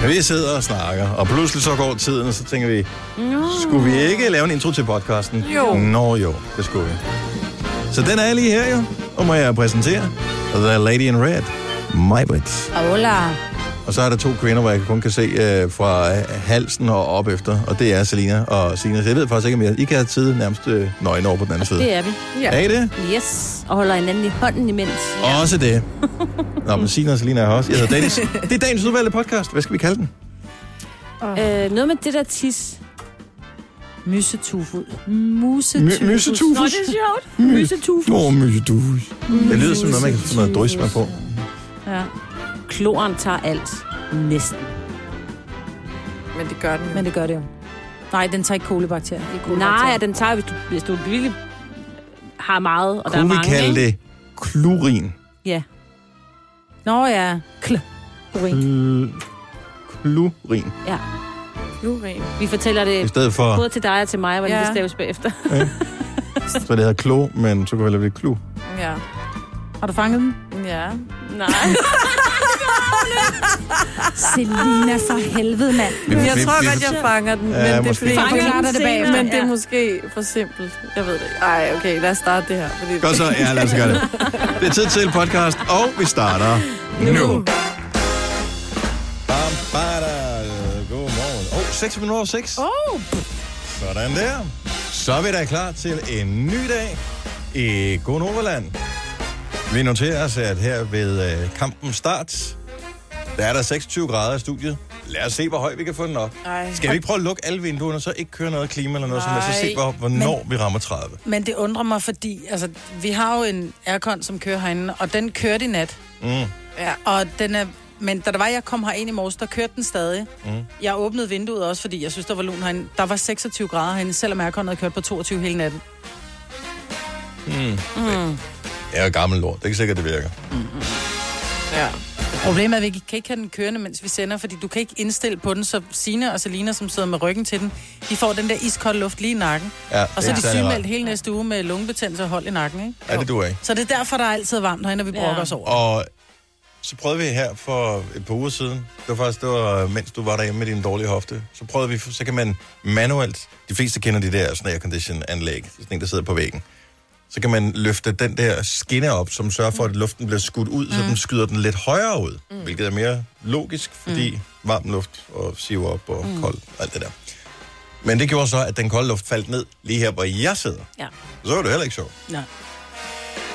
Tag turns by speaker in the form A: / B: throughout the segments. A: Men vi sidder og snakker, og pludselig så går tiden, og så tænker vi, skulle vi ikke lave en intro til podcasten?
B: Jo.
A: Nå jo, det skulle vi. Så den er lige her jo, og må jeg præsentere The Lady in Red, Majbrit.
B: Hola.
A: Og så er der to kvinder, hvor jeg kun kan se øh, fra øh, halsen og op efter, og det er Selina og Sina. Så jeg ved faktisk ikke, om jeg, I kan have tid nærmest øh, nøgen over på den anden side.
C: Det er vi.
A: Er I det?
C: Yes. Og holder hinanden i hånden imens.
A: Også det. Nå, men Sina og Selina er her også. Jeg hedder Dennis. Det er dagens udvalgte podcast. Hvad skal vi kalde den?
C: Øh, noget med det der tis. Mysetufud.
A: My-
C: Musetufus.
A: mysetufus.
C: Nå, det er sjovt. Mysetufus.
A: Åh, oh, mysedus.
C: Mm.
A: Det lyder som noget, man kan få noget drys med på.
C: Ja. Kloren tager alt. Næsten.
B: Men det gør den.
D: Men det gør det jo. Nej, den tager ikke kolibakterier. Det er kolibakterier.
C: Nej, ja, den tager, hvis du, hvis du virkelig har meget, og der er
A: Kunne vi
C: mange.
A: kalde
C: ikke?
A: det klorin?
C: Ja.
D: Nå ja. Kl. Urin.
A: Kl- Klorin.
C: ja.
B: Nu ren.
C: Vi fortæller
A: I
C: det
A: stedet for,
C: både til dig og til mig, hvordan
B: Ja.
C: ja. det staves bagefter.
A: så det hedder klo, men så kunne vi lave det klo.
B: Ja.
D: Har du fanget den?
B: Ja.
C: Nej.
D: Selina for helvede, mand.
A: Vi,
B: Jeg
A: vi,
B: tror
A: vi,
B: godt, jeg fanger den,
A: Ja,
B: men det er
A: måske.
B: fordi...
D: Fanger
C: Fanger
D: den
C: den
D: det bagefter.
C: senere.
B: Men det er
C: Ja.
B: måske for simpelt. Jeg ved det ikke. Ej, okay, lad os starte det her. Fordi...
A: Godt så, ja, lad os gøre det. Det er tid til podcast, og vi starter nu. Bam, bada. Godmorgen. Åh, oh, 6 minutter over 6. Oh. Sådan der. Så er vi da klar til en ny dag i Gonoverland. Vi noterer os, at her ved øh, kampens start, der er der 26 grader i studiet. Lad os se, hvor højt vi kan få den op.
B: Ej.
A: Skal vi ikke prøve at lukke alle vinduerne, så ikke køre noget klima eller noget, sådan, noget, så se, hvor, hvornår vi rammer 30?
D: Men det undrer mig, fordi altså, vi har jo en aircon, som kører herinde, og den kørte i nat.
A: Mm.
B: Ja.
D: Og den er, men da der var, jeg kom herind i morges, der kørte den stadig.
A: Mm.
D: Jeg åbnede vinduet også, fordi jeg synes, der var lun herinde. Der var 26 grader herinde, selvom aircon havde kørt på 22 hele natten.
B: Mm.
A: Jeg er gammel lort. Det er ikke sikkert, det virker.
B: ja.
D: Problemet er, at vi kan ikke have den kørende, mens vi sender, fordi du kan ikke indstille på den, så Sine og Selina, som sidder med ryggen til den, de får den der iskolde luft lige i nakken.
A: Ja,
D: Og så er
A: ikke
D: de
A: særlig rart.
D: sygemeldt hele næste uge med lungebetændelse og hold i nakken, ikke?
A: Ja, det du ikke.
D: Så det er derfor, der er altid varmt herinde, når vi
C: Ja.
D: brokker os over.
A: Og så prøvede vi her for et par uger siden, det var faktisk, det var, øh, mens du var derhjemme med din dårlige hofte, så prøvede vi, så kan man manuelt, de fleste kender de der sådan aircondition anlæg, sådan en, der sidder på væggen, så kan man løfte den der skinne op, som sørger for, at luften bliver skudt ud, så den skyder den lidt højere ud, hvilket er mere logisk, fordi varm luft og siver op og kold og alt det der. Men det gjorde så, at den kolde luft faldt ned lige her, hvor jeg sidder.
C: Ja.
A: Så var det heller ikke sjovt.
D: Nej.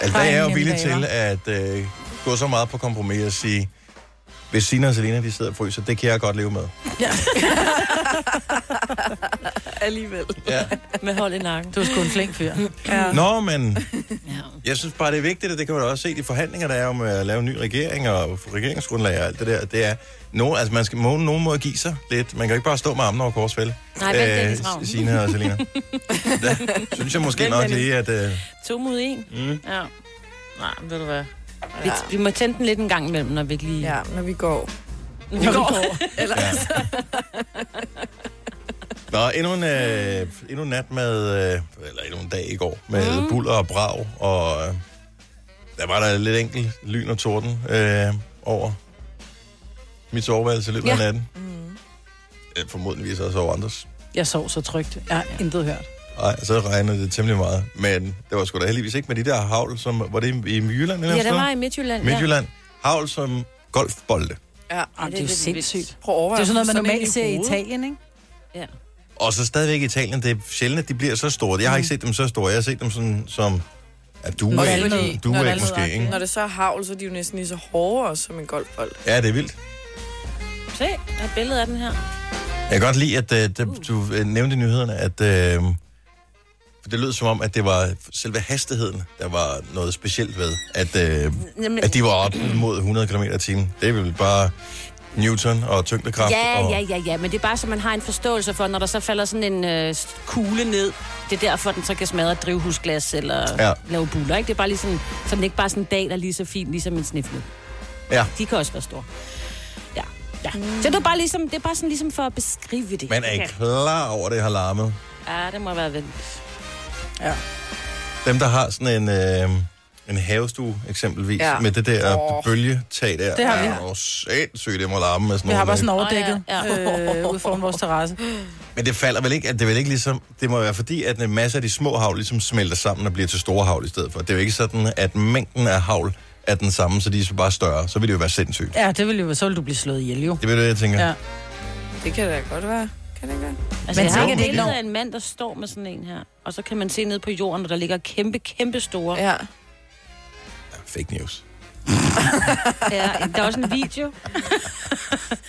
A: Altså,
D: Der
A: der
D: er
A: er jeg jo
D: ingen
A: villig til
D: nemme
A: at øh, gå så meget på kompromis og sige, hvis Sina og Selina, de sidder og fryser, det kan jeg godt leve med.
D: Ja.
B: Alligevel.
A: Ja.
C: Med hold i nakken.
D: Du er sgu en flink fyr.
B: Ja.
A: Nå, men
C: Ja.
A: jeg synes bare, det er vigtigt, og det kan man da også se i de forhandlinger, der er om at lave en ny regering og regeringsgrundlag og alt det der. Det er, no, altså, man skal må, nogen måde give sig lidt. Man kan jo ikke bare stå med armene over korsfælde.
C: Nej, vent, Dennis Ravn.
A: Sina og Selina. Der synes jeg måske
C: Vent,
A: nok
C: Dennis.
A: lige, at... Øh,
C: To mod en.
A: mm,
C: Ja. Nej, ved du hvad. Vi, vi må tænde den lidt en gang imellem, når vi ikke lige...
B: Ja, når vi går.
C: Når vi går.
B: Eller...
A: ja.
C: altså.
A: Nå, endnu en, øh, endnu en nat med, øh, eller endnu en dag i går, med mm. buller og brag, og øh, der var der lidt enkelt lyn og torden øh, over mit soveværelse i løbet ja. af
C: Ja.
A: natten. Mm. Øh, formodentligvis også over andres.
D: Jeg sov så trygt. Jeg har intet hørt.
A: Nej, så regnede det temmelig meget, men det var sgu da heldigvis ikke med de der havl, som, var det i, i Jylland eller
C: Ja,
A: sådan
C: der var i Midtjylland.
A: Midtjylland. Havl som golfbolde.
B: Ja.
D: Jamen, det er jo
C: lidt
D: sindssygt.
B: Prøv at
D: Det er
B: overveje.
D: jo sådan noget, man
B: en
D: normalt ser i
B: hovedet.
D: Italien, ikke?
C: Ja. ja.
A: Og så stadigvæk Italien, det er sjældent, at de bliver så store. Jeg har
B: Mm.
A: ikke set dem så store. Jeg har set dem sådan, som er
D: Nå,
A: duer,
D: valnød.
A: ikke? Duer,
D: Nå,
A: ikke måske, ikke?
B: Når det så er havl, så er de jo næsten lige så hårde også, som en golfbold.
A: Ja, det er vildt.
C: Se, der er et billede af den her.
A: Jeg kan godt lide, at øh, det, du øh, nævnte i nyhederne, at øh, for det lød som om, at det var selve hastigheden, der var noget specielt ved, at, øh,
C: Jamen,
A: at de var op mod 100 km i timen. Det er vel bare Newton og tyngdekraft.
C: Ja,
A: og,
C: ja, ja, ja, men det er bare så, man har en forståelse for, når der så falder sådan en øh, kugle ned, det er derfor, den så kan smadre et drivhusglas eller
A: Ja.
C: ja. lave buler, ikke? Det er bare lige sådan, så den ikke bare sådan en dal er lige så fin, ligesom en snifle.
A: ja.
C: De kan også være store. Ja, ja. Så det er bare, ligesom, det er bare sådan ligesom for at beskrive det.
A: Man er ikke klar over, at det har larmet.
C: Ja, det må være vel.
A: Dem, der har sådan en... Øh, en havestue eksempelvis, ja.
B: Ja.
A: med det der oh.
B: Åh.
A: bølgetag der.
D: Det har vi.
A: Åh, sindssygt, det må larme med sådan
D: Vi har
A: noget.
D: bare sådan overdækket
C: overdækket,
D: øh, ude foran vores terrasse.
A: Men det falder vel ikke, at det er vel ikke ligesom, det må være fordi, at en masse af de små havl ligesom smelter sammen og bliver til store havl i stedet for. Det er jo ikke sådan, at mængden af havl er den samme, så de er så bare større. Så vil det jo være sindssygt.
D: Ja, det ville jo, så ville du blive slået ihjel jo.
A: Det er det, jeg tænker.
D: Ja.
A: Ja.
B: Det kan da godt være. Kan det ikke være?
C: Altså,
D: Men
C: jeg har
A: tænker
C: ikke
A: det ikke
C: billede
D: nok?
C: af en mand, der står med sådan en her. Og så kan man se ned på jorden, og der ligger kæmpe, kæmpe store. Ja.
B: Ja.
A: Fake news.
C: Ja, der er også en video.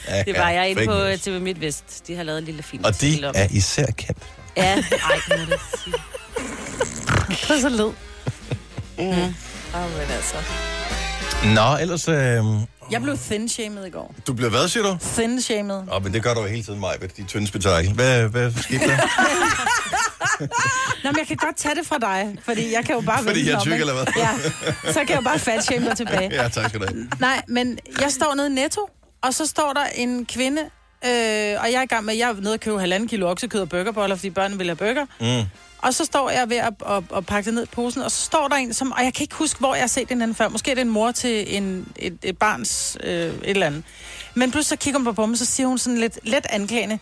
A: Ja,
C: Det var jeg inde på øh, TV MidtVest. De har lavet en lille film.
A: Og de
C: om.
A: er især kendt.
C: Ja, ej, det må jeg da sige.
D: Det er så led.
B: Oh, men altså.
A: Nå, ellers... Øh,
D: Jeg blev thin-shamed i går.
A: du bliver hvad, siger du?
D: Thin-shamed.
A: Åh, men det gør du jo hele tiden, Maja, de tynde spektakel. Hvad, hvad skete der?
D: Nå, men jeg kan godt tage det fra dig, fordi jeg kan jo bare
A: Fordi
D: vende
A: jeg er tyk,
D: den om, ikke?
A: eller hvad?
D: Ja, så kan jeg jo bare fat-shame dig tilbage.
A: ja, tak skal du have. Mm.
D: Nej, men jeg står nede i Netto, og så står der en kvinde, øh, og jeg er i gang med, jeg er nede og købe halvanden kilo oksekød og burgerboller, fordi børnene vil have burger.
A: Mm.
D: Og så står jeg ved at, at, at pakke det ned i posen, og så står der en, som, og jeg kan ikke huske, hvor jeg har set den anden før. Måske er det en mor til en, et, et barns øh, et eller andet. Men pludselig så kigger hun på- på mig, så siger hun sådan lidt let anklagende,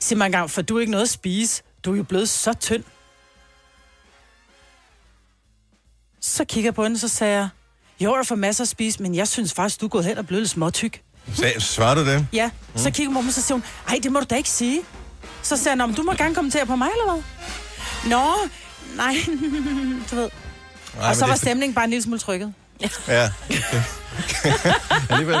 D: sig mig engang, for du er ikke noget at spise. Du er jo blevet så tynd. Så kigger jeg på hende, så sagde jeg, jo, jeg får masser at spise, men jeg synes faktisk, du er gået hen og blevet lidt småtyk.
A: Så, svarer du det?
D: Ja, så
A: Mm.
D: kigger hun på mig, så siger hun, ej, det må du da ikke sige. Så siger han, du må gerne kommentere på mig, eller hvad? Nå, nej, du ved.
A: Nej,
D: og
A: men
D: så var
A: det er
D: stemningen bare en lille smule trykket.
A: Ja. Alligevel.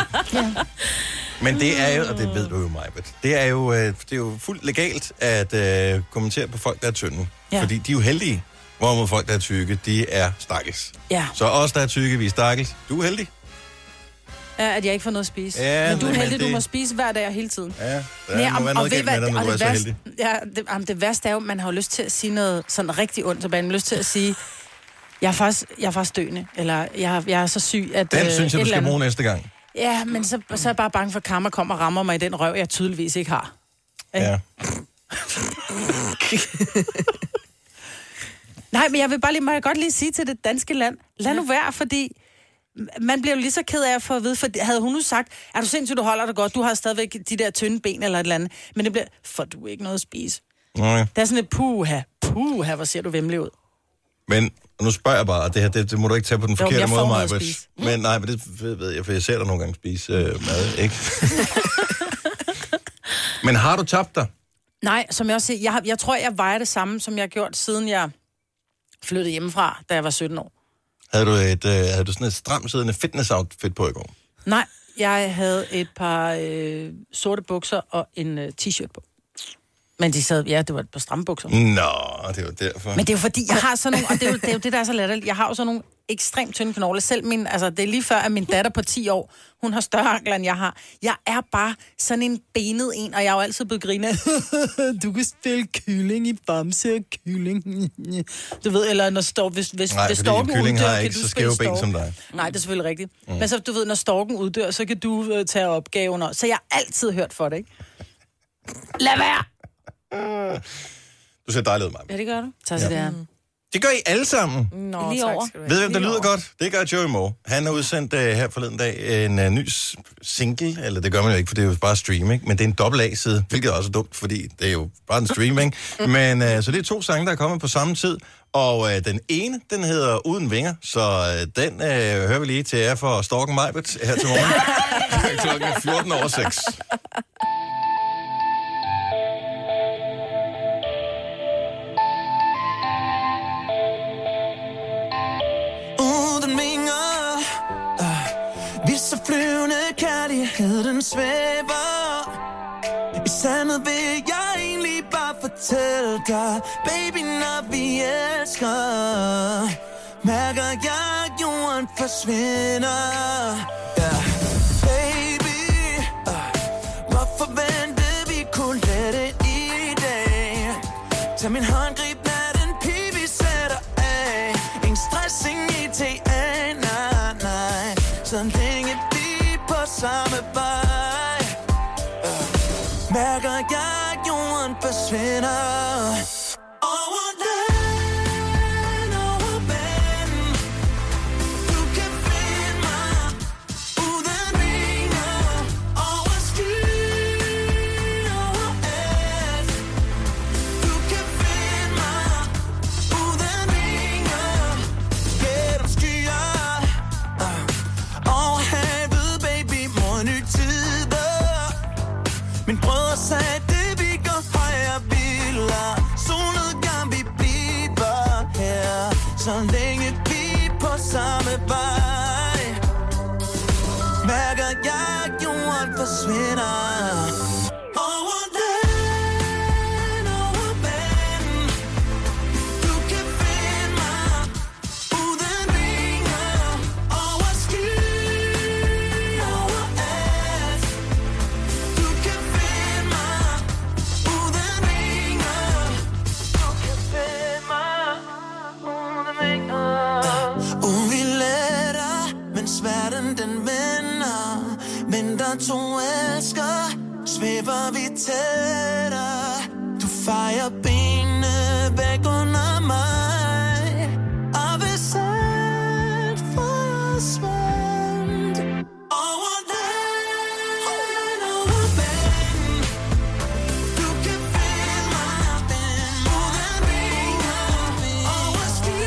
A: Men det er jo, og det ved du jo, Majbet, det er jo, øh, det er jo fuldt legalt at øh, kommentere på folk, der er tynde. Ja.
D: Ja.
A: Fordi de er jo heldige, hvorimod folk, der er tykke, de er stakkels.
D: Ja.
A: Så os, der er tykke, vi er stakkels. Du er heldig.
D: ja, at jeg ikke får noget at spise.
A: Ja,
D: men du er
A: men
D: heldig,
A: det-
D: du må spise hver dag og hele tiden.
A: Ja, der ja, må være noget galt med dig, når du er så
D: værste,
A: heldig.
D: ja, det, jamen, det værste er jo, at man har jo lyst til at sige noget sådan rigtig ondt, så man har lyst til at sige, jeg er faktisk, jeg er faktisk døende, eller jeg, jeg er så syg, at...
A: Den
D: øh,
A: synes jeg,
D: et
A: du
D: eller
A: skal
D: andet-
A: bruge næste gang.
D: Ja, men så, så er jeg bare bange for, at karma kommer og rammer mig i den røv, jeg tydeligvis ikke har.
A: Ja.
D: Nej, men jeg vil bare lige, må jeg godt lige sige til det danske land, lad nu være, fordi man bliver jo lige så ked af at få at vide, for havde hun nu sagt, er du sindssygt, du holder dig godt, du har stadigvæk de der tynde ben eller et eller andet, men det bliver, for du ikke noget at spise.
A: Nej.
D: Det er sådan et puha, puha, hvor ser du vemmelig ud.
A: Men og nu spørger jeg bare, og det her, det, det må du ikke tage på den
D: men
A: forkerte
D: jeg får
A: måde,
D: noget at
A: Maja.
D: spise.
A: Men nej, men det ved, ved jeg, for jeg ser dig nogle gange spise øh, mad, ikke? men har du tabt dig?
D: Nej, som jeg også siger, jeg, har, jeg tror, jeg vejer det samme, som jeg har gjort, siden jeg flyttede hjemmefra, da jeg var 17 år.
A: Havde du, et, øh, havde du sådan et stramt siddende fitness-outfit på i går?
D: Nej, jeg havde et par øh, sorte bukser og en øh, t-shirt på. Men de sad, ja, det var et par stramme bukser.
A: Nå, det var derfor.
D: Men
A: Men...
D: det er jo fordi, jeg har sådan nogle, og det er jo det, er jo det der er så latterligt, jeg har jo sådan nogle ekstremt tynde knogler. Selv min, altså det er lige før, at min datter på 10 år, hun har større ankler, end jeg har. Jeg er bare sådan en benet en, og jeg er jo altid blevet grinet. du kan spille kylling i bamse og kylling. du ved, eller når står, hvis, hvis,
A: Nej,
D: hvis
A: fordi en
D: storken
A: kylling
D: uddør,
A: har
D: kan
A: ikke
D: du
A: så
D: spille
A: skæve ben
D: stork.
A: som dig.
D: Nej, det er selvfølgelig rigtigt. Mm. Men så, du ved, når storken uddør, så kan du øh, tage opgaven. Og, så jeg har altid hørt for det, ikke? Lad være!
A: Du ser dejlig ud, Maja.
C: Ja, det gør du.
D: Så, så det er.
A: Det gør I alle sammen.
B: Nå,
C: Lige
B: tak
C: over.
B: skal du
A: Ved
B: have.
A: du, hvem der lyder godt? Det gør Joey Moe. Han har udsendt uh, her forleden dag en uh, ny s- single, eller det gør man jo ikke, for det er jo bare stream, ikke? men det er en dobbelt A-side, hvilket også er dumt, fordi det er jo bare en streaming. men uh, så det er to sange, der er kommet på samme tid, og uh, den ene, den hedder Uden Vinger, så uh, den uh, hører vi lige til jer for Storken Majbet her til morgen. Klokken er 14 over 6.
E: uden vinger Ah, Vi så flyvende kærligheden svæver I sandet vil jeg egentlig bare fortælle dig Baby, når vi elsker Mærker jeg, at jorden forsvinder Ja, Baby, ah, hvorfor ventede vi kun lette i dag? Tag min hånd, grib natten, pige, vi sætter af Ingen stress, ingen ETA, nej, nej Så længe vi er på samme vej øh, Mærker jeg, at jorden forsvinder Over land, over vand Uh. uh. Min brødre sagde, det vi går højere biler. Solnedgang, vi bliver her. Så længe vi er på samme vej. Mærker jeg, at jorden forsvinder. Over land, over vand. Du kan finde mig uden vinger. Over sky, over alt. Du kan finde mig uden vinger. Du kan finde mig uden vinger. Ugen vi letter, mens verden den vender Men der to elsker, svæver vi tættere Du fejrer benene væk under mig Og hvis alt forsvandt Over land, over vand Du kan finde mig uden vinger Over sky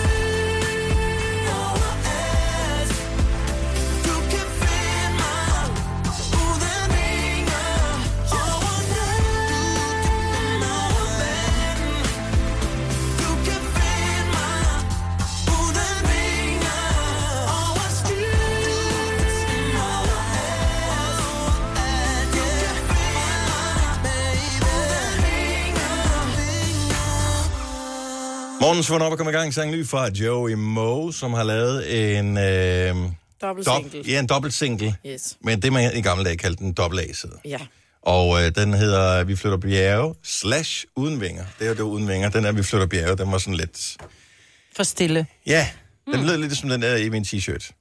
A: Morgen Svend op og kom i gang. Sang ny fra Joey Moe, som har lavet en... Øh,
B: Dobbelt
A: dob-
B: single.
A: ja, en dobbelt single.
B: Yes.
A: Men det, man i gamle dage kaldte en dobbelt A-side.
B: Ja.
A: Og øh, den hedder Vi flytter bjerge slash uden vinger. Det er jo det uden vinger. Den er Vi flytter bjerge. Den var sådan lidt...
D: For stille.
A: Ja, den lød lidt som den der i min t-shirt.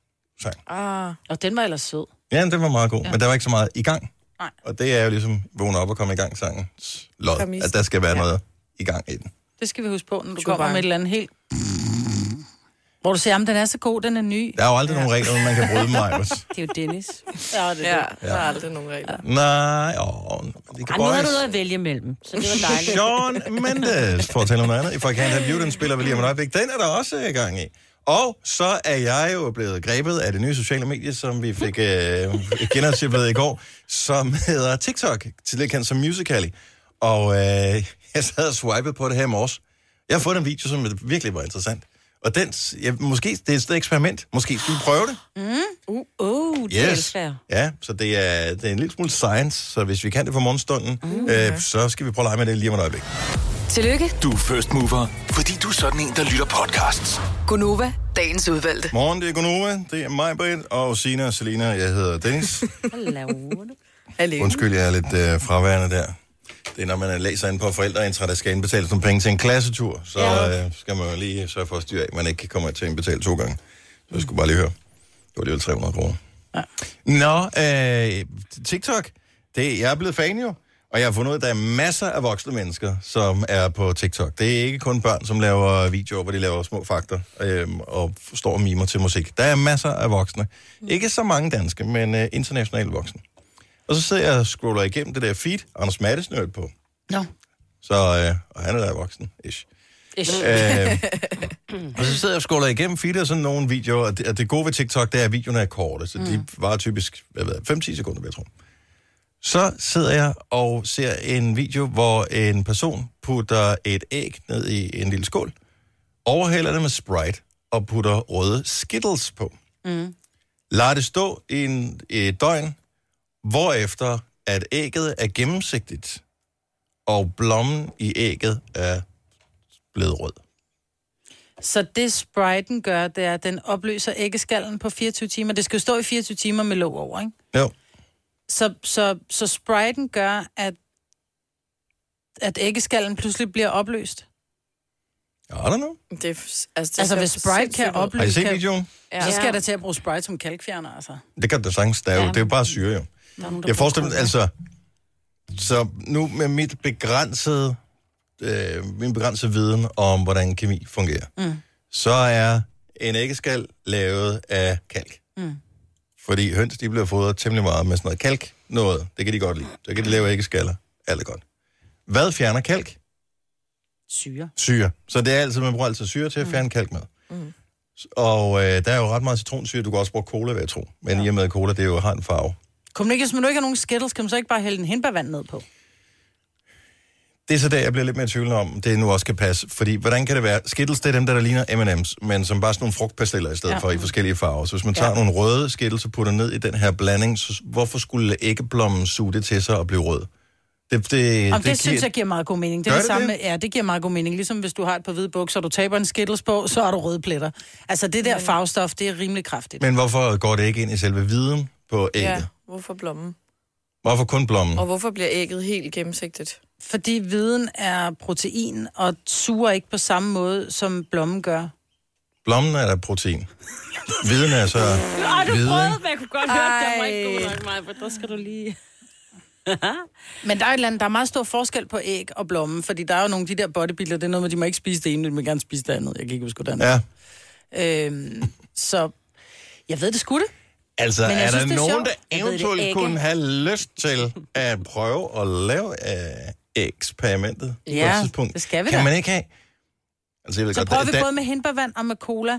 A: Sang.
B: Ah,
D: Og den var ellers sød.
A: Ja, den var meget god, ja. men der var ikke så meget i gang.
D: Nej.
A: Og det er jo ligesom vågne op og komme i gang sangen. Lod,
B: Præmis.
A: at der skal være ja. noget i gang i den.
D: Det skal vi huske på, når du
B: Chewbacca.
D: kommer med et eller andet helt... Hvor du siger, at den er så god, den er ny.
A: Der er jo aldrig ja. nogen regler, man kan bryde mig.
C: Det er jo Dennis.
D: Ja, det
B: ja, der er aldrig nogen regler.
A: Nej, åh, det kan
C: Ej, nu har
A: bøjes.
C: du noget at vælge mellem, så det var dejligt.
A: Sean Mendes, for at tale om noget andet. If I Can't Have You, den spiller vi lige om et øjeblik. Den er der også i gang i. Og så er jeg jo blevet grebet af det nye sociale medie, som vi fik øh, genopstillet i går, som hedder TikTok, tidligere kendt som Musical.ly. Og øh, jeg sad og swipede på det her i morges. Jeg har fundet en video, som virkelig var interessant. Og den, ja, måske, det er et sted eksperiment. Måske skal vi prøve det.
C: Åh, Mm. oh, det yes.
A: Yes.
C: er
A: Ja, så det er, det er en lille smule science, så hvis vi kan det for morgenstunden, mm, øh, så skal vi prøve at lege med det lige om et øjeblik.
F: Tillykke,
G: Du er first mover, fordi du er sådan en, der lytter podcasts.
F: Gunova, dagens udvalgte.
A: Morgen, det er Gunova, det er mig, Britt, og Sina og Selina, jeg hedder Dennis.
C: Hvad laver du?
B: Alene.
A: Undskyld, jeg er lidt øh, fraværende der. Det er, når man læser ind på forældreintra, der skal indbetales nogle penge til en klassetur, så øh, skal man jo lige sørge for at styre af, at man ikke kommer til at indbetale to gange. Så jeg skulle bare lige høre. Det var alligevel 300 kroner. Ja. Nå, øh, TikTok, det, jeg er blevet fan jo. Og jeg har fundet ud af, at der er masser af voksne mennesker, som er på TikTok. Det er ikke kun børn, som laver videoer, hvor de laver små fakter øhm, og står og mimer til musik. Der er masser af voksne. Ikke så mange danske, men øh, internationale voksne. Og så sidder jeg og scroller igennem det der feed. Anders Madsen er jo på.
D: Nå.
A: Så, øh, og han er da voksen, ish. Ish. Øh, og så sidder jeg og scroller igennem feedet og sådan nogle videoer, og det, og det gode ved TikTok, det er, at videoerne er korte, så mm. de var typisk, hvad ved jeg, 5-10 sekunder, vil jeg tro. Så sidder jeg og ser en video, hvor en person putter et æg ned i en lille skål, overhælder det med Sprite og putter røde Skittles på. Mm. Lader det stå i en, et døgn, hvorefter at ægget er gennemsigtigt, og blommen i ægget er blevet rød.
D: Så det Spriten gør, det er, at den opløser æggeskallen på 24 timer. Det skal jo stå i 24 timer med låg over, ikke?
A: Jo.
D: Så, så, så Spriten gør, at, at æggeskallen pludselig bliver opløst.
A: I don't know.
B: Det, er f- altså, det
D: Altså,
B: ser
D: hvis
B: for
D: Sprite
B: sindssygt
D: kan
B: ud.
A: Har I
D: opløse...
A: set
D: Kan,
A: videoen?
D: så skal
B: Ja.
D: jeg da til at bruge Sprite som kalkfjerner, altså.
A: Det kan du da sagtens, der er jo.
C: Ja.
A: Det er jo bare syre, jo.
C: Der er nogen, der
A: Jeg
C: bruger
A: forestiller mig,
C: krudt.
A: altså... Så nu med mit begrænsede, øh, min begrænsede viden om, hvordan kemi fungerer, mm. så er en æggeskal lavet af kalk. Mm. Fordi høns, de bliver fodret temmelig meget med sådan noget kalk. Noget, det kan de godt lide. Så kan de lave æggeskaller. Alt er godt. Hvad fjerner kalk?
D: Syre.
A: syre. Så det er altid, man bruger altid syre til at fjerne kalk med. Mm. Og øh, der er jo ret meget citronsyre. Du kan også bruge cola, ved jeg tro. Men ja. i og med at cola, det jo har en farve.
D: Kom ikke, hvis man nu ikke har nogen skittles, kan man så ikke bare hælde en hindbærvand ned på?
A: Det er så der, jeg bliver lidt mere i tvivl om, det nu også kan passe. Fordi, hvordan kan det være? Skittles, det er dem, der, der ligner M&M's, men som bare sådan nogle frugtpasteller i stedet ja.
D: Ja.
A: for i forskellige farver. Så hvis man tager ja. nogle røde skittles og putter ned i den her blanding, så s- hvorfor skulle æggeblommen suge det til sig og blive rød? Det, det,
D: Om det, det synes jeg giver meget god mening. Det
A: Gør
D: er
A: det
D: det, samme
A: det?
D: med, ja, det giver meget god mening. Ligesom hvis du har et par hvide bukser, og du taber en skittles på, så har du røde pletter. Altså det der farvestof, det er rimelig kraftigt.
A: Men hvorfor går det ikke ind i selve viden på ægget? Mm. Ja.
B: Ja, hvorfor blommen?
A: Hvorfor kun blommen?
B: Og hvorfor bliver ægget helt gennemsigtigt?
D: Fordi viden er protein, og suger ikke på samme måde, som blommen gør.
A: Blommen er der protein. Viden er så
C: Ej, du
A: hvide,
C: prøvede,
A: ikke?
C: men jeg kunne godt høre, at det var ikke
B: Ej.
C: god nok, Maja, for der skal du lige...
D: Men der er, et eller andet, der er meget stor forskel på æg og blommen, fordi der er jo nogle af de der bodybuilder, det er noget med, de må ikke spise det ene, men de må gerne spise det andet. Jeg kan ikke huske, hvordan.
A: Ja,
D: Ja. Øhm, så jeg ved det sgu det.
A: altså
D: Men jeg
A: er
D: synes,
A: der
D: det er
A: nogen,
D: sjovt.
A: der
C: Jeg ved det
A: eventuelt
C: ikke.
A: kunne have lyst til at prøve at lave øh, eksperimentet på
D: Ja,
A: et tidspunkt?
D: det skal vi
A: Kan
D: da.
A: man ikke have? Altså, jeg ved
D: Så
A: godt,
D: prøver vi
A: da-
D: både med hindbærvand og med cola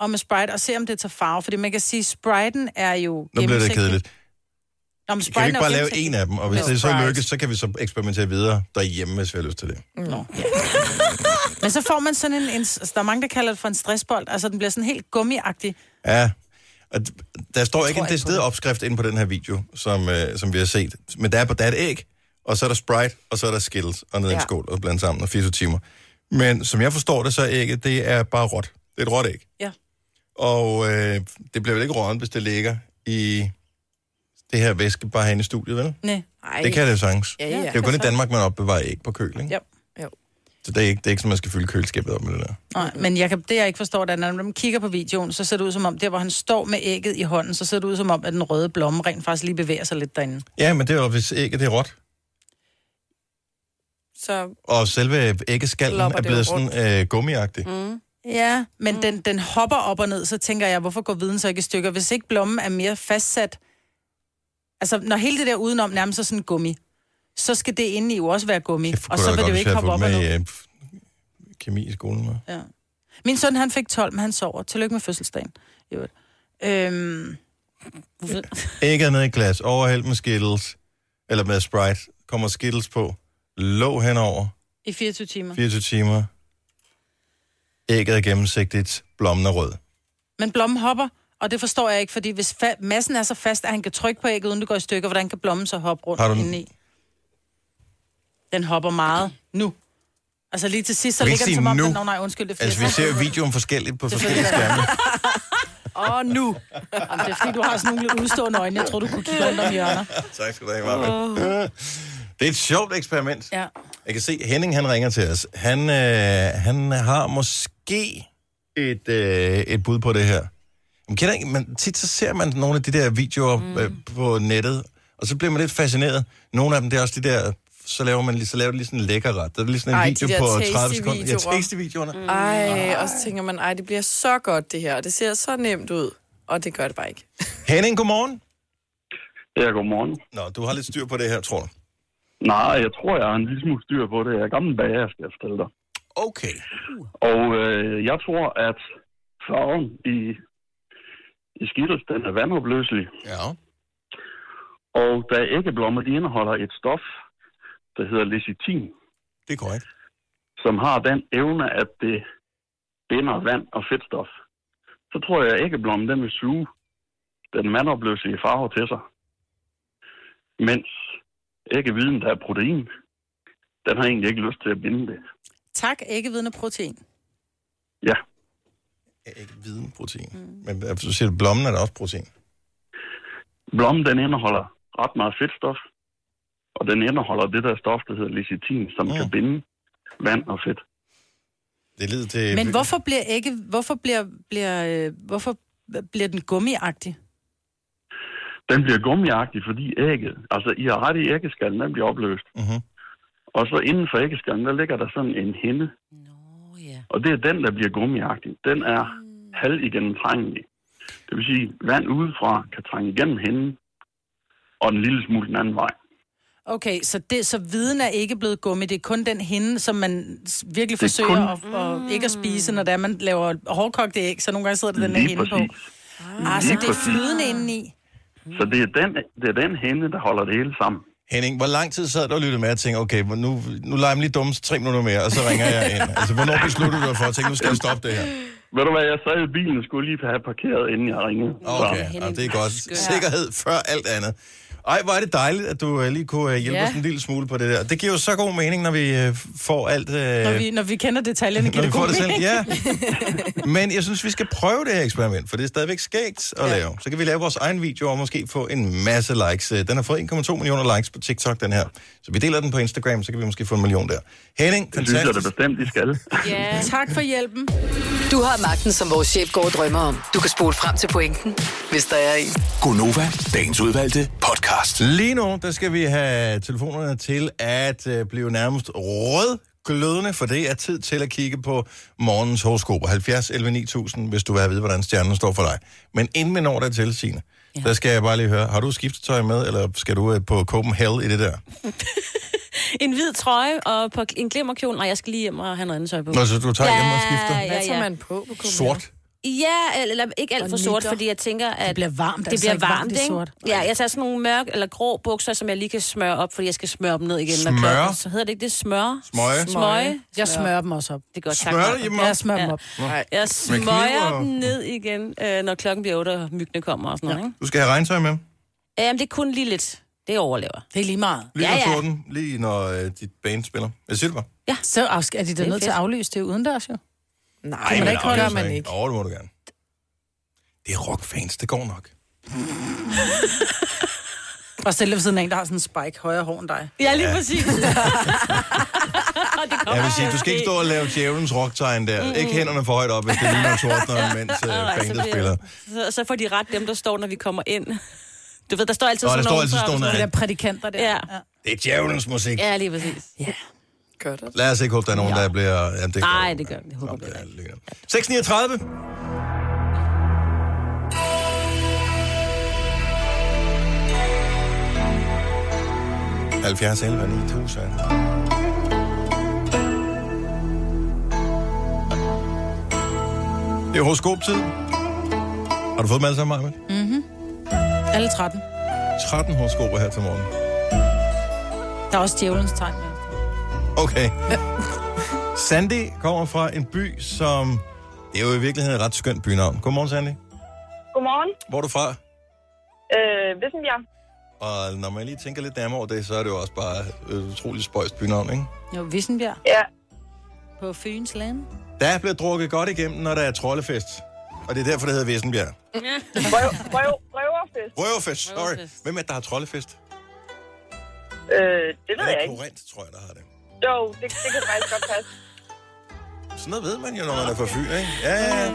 D: og med Sprite, og se om det tager farve, fordi man kan sige, Spriten er jo
A: Nu bliver det
D: gennemsigtig.
A: kedeligt.
D: Nå, men
A: Kan vi
D: Sprite'en
A: ikke
D: er
A: bare
D: jo
A: lave
D: gennemsigtig.
A: en af dem, og hvis
D: Med
A: det så
D: Sprite.
A: lykkes, så kan vi så eksperimentere videre derhjemme, hvis vi har lyst til det.
D: Nå, ja. Men så får man sådan en, en, der er mange, der kalder det for en stressbold, altså den bliver sådan helt gummiagtig.
A: Ja, og d- der står ikke
D: tror
A: en
D: ikke på
A: decideret
D: det.
A: opskrift inde på den her video, som, øh, som vi har set. Men der er, på- der er et æg, og så er der Sprite, og så er der Skittles, og ned i en
B: Ja.
A: skål og blandt sammen, og 24 timer. Men som jeg forstår det, så er ægget, det er bare råt. Det er et råt æg.
D: Ja.
A: Og øh, det bliver vel ikke rådent, hvis det ligger i det her væske bare herinde i studiet, vel?
D: Nej.
B: Ej,
A: Det kan det jo sagtens.
B: Ja, ja.
A: Det er jo kun i Danmark, man opbevarer æg på køl, ikke?
D: Ja.
B: Jo.
A: Så det er ikke, det er ikke sådan, man skal fylde køleskabet op med det der.
D: Nej, men jeg kan, det jeg ikke forstår, det er, når man kigger på videoen, så ser det ud som om, der hvor han står med ægget i hånden, så ser det ud som om, at den røde blomme rent faktisk lige bevæger sig lidt derinde.
A: Ja, men det er jo, hvis ægget det er råt.
B: Så
A: Og selve æggeskallen
B: Flopper
A: er
B: det
A: blevet
B: jo rundt.
A: sådan øh, gummiagtig. Mm.
D: Ja. Men den, den hopper op og ned, så tænker jeg, hvorfor går viden så ikke i stykker, hvis ikke blommen er mere fastsat? Altså, når hele det der udenom nærmer sig sådan gummi, så skal det inde i jo også være gummi, og så vil det jo ikke hoppe op og ned.
A: med, øh, f- kemi i skolen. Med.
D: Ja. Min søn, han fik 12, men han sover. Tillykke med fødselsdagen. i øvrigt. Øhm,
A: Ægget ned i glas, overhældt med skittles, eller med Sprite, kommer skittles på, låg henover,
D: I 24 timer.
A: 24 timer, ægget er gennemsigtigt, blommen er rød.
D: Men blommen hopper, og det forstår jeg ikke, fordi hvis fa- massen er så fast, at han kan trykke på ægget, uden det går i stykker, hvordan kan blommen så hoppe rundt
A: Har du den?
D: indeni? Den hopper meget nu. Altså lige til sidst, så
A: Du kan
D: ligger
A: ikke
D: den som om,
A: sige
D: den,
A: nu.
D: Nå, nej, undskyld, det er
A: Altså, vi ser jo videoen forskelligt på forskellige skærme.
D: Åh, nu. Jamen, det er fordi, du har sådan nogle lidt udstående øjne. Jeg tror, du kunne kigge rundt om hjørner.
A: tak skal du have, Marvin. Det er et sjovt eksperiment.
D: Ja.
A: Jeg kan se, Henning han ringer til os. Han, øh, han har måske et, øh, et bud på det her. Man kender ikke, man, tit så ser man nogle af de der videoer mm. øh, på nettet, og så bliver man lidt fascineret. Nogle af dem, det er også de der, så laver man lige, så laver de lige sådan en lækker ret. Der er lige sådan en
B: Ej,
A: video
B: de der
A: på
B: tasty
A: 30 sekunder. Ja,
B: videoer.
A: tasty videoerne. Mm.
B: ej, og så tænker man, ej, det bliver så godt det her, og det ser så nemt ud. Og det gør det bare ikke.
A: Henning, godmorgen.
H: Ja, godmorgen.
A: Nå, du har lidt styr på det her, tror du.
H: Nej, jeg tror, jeg har en lille smule styr på det. Jeg er gammel bager, skal jeg fortælle dig.
A: Okay.
H: Og øh, jeg tror, at farven i, i skittles, den er vandopløselig.
A: Ja.
H: Og da æggeblommer, de indeholder et stof, der hedder lecitin,
A: Det er korrekt.
H: som har den evne, at det binder vand og fedtstof. Så tror jeg, at æggeblommen, den vil suge den vandopløselige farve til sig. Mens æggeviden, der er protein, den har egentlig ikke lyst til at binde det.
D: Tak, æggeviden og protein.
H: Ja,
A: Jeg er Ikke viden protein. Mm. Men hvad- så siger du, blommen er da også protein.
H: Blommen, den indeholder ret meget fedtstof, og den indeholder det der stof, der hedder lecitin, som
A: Ja.
H: ja. kan binde vand og fedt.
A: Mm. Det lyder til...
D: Men hvorfor bliver ægge, hvorfor bliver, bliver, øh, hvorfor bliver den gummiagtig?
H: Den bliver gummiagtig, fordi ægget, altså I har ret i æggeskallen, den bliver opløst.
A: Mhm.
H: Og så inden for æggeskallen, der ligger der sådan en hinde,
C: Nå, ja. Mm.
H: og det er den, der bliver gummiagtig. Den er halvigennemtrængelig. Det vil sige, vand udefra kan trænge igennem hinden, og en lille smule den anden vej.
D: Okay, så, det, så viden er ikke blevet gummi. Det er kun den hende, som man s- virkelig forsøger kun... at, at, ikke at spise, når det er, man laver hårdkogte æg, så nogle gange sidder der den her
H: Lige
D: hinde på.
H: præcis.
D: Ah, så
H: Lige
D: det er
H: præcis.
D: flydende indeni.
C: Mm.
H: Så det er, den, det er den hende, der holder det hele sammen.
A: Henning, hvor lang tid sad du og lyttede med og tænkte, okay, hvor nu, nu leger jeg mig lige dumme tre minutter mere, og så ringer jeg ind. Altså, hvornår besluttede du dig for at tænke, nu skal jeg stoppe det her?
H: Ved du hvad, jeg sad i bilen og skulle lige have parkeret, inden jeg ringede.
A: Okay, ja, det er godt. Sikkerhed før alt andet. Ej, hvor er det dejligt, at du øh, lige kunne øh, hjælpe
C: Ja.
A: ja. os en lille smule på det der. Det giver jo så god mening, når vi øh, får alt... Øh,
D: Når vi, når vi kender detaljerne,
A: når
D: kan
A: vi
D: det
A: får
D: god
A: det selv.
D: mening.
A: Ja. Men jeg synes, vi skal prøve det her eksperiment, for det er stadigvæk skægt at ja. lave. Så kan vi lave vores egen video og måske få en masse likes. Øh, Den har fået 1,2 millioner likes på TikTok, den her. Så vi deler den på Instagram, så kan vi måske få en million der.
H: Det
A: Henning,
H: synes jeg
A: fantastisk.
H: da bestemt, de skal.
C: Ja.
D: Tak for hjælpen.
F: Du har magten, som vores chef går og drømmer om. Du kan spole frem til pointen, hvis der er en.
G: Gonova, dagens udvalgte podcast.
A: Lige nu, der skal vi have telefonerne til at øh, blive nærmest rødglødende, for det er tid til at kigge på morgens horoskoper. 70 11 9000, hvis du vil have at vide, hvordan stjernen står for dig. Men inden vi når dertil, Signe, ja. der skal jeg bare lige høre, har du skiftetøj med, eller skal du øh, på Copenhagen i det der?
C: En hvid trøje og på en glimmerkjole. Nej, jeg skal lige hjem og have noget andet tøj på.
A: Nå, så du tager hjem og skifter?
C: Ja,
B: Hvad
C: ja,
B: tager
C: ja.
B: man på på Copenhagen?
A: Sort.
C: ja eller ikke alt for
B: Og
C: sort,
B: nitter.
C: fordi jeg tænker, at...
D: Det bliver varmt,
C: Det
D: altså,
C: bliver
D: ikke varmt
C: varmt,
D: i
C: ikke?
D: sort.
C: Ja, jeg tager sådan nogle mørke eller grå bukser, som jeg lige kan smøre op, fordi jeg skal smøre dem ned igen. når
A: Smøre?
C: klokken- Så hedder det ikke det? Smøre?
A: Smøge?
C: Smøge.
D: Jeg smører dem også op.
C: Det er godt, tak.
A: Smører du
C: Marco.
A: hjemme
D: Jeg
A: op?
D: smører dem op.
B: Nej,
C: Jeg
A: kniv
C: smøger
A: og-
C: dem ned igen, øh, når klokken bliver 8, og myggene kommer og sådan noget, ikke?
A: Du skal have regntøj med.
C: Ja, Jamen, det er kun lige lidt. Det overlever.
D: Det er lige meget.
A: Lige
C: Ja,
A: ja,
C: ja.
A: ja. den, lige når øh, dit band spiller. Hvad siger du bare?
D: Så afsk- er de da
C: er
D: nødt til at
C: fedt.
D: aflyse det udendørs, jo?
B: nej,
D: men
B: men
D: ikke
B: det gør man ikke.
A: Åh, det må du gerne. Det er rockfans, det går nok.
D: Og stille dig ved siden af en, der har sådan en spike højere hår end dig.
C: Ja, lige ja. præcis. Og det kommer
A: Jeg vil sige, du skal
C: måske.
A: ikke stå og lave djævelens rocktegn der. Mm. Ikke hænderne for højt op, hvis det ligner tordner, mens uh,
C: Nej, så
A: bandet
C: bliver-
A: spiller.
C: Så, så får de ret dem, der står, når vi kommer ind. Du ved, der står altid
A: Nå,
C: sådan
A: der står
C: nogen
A: altid
C: før,
A: sådan
C: og
A: nogen
D: De
A: Ja.
D: der prædikanter der.
C: Ja.
A: Det er djævelens musik.
C: Ja, lige præcis.
B: Gør det.
A: Lad os ikke håbe, der er nogen, der bliver... Jamen, det
C: Nej, det gør vi. Det håber vi ikke.
A: vi. 6.39. Halvfjerds, 11, 9000. Det er horoskoptid. Har du fået dem alle sammen, Maja?
D: Mhm. Alle 13.
A: 13 horoskoper her til morgen.
D: Der er også djævelens tegn. med.
A: Okay. Sandy kommer fra en by, som... Det er jo i virkeligheden et ret skønt bynavn. Godmorgen, Sandy.
I: Godmorgen.
A: Hvor er du fra?
I: Øh, Vissenbjerg.
A: Og når man lige tænker lidt nærmere over det, så er det jo også bare et utroligt spøjst bynavn, ikke?
D: Jo, Vissenbjerg
I: Ja.
D: på Fyns land.
A: Der bliver drukket godt igennem, når der er trollefest. Og det er derfor, det hedder Vissenbjerg.
I: Røv, røv, røverfest.
A: Røverfest, sorry.
C: Røverfest.
A: Hvem er det, der har trollefest?
I: Øh, det ved
A: Det
I: jeg
A: er
I: ikke.
A: Korint, tror jeg, der har det.
I: Jo, det, det kan faktisk godt passe.
A: Sådan noget ved man jo, når man er fra Fyn, ikke? Ja, ja, ja.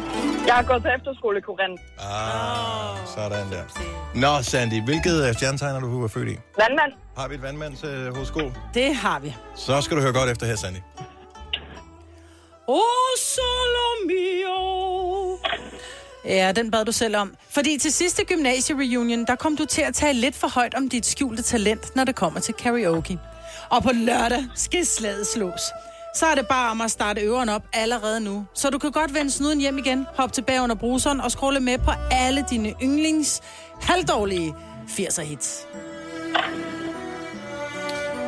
I: Jeg har gået på efterskole i Korinth.
A: Ah, sådan der. Nå, Sandy, hvilket øh, stjernetegn er du født i?
I: Vandmand.
A: Har vi et vandmands øh, horoskop?
D: Det har vi.
A: Så skal du høre godt efter her, Sandy.
D: O Solomio. Ja, den bad du selv om. Fordi til sidste gymnasiereunion, der kom du til at tale lidt for højt om dit skjulte talent, når det kommer til karaoke. Og på lørdag skal slaget slås. Så er det bare om at starte øveren op allerede nu. Så du kan godt vende snuden hjem igen, hoppe tilbage under bruseren og scrolle med på alle dine yndlings halvdårlige 80'er hits.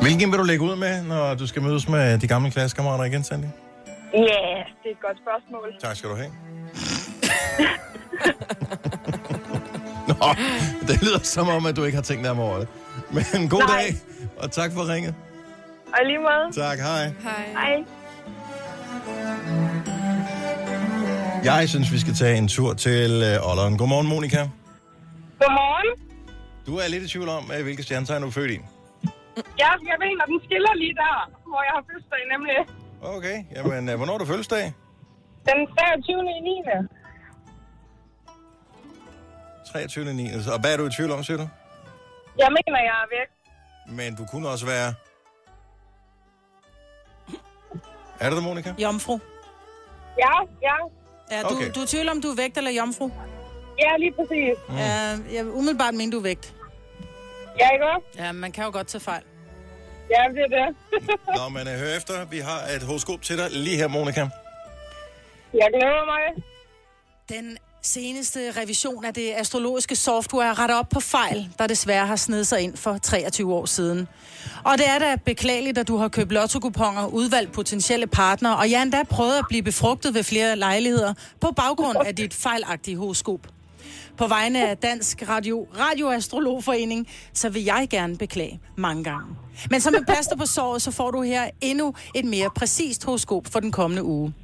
A: Hvilken vil du lægge ud med, når du skal mødes med de gamle klassekammerater igen, Sandy?
I: Ja, yeah, det er et godt spørgsmål.
A: Tak skal du have. Nå, det lyder som om, at du ikke har tænkt nærmere over det. Men god
I: Nej.
A: dag, og tak for ringet.
I: Og i lige måde.
A: Tak, hej.
I: Hej.
A: Jeg synes, vi skal tage en tur til øh, Olleren. Godmorgen, Monika.
I: Godmorgen.
A: Du er lidt i tvivl om, øh, hvilke stjernetegn du er født i.
I: Jeg, jeg mener, den skiller lige der, hvor jeg har fødselsdag, nemlig
A: Okay, jamen, øh, hvornår er du fødselsdag?
I: den 23. i 9.
A: 23.9. Og hvad er du i tvivl om, siger du?
I: Jeg mener, jeg er væk.
A: Men du kunne også være... Er det det, Monika?
D: Jomfru.
I: Ja, ja.
D: Ja, du,
A: Okay.
D: okay. du er i tvivl om, du er vægt eller jomfru? Mm.
I: Ja, lige præcis.
D: Uh, jeg vil umiddelbart mene, du er vægt.
I: Ja, ikke også?
D: Ja, man kan jo godt tage fejl.
I: Ja, det er det.
A: Nå, men øh, hør efter. Vi har et horoskop til dig lige her, Monika.
I: Jeg glæder mig.
D: Den Seneste revision af det astrologiske software retter op på fejl, der desværre har snedet sig ind for 23 år siden. Og det er da beklageligt, at du har købt lottokuponer, udvalgt potentielle partnere, og jeg endda prøvet at blive befrugtet ved flere lejligheder på baggrund af dit fejlagtige horoskop. På vegne af Dansk Radio, Radioastrologforening, så vil jeg gerne beklage mange gange. Men som en plaster på såret, så får du her endnu et mere præcist horoskop for den kommende uge.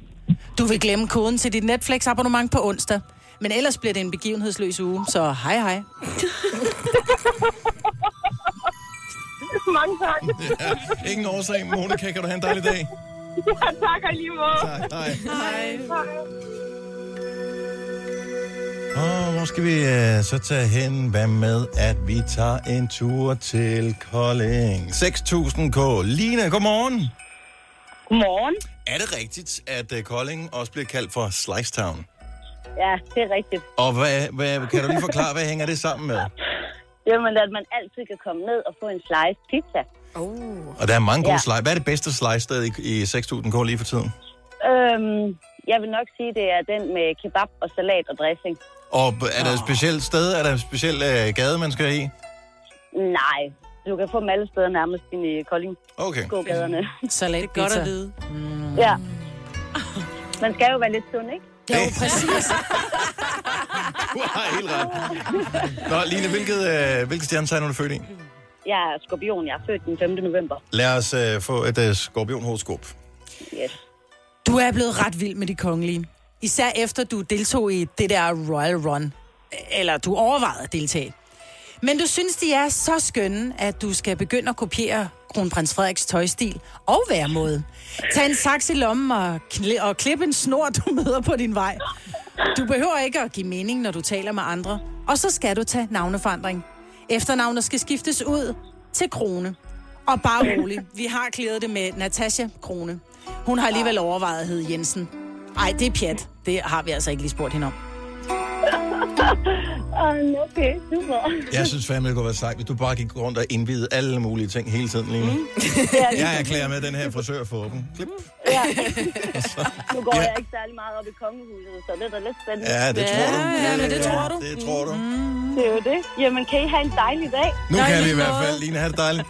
D: Du vil glemme koden til dit Netflix-abonnement på onsdag. Men ellers bliver det en begivenhedsløs uge, så hej hej.
I: Mange tak.
A: Ja, ingen årsag. Monika, kan du have en dejlig dag?
I: Ja, tak og i lige måde.
A: Tak, hej. Og hvor skal vi øh, så tage hen? Hvad med, at vi tager en tur til Kolding? 6.000K. Line, godmorgen.
I: Godmorgen.
A: Er det rigtigt, at øh, Kolding også bliver kaldt for Slice Town?
J: Ja, det er rigtigt.
A: Og hvad, hvad, kan du lige forklare, hvad hænger det sammen med?
J: Jamen, at man altid kan komme ned og få en slice pizza.
A: Og der er mange gode
J: Ja.
A: ja. slice. Hvad er det bedste slice sted i, i 6.000K lige for tiden?
J: Øhm, jeg vil nok sige, det er den med kebab og salat og dressing.
A: Og er der et specielt sted? Er der en speciel øh, gade, man skal i?
J: Nej, du kan få dem alle steder nærmest ind i Kolding.
A: Okay.
J: Gågaderne.
D: Mm. Salat
C: Det er godt at vide.
J: Ja. Man skal jo være lidt sund, ikke?
D: Ja, jo, præcis.
A: Du har helt ret. Nå, Line, hvilket, øh, hvilket stjernetegn er du født i?
J: Jeg er skorpion. Jeg er født den 5. november.
A: Lad os øh, få et øh, skorpionhoroskop.
J: Yes.
D: Du er blevet ret vild med de kongelige. Især efter du deltog i det der Royal Run. Eller du overvejede at deltage. Men du synes, de er så skønne, at du skal begynde at kopiere kronprins Frederiks tøjstil og væremåde. Tag en saks i lommen og, kli- og klip en snor, du møder på din vej. Du behøver ikke at give mening, når du taler med andre. Og så skal du tage navneforandring. Efternavnet skal skiftes ud til Krone. Og bare rolig, vi har klædet det med Natasha Krone. Hun har alligevel overvejet at hedde Jensen. Ej, det er pjat. Det har vi altså ikke lige spurgt hende om.
J: Um, okay, super.
A: Jeg synes fandme, det kunne være sejt, hvis du bare gik rundt og indvidede alle mulige ting hele tiden, Line. Mm. Jeg erklærer med, at den her frisør får åben. Klip.
J: Ja. Nu går jeg ikke særlig meget op i kongehuset, så det er da lidt spændende.
A: Ja, det tror du.
D: ja, men det tror du.
A: Det tror du.
J: Det er jo det. Jamen, kan I have en dejlig dag?
A: Nu
D: i
A: kan vi
D: lige
A: i hvert
D: måde.
A: fald. Line, have det dejligt.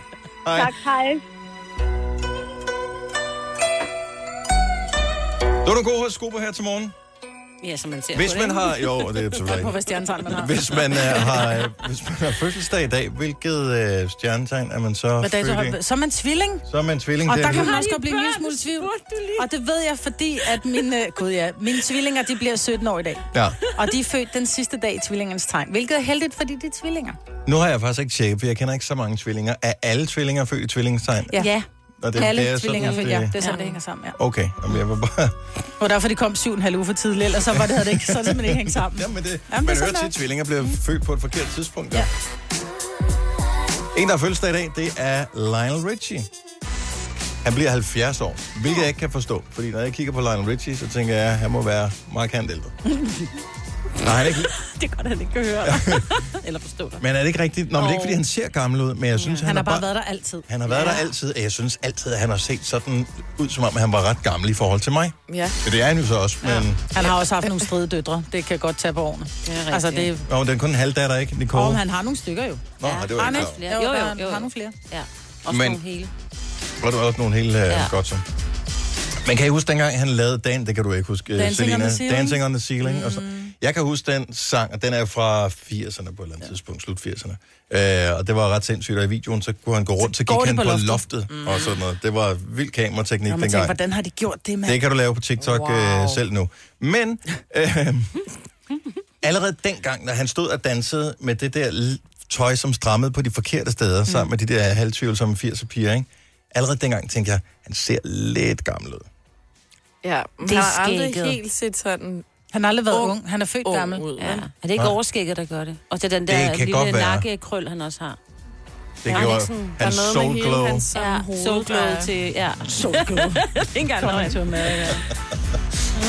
A: Hej.
J: Tak, hej.
A: Det var nogle gode horoskoper her til morgen.
C: Ja, som man ser
A: Hvis
C: på
A: man
C: det.
A: har... Jo, og det er
D: Alt på,
A: selvfølgelig
D: hvad stjernetegn man har.
A: hvis man, øh, har, øh, hvis man har fødselsdag i dag, hvilket øh, stjernetegn er man så
D: Hvad dato har
A: født i?
D: Så er man tvilling.
A: Så er man tvilling.
D: Og
A: det er
D: der kan
A: lige-
D: man også godt blive en lille smule i tvivl. Og det ved jeg, fordi at mine, gud ja, mine tvillinger, de bliver 17 år i dag.
A: Ja.
D: Og de er født den sidste dag i tvillingernes tegn. Hvilket er heldigt, fordi de er tvillinger.
A: Nu har jeg faktisk ikke tjekket, for jeg kender ikke så mange tvillinger. Er alle tvillinger født i tvillingstegn?
D: Ja. ja.
A: Og
D: Det, Alle
A: det er
D: tvillinger,
A: sådan,
D: følger. Ja,
A: det-
D: det er sådan, ja. det hænger sammen, ja.
A: Okay, Jamen, jeg var bare...
D: Det var derfor, de kom syv og en halv uge for tidligt, ellers så var det, havde det ikke, så det ikke hængt sammen.
A: Jamen, det,
D: Jamen,
A: man
D: det er Mm.
A: hører
D: sådan,
A: til, at
D: det
A: tvillinger bliver født på et forkert tidspunkt. Ja. En, der har fødselsdag i dag, det er Lionel Richie. Han bliver 70 år, hvilket jeg ikke kan forstå. Fordi når jeg kigger på Lionel Richie, så tænker jeg, at han må være markant ældre. Nej, han er ikke,
C: Det er godt, at han ikke kan høre dig. Eller forstå dig.
A: men er det ikke rigtigt? Nå, men det er ikke, fordi han ser gammel ud, men jeg synes, han,
D: Han har
A: er
D: bare været der altid.
A: Han har været ja. der altid, og jeg synes altid, at han har set sådan ud, som om han var ret gammel i forhold til mig.
B: Ja.
A: Men det er han jo så også, men... Ja.
D: Han har også haft nogle stride døtre. Det kan godt tage på årene.
C: rigtigt.
D: altså, det er...
A: Nå, men den er kun en halvdatter, ikke, Nicole?
D: Og han har nogle stykker jo.
A: Nå, ja. det var
D: Arne?
A: ikke klar.
C: Ja,
D: Jo,
C: jo,
D: der
C: jo,
D: er-
C: jo, jo.
D: har nogle flere.
C: Ja. Også
A: Men-
C: nogle hele.
A: Og der var også nogle helt uh, ja.
C: Ja.
A: godt så. Men kan I huske dengang, han lavede Dan, det kan du ikke huske, øh,
D: Dancing on
A: Selina.
D: the Ceiling.
A: Dancing on the Ceiling. Mm. Og så. Jeg kan huske den sang, og den er fra 80'erne på et eller andet ja. tidspunkt, slut 80'erne. Øh, og det var ret sindssygt, og i videoen, så kunne han gå rundt, så gik
D: går de
A: han
D: på
A: på loftet,
D: loftet.
A: mm. og sådan noget. Det var vild kamerateknik
D: Når man
A: dengang.
D: tænker, hvordan har de gjort det, mand?
A: Det kan du lave på TikTok wow. øh, selv nu. Men øh, allerede dengang, når han stod og dansede med det der l- tøj, som strammede på de forkerte steder, mm. sammen med de der halvtvivlsomme 80'er piger, ikke? allerede dengang tænkte jeg, han ser lidt gammel ud.
B: Ja, man
C: Det er
B: har aldrig
C: skægget.
B: helt set sådan
D: Han har aldrig været
B: Ung.
D: ung. Han er født
B: ung
D: gammel.
B: ud.
C: Ja.
B: Ja.
C: Er det ikke
A: Nej.
C: overskægget, der gør det? Og det er den
A: Det
C: der
A: kan godt
C: lille
A: være.
C: nakkekrøl, han også har.
A: Det
C: han
A: gjorde
C: ikke sådan-
B: Der
A: hans
B: er noget
A: soul
B: med
A: glow.
B: hele hans sådan
C: Ja,
B: hoved,
C: solglød
B: der-
C: til... Ja.
D: Solglød.
C: Ikke engang
D: Kontur med,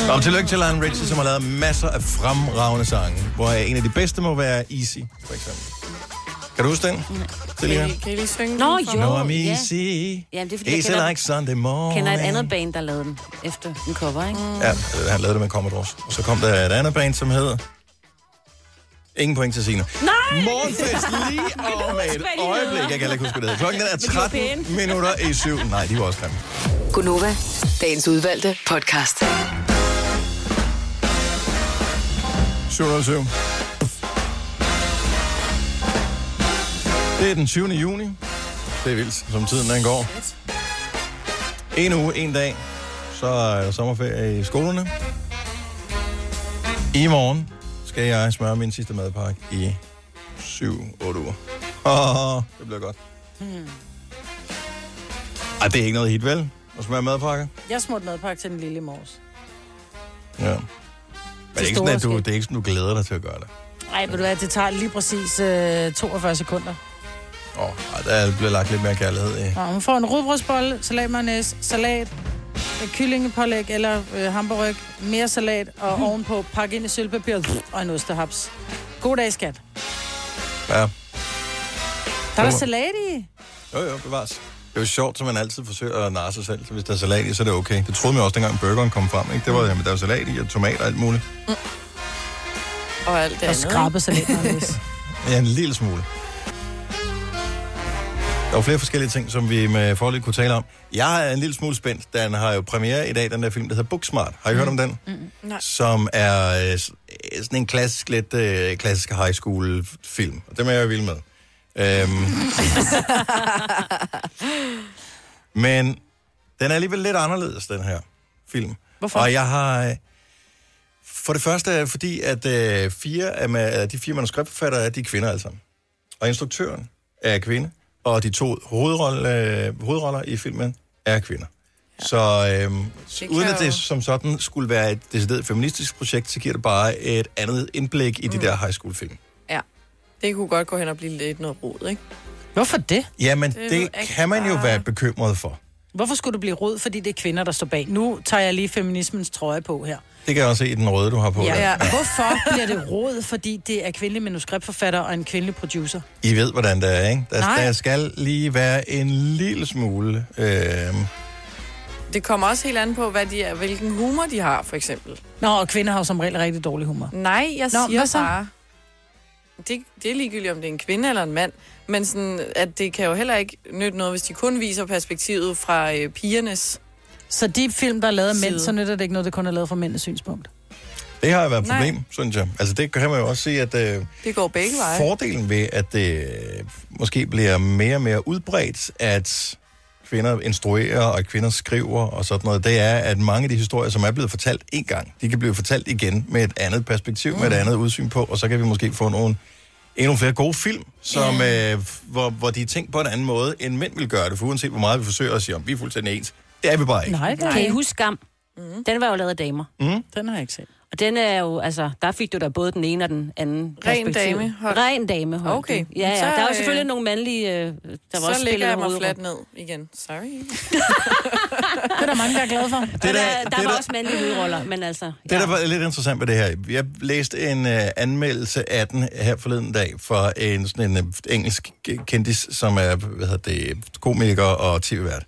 D: ja.
A: Og tillykke til Lion Richie, som har lavet masser af fremragende sange, hvor en af de bedste må være Easy, for eksempel. Kan du huske den? Selina?
B: Kan I- Kan I lige synge
C: Nå,
B: den for
C: jo.
A: No,
B: mig?
A: I'm
C: ja.
A: easy.
C: Jamen, det er fordi, jeg
A: easy
C: kender-
A: like Sunday morning.
C: kender et andet band, der lavede den efter en cover, ikke?
A: Ja, øh, han lavede det med Commodores. Og så kom der et andet band, som hed Ingen point til Signe.
C: Nej!
A: Morgenfest lige om et øjeblik. Jeg kan heller ikke huske, hvad det hedder. Klokken den er 13 minutter i syv. Nej, de var også grimme.
F: Gunova, dagens udvalgte podcast.
A: 707. Det er den 20. juni. Det er vildt, som tiden den går. En uge, en dag, så er der sommerferie i skolerne. I morgen skal jeg smøre min sidste madpakke i 7-8 uger. Åh, det bliver godt.
D: Hmm.
A: Ej, det er ikke noget hit, vel? At smøre madpakker?
D: Jeg smurte madpakke til den lille i morges.
A: Ja. Men det er, ikke sådan,
D: store
A: at du, det er ikke sådan, du glæder dig til at gøre det.
D: Ej, ved du hvad, det tager lige præcis øh, 42 sekunder.
A: Åh, oh, der bliver lagt lidt mere kærlighed i.
D: Nå, hun får en rugbrødsbolle, salat mayonnaise, salat, øh, kyllingepålæg eller øh, hamburg, mere salat og ovenpå pakke ind i sølvpapiret og en ostehaps. God dag, skat.
A: Ja.
D: Der er
A: Jo.
D: salat i.
A: Jo, jo, bevares. Det er jo sjovt, som man altid forsøger at narre sig selv. Så hvis der er salat i, så er det okay. Det troede man også, dengang burgeren kom frem. Ikke? Det var, jamen, der var salat i, og tomat og alt muligt.
B: Og alt det
D: Og
B: andet.
D: skrabet salat mayonnaise.
A: Ja, en lille smule. Der var flere forskellige ting, som vi med forløb kunne tale om. Jeg er en lille smule spændt. Den har jo premiere i dag, den der film, der hedder Booksmart. Har I hørt om den?
B: Nej.
A: Som er øh, s- øh, sådan en klassisk, lidt øh, klassisk high school film. Og dem er jeg vild med. Øhm. Men den er alligevel lidt anderledes, den her film.
K: Hvorfor?
A: Og jeg har... øh, For det første er det fordi, at øh, fire af ma- af de fire manuskriptforfattere, er de er kvinder alle sammen. Og instruktøren er kvinde, og de to hovedrolle, øh, hovedroller i filmen er kvinder. Ja. Så øh,
B: kan
A: uden at
B: jo-
A: det som sådan skulle være et decideret feministisk projekt, så giver det bare et andet indblik i de der high school film.
B: Ja. Det kunne godt gå hen og blive lidt noget rod, ikke?
D: Hvorfor det?
A: Jamen,
D: Det er
A: det,
D: jo
A: det
D: ikke
A: kan man jo
D: bare-
A: være bekymret for.
D: Hvorfor skulle du blive rød, fordi det er kvinder, der står bag? Nu tager jeg lige feminismens trøje på her.
A: Det kan jeg også se i den røde, du har på. der.
D: Ja. Hvorfor bliver det rod, fordi det er kvindelig manuskriptforfatter og en kvindelig producer?
A: I ved, hvordan det er, ikke? Altså, Der,
D: Nej.
A: der skal lige være en lille smule... Øh,
B: Det kommer også helt an på, hvad de er, hvilken humor de har, for eksempel.
D: Nå, og kvinder har jo som regel rigtig dårlig humor.
B: Nej, jeg
D: Nå,
B: Nå,
D: hvad
B: siger
D: så?
B: bare... Det, det er ligegyldigt, om det er en kvinde eller en mand. Men sådan, at det kan jo heller ikke nytte noget, hvis de kun viser perspektivet fra øh, pigernes...
D: Så de film, der er lavet af mænd,
B: Side.
D: så nytter det ikke noget, der kun er lavet fra mændenes synspunkt.
A: det har jo været et
D: Nej.
A: problem, Nej. synes jeg. Altså, det kan man jo også se, at... Øh,
B: Det går begge veje.
A: Fordelen ved, at det øh, måske bliver mere og mere udbredt, at kvinder instruerer og at kvinder skriver og sådan noget, det er, at mange af de historier, som er blevet fortalt en gang, de kan blive fortalt igen med et andet perspektiv, mm. med et andet udsyn på, og så kan vi måske få nogle, endnu flere gode film, som, øh, hvor, hvor de er tænkt på en anden måde, end mænd vil gøre det, for uanset hvor meget vi forsøger at sige, om vi er fuldstændig ens, det er vi bare ikke.
D: Nej, det er
C: Kan I
D: ikke.
C: huske Skam? Mm. Den var jo lavet af damer.
A: Mm?
D: Den har jeg ikke set.
C: Og den er jo, altså, der fik du da både den ene og den anden
B: Ren
C: perspektiv.
B: damehold.
C: Ren dame hold.
B: Okay.
C: Ja, ja.
B: Så,
C: der er jo
B: øh,
C: selvfølgelig nogle mandlige, øh, der
B: Der
C: var
B: var så
C: også spillet
B: lægger jeg mig
C: hovedrum.
B: fladt ned igen. Sorry.
D: Det er der mange, der er glade for. Det
C: der, der,
A: det
C: der var
A: der-
C: også mandlige hovedroller, men altså...
A: Det, der var lidt interessant ved det her, jeg læste en øh, anmeldelse af den her forleden dag for en, sådan en øh, engelsk kendis, som er hvad hedder det, komiker og tv-vært.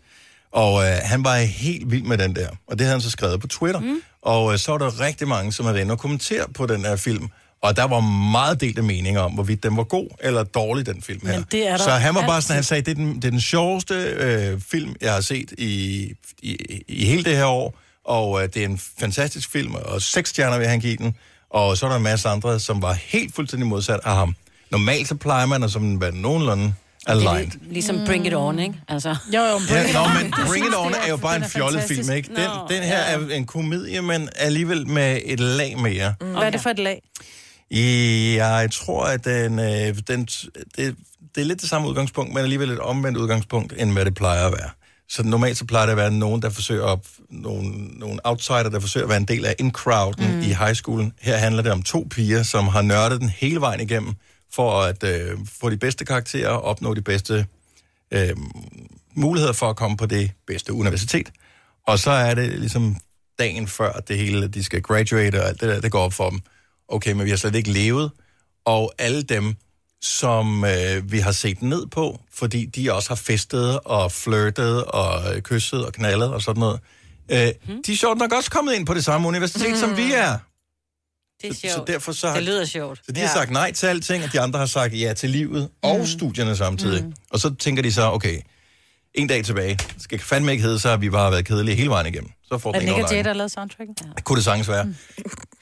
A: Og øh, han var helt vild med den der, og det havde han så skrevet på Twitter. Mm. Og øh, så var der rigtig mange, som havde været inde og kommentere på den her film. Og der var meget delte meninger om, hvorvidt den var god eller dårlig, den film her.
D: Men det er der
A: så han var bare
D: altid.
A: sådan, han sagde, det er den, det er den sjoveste øh, film, jeg har set i, i, i hele det her år. Og øh, det er en fantastisk film, og seks stjerner vil han give den. Og så er der en masse andre, som var helt fuldstændig modsat af ham. Normalt så plejer man at som være nogenlunde aligned.
C: Ligesom Bring It On, ikke? Altså.
D: Jo, jo,
A: Ja, nå, men Bring It On er jo bare en fjollet film, ikke? Den, den her er en komedie, men alligevel med et lag mere.
D: Mm, Hvad er det for et lag?
A: Jeg tror, at den, øh, den, det, det er lidt det samme udgangspunkt, men alligevel et omvendt udgangspunkt, end hvad det plejer at være. Så normalt så plejer det at være nogen, der forsøger at, nogle, nogle outsider, der forsøger at være en del af in-crowden mm. i high schoolen. Her handler det om to piger, som har nørdet den hele vejen igennem, for at øh, få de bedste karakterer og opnå de bedste øh, muligheder for at komme på det bedste universitet. Og så er det ligesom dagen før at det hele, de skal graduate og alt det der, det går op for dem. Okay, men vi har slet ikke levet. Og alle dem, som øh, vi har set ned på, fordi de også har festet og flirtet og øh, kysset og knaldet og sådan noget, øh, de er sjovt nok også kommet ind på det samme universitet, mm. som vi er.
C: Det er
A: Så, så
C: sjovt.
A: derfor så har,
C: Det lyder sjovt.
A: Så de har ja. sagt nej til alting, og de andre har sagt ja til livet og studierne samtidig. Mm. Og så tænker de så, okay, en dag tilbage. Det skal fandme ikke hedde så, at vi bare har været kedelige hele vejen igennem. Så får
D: Er
A: den
D: det
A: en
D: Nick og Jay,
A: overlejning.
D: der har lavet soundtracken? Ja.
A: Kunne det sagtens være.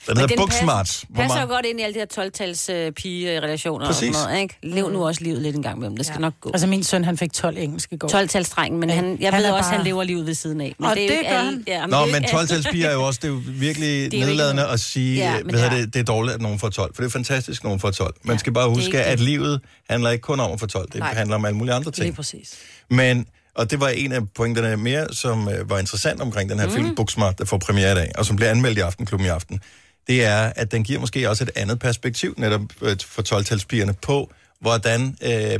A: Den hedder Booksmart.
C: Passer, passer jo godt ind i alle de her 12-tals øh, pigerelationer og sådan
D: Præcis.
C: noget, ikke? Lev
A: Mm.
C: nu også livet lidt en gang med dem. Det skal ja. nok gå.
D: Altså, min søn, han fik 12 engelske i går.
C: 12-talsdrengen, men han, jeg
D: Han
C: han ved
D: er
C: også, at
D: bare-
C: han lever livet ved siden af.
D: Og
C: er jo
D: det
C: ikke
D: gør
C: alle-
D: han.
C: Ja,
A: Nå,
C: det er
A: men
C: ikke alle-
A: 12-talspiger er jo også, det er jo virkelig
C: Det er
A: det
C: jo
A: er
C: ikke
A: nedladende
C: noget.
A: at sige,
C: Ja,
A: ja,
C: men
A: hvad hedder
C: ja.
A: det, det er dårligt, at nogen får 12, for det er fantastisk, at nogen får 12. Man skal bare
C: det er
A: huske,
C: ikke
A: at
C: det.
A: livet handler ikke kun om at få 12, det
C: Nej.
A: Nej. handler om alle mulige andre ting.
K: Lige præcis.
A: Men, og det var en af pointerne mere, som øh, var interessant omkring
K: Mhm.
A: den her mm. film, Booksmart, der får premiere i dag, og som bliver anmeldt i Aftenklubben i aften, det er, at den giver måske også et andet perspektiv netop øh, for 12-talspigerne på, hvordan øh,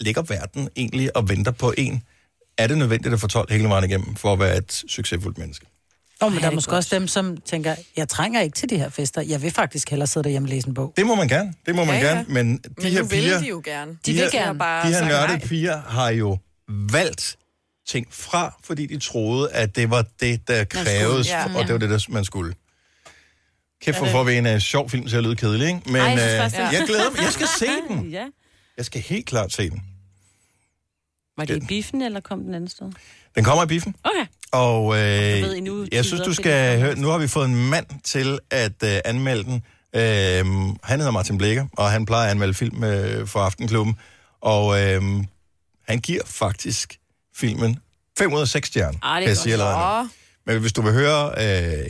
A: ligger verden egentlig og venter på en. Er det nødvendigt at få 12 hele vejen igennem for at være et succesfuldt menneske?
D: Nå, men der er måske også dem, som tænker, jeg trænger ikke til de her fester. Jeg vil faktisk hellere sidde derhjemme og læse en bog.
A: Det må man gerne, det må man
D: Ja, ja.
A: gerne, men de
D: Men
A: her
D: nu vil
A: piger...
D: de jo gerne. De
B: vil
A: her-
B: gerne. Bare
A: De her
B: sagt
A: nørdede
B: nej.
A: piger har jo valgt ting fra, fordi de troede, at det var det, der
B: skulle,
A: krævedes,
B: ja.
A: og det var det, der man skulle. Kæft,
B: Ja,
A: hvor
B: det-
A: får vi en uh, sjov film til at lyde kedelig, ikke? Men
C: Ej, jeg
A: øh,
C: synes faktisk, det-
A: jeg glæder mig. Jeg skal se den.
C: Ja.
A: Jeg skal helt klart se den.
C: Var det i biffen, eller kom den anden sted?
A: Den kommer i biffen.
C: Okay.
A: Og øh,
C: ved I nu
A: jeg synes,
C: tider
A: du
C: til
A: skal høre... Nu har vi fået en mand til at øh, anmelde den. Øh, han hedder Martin Blikker, og han plejer at anmelde film øh, for Aftenklubben. Og øh, han giver faktisk filmen 5 ud af 6 stjerner.
C: Ej, Ah, det
A: kan
C: er
A: jeg sige allerede nu.
B: godt.
A: Men hvis du vil høre øh,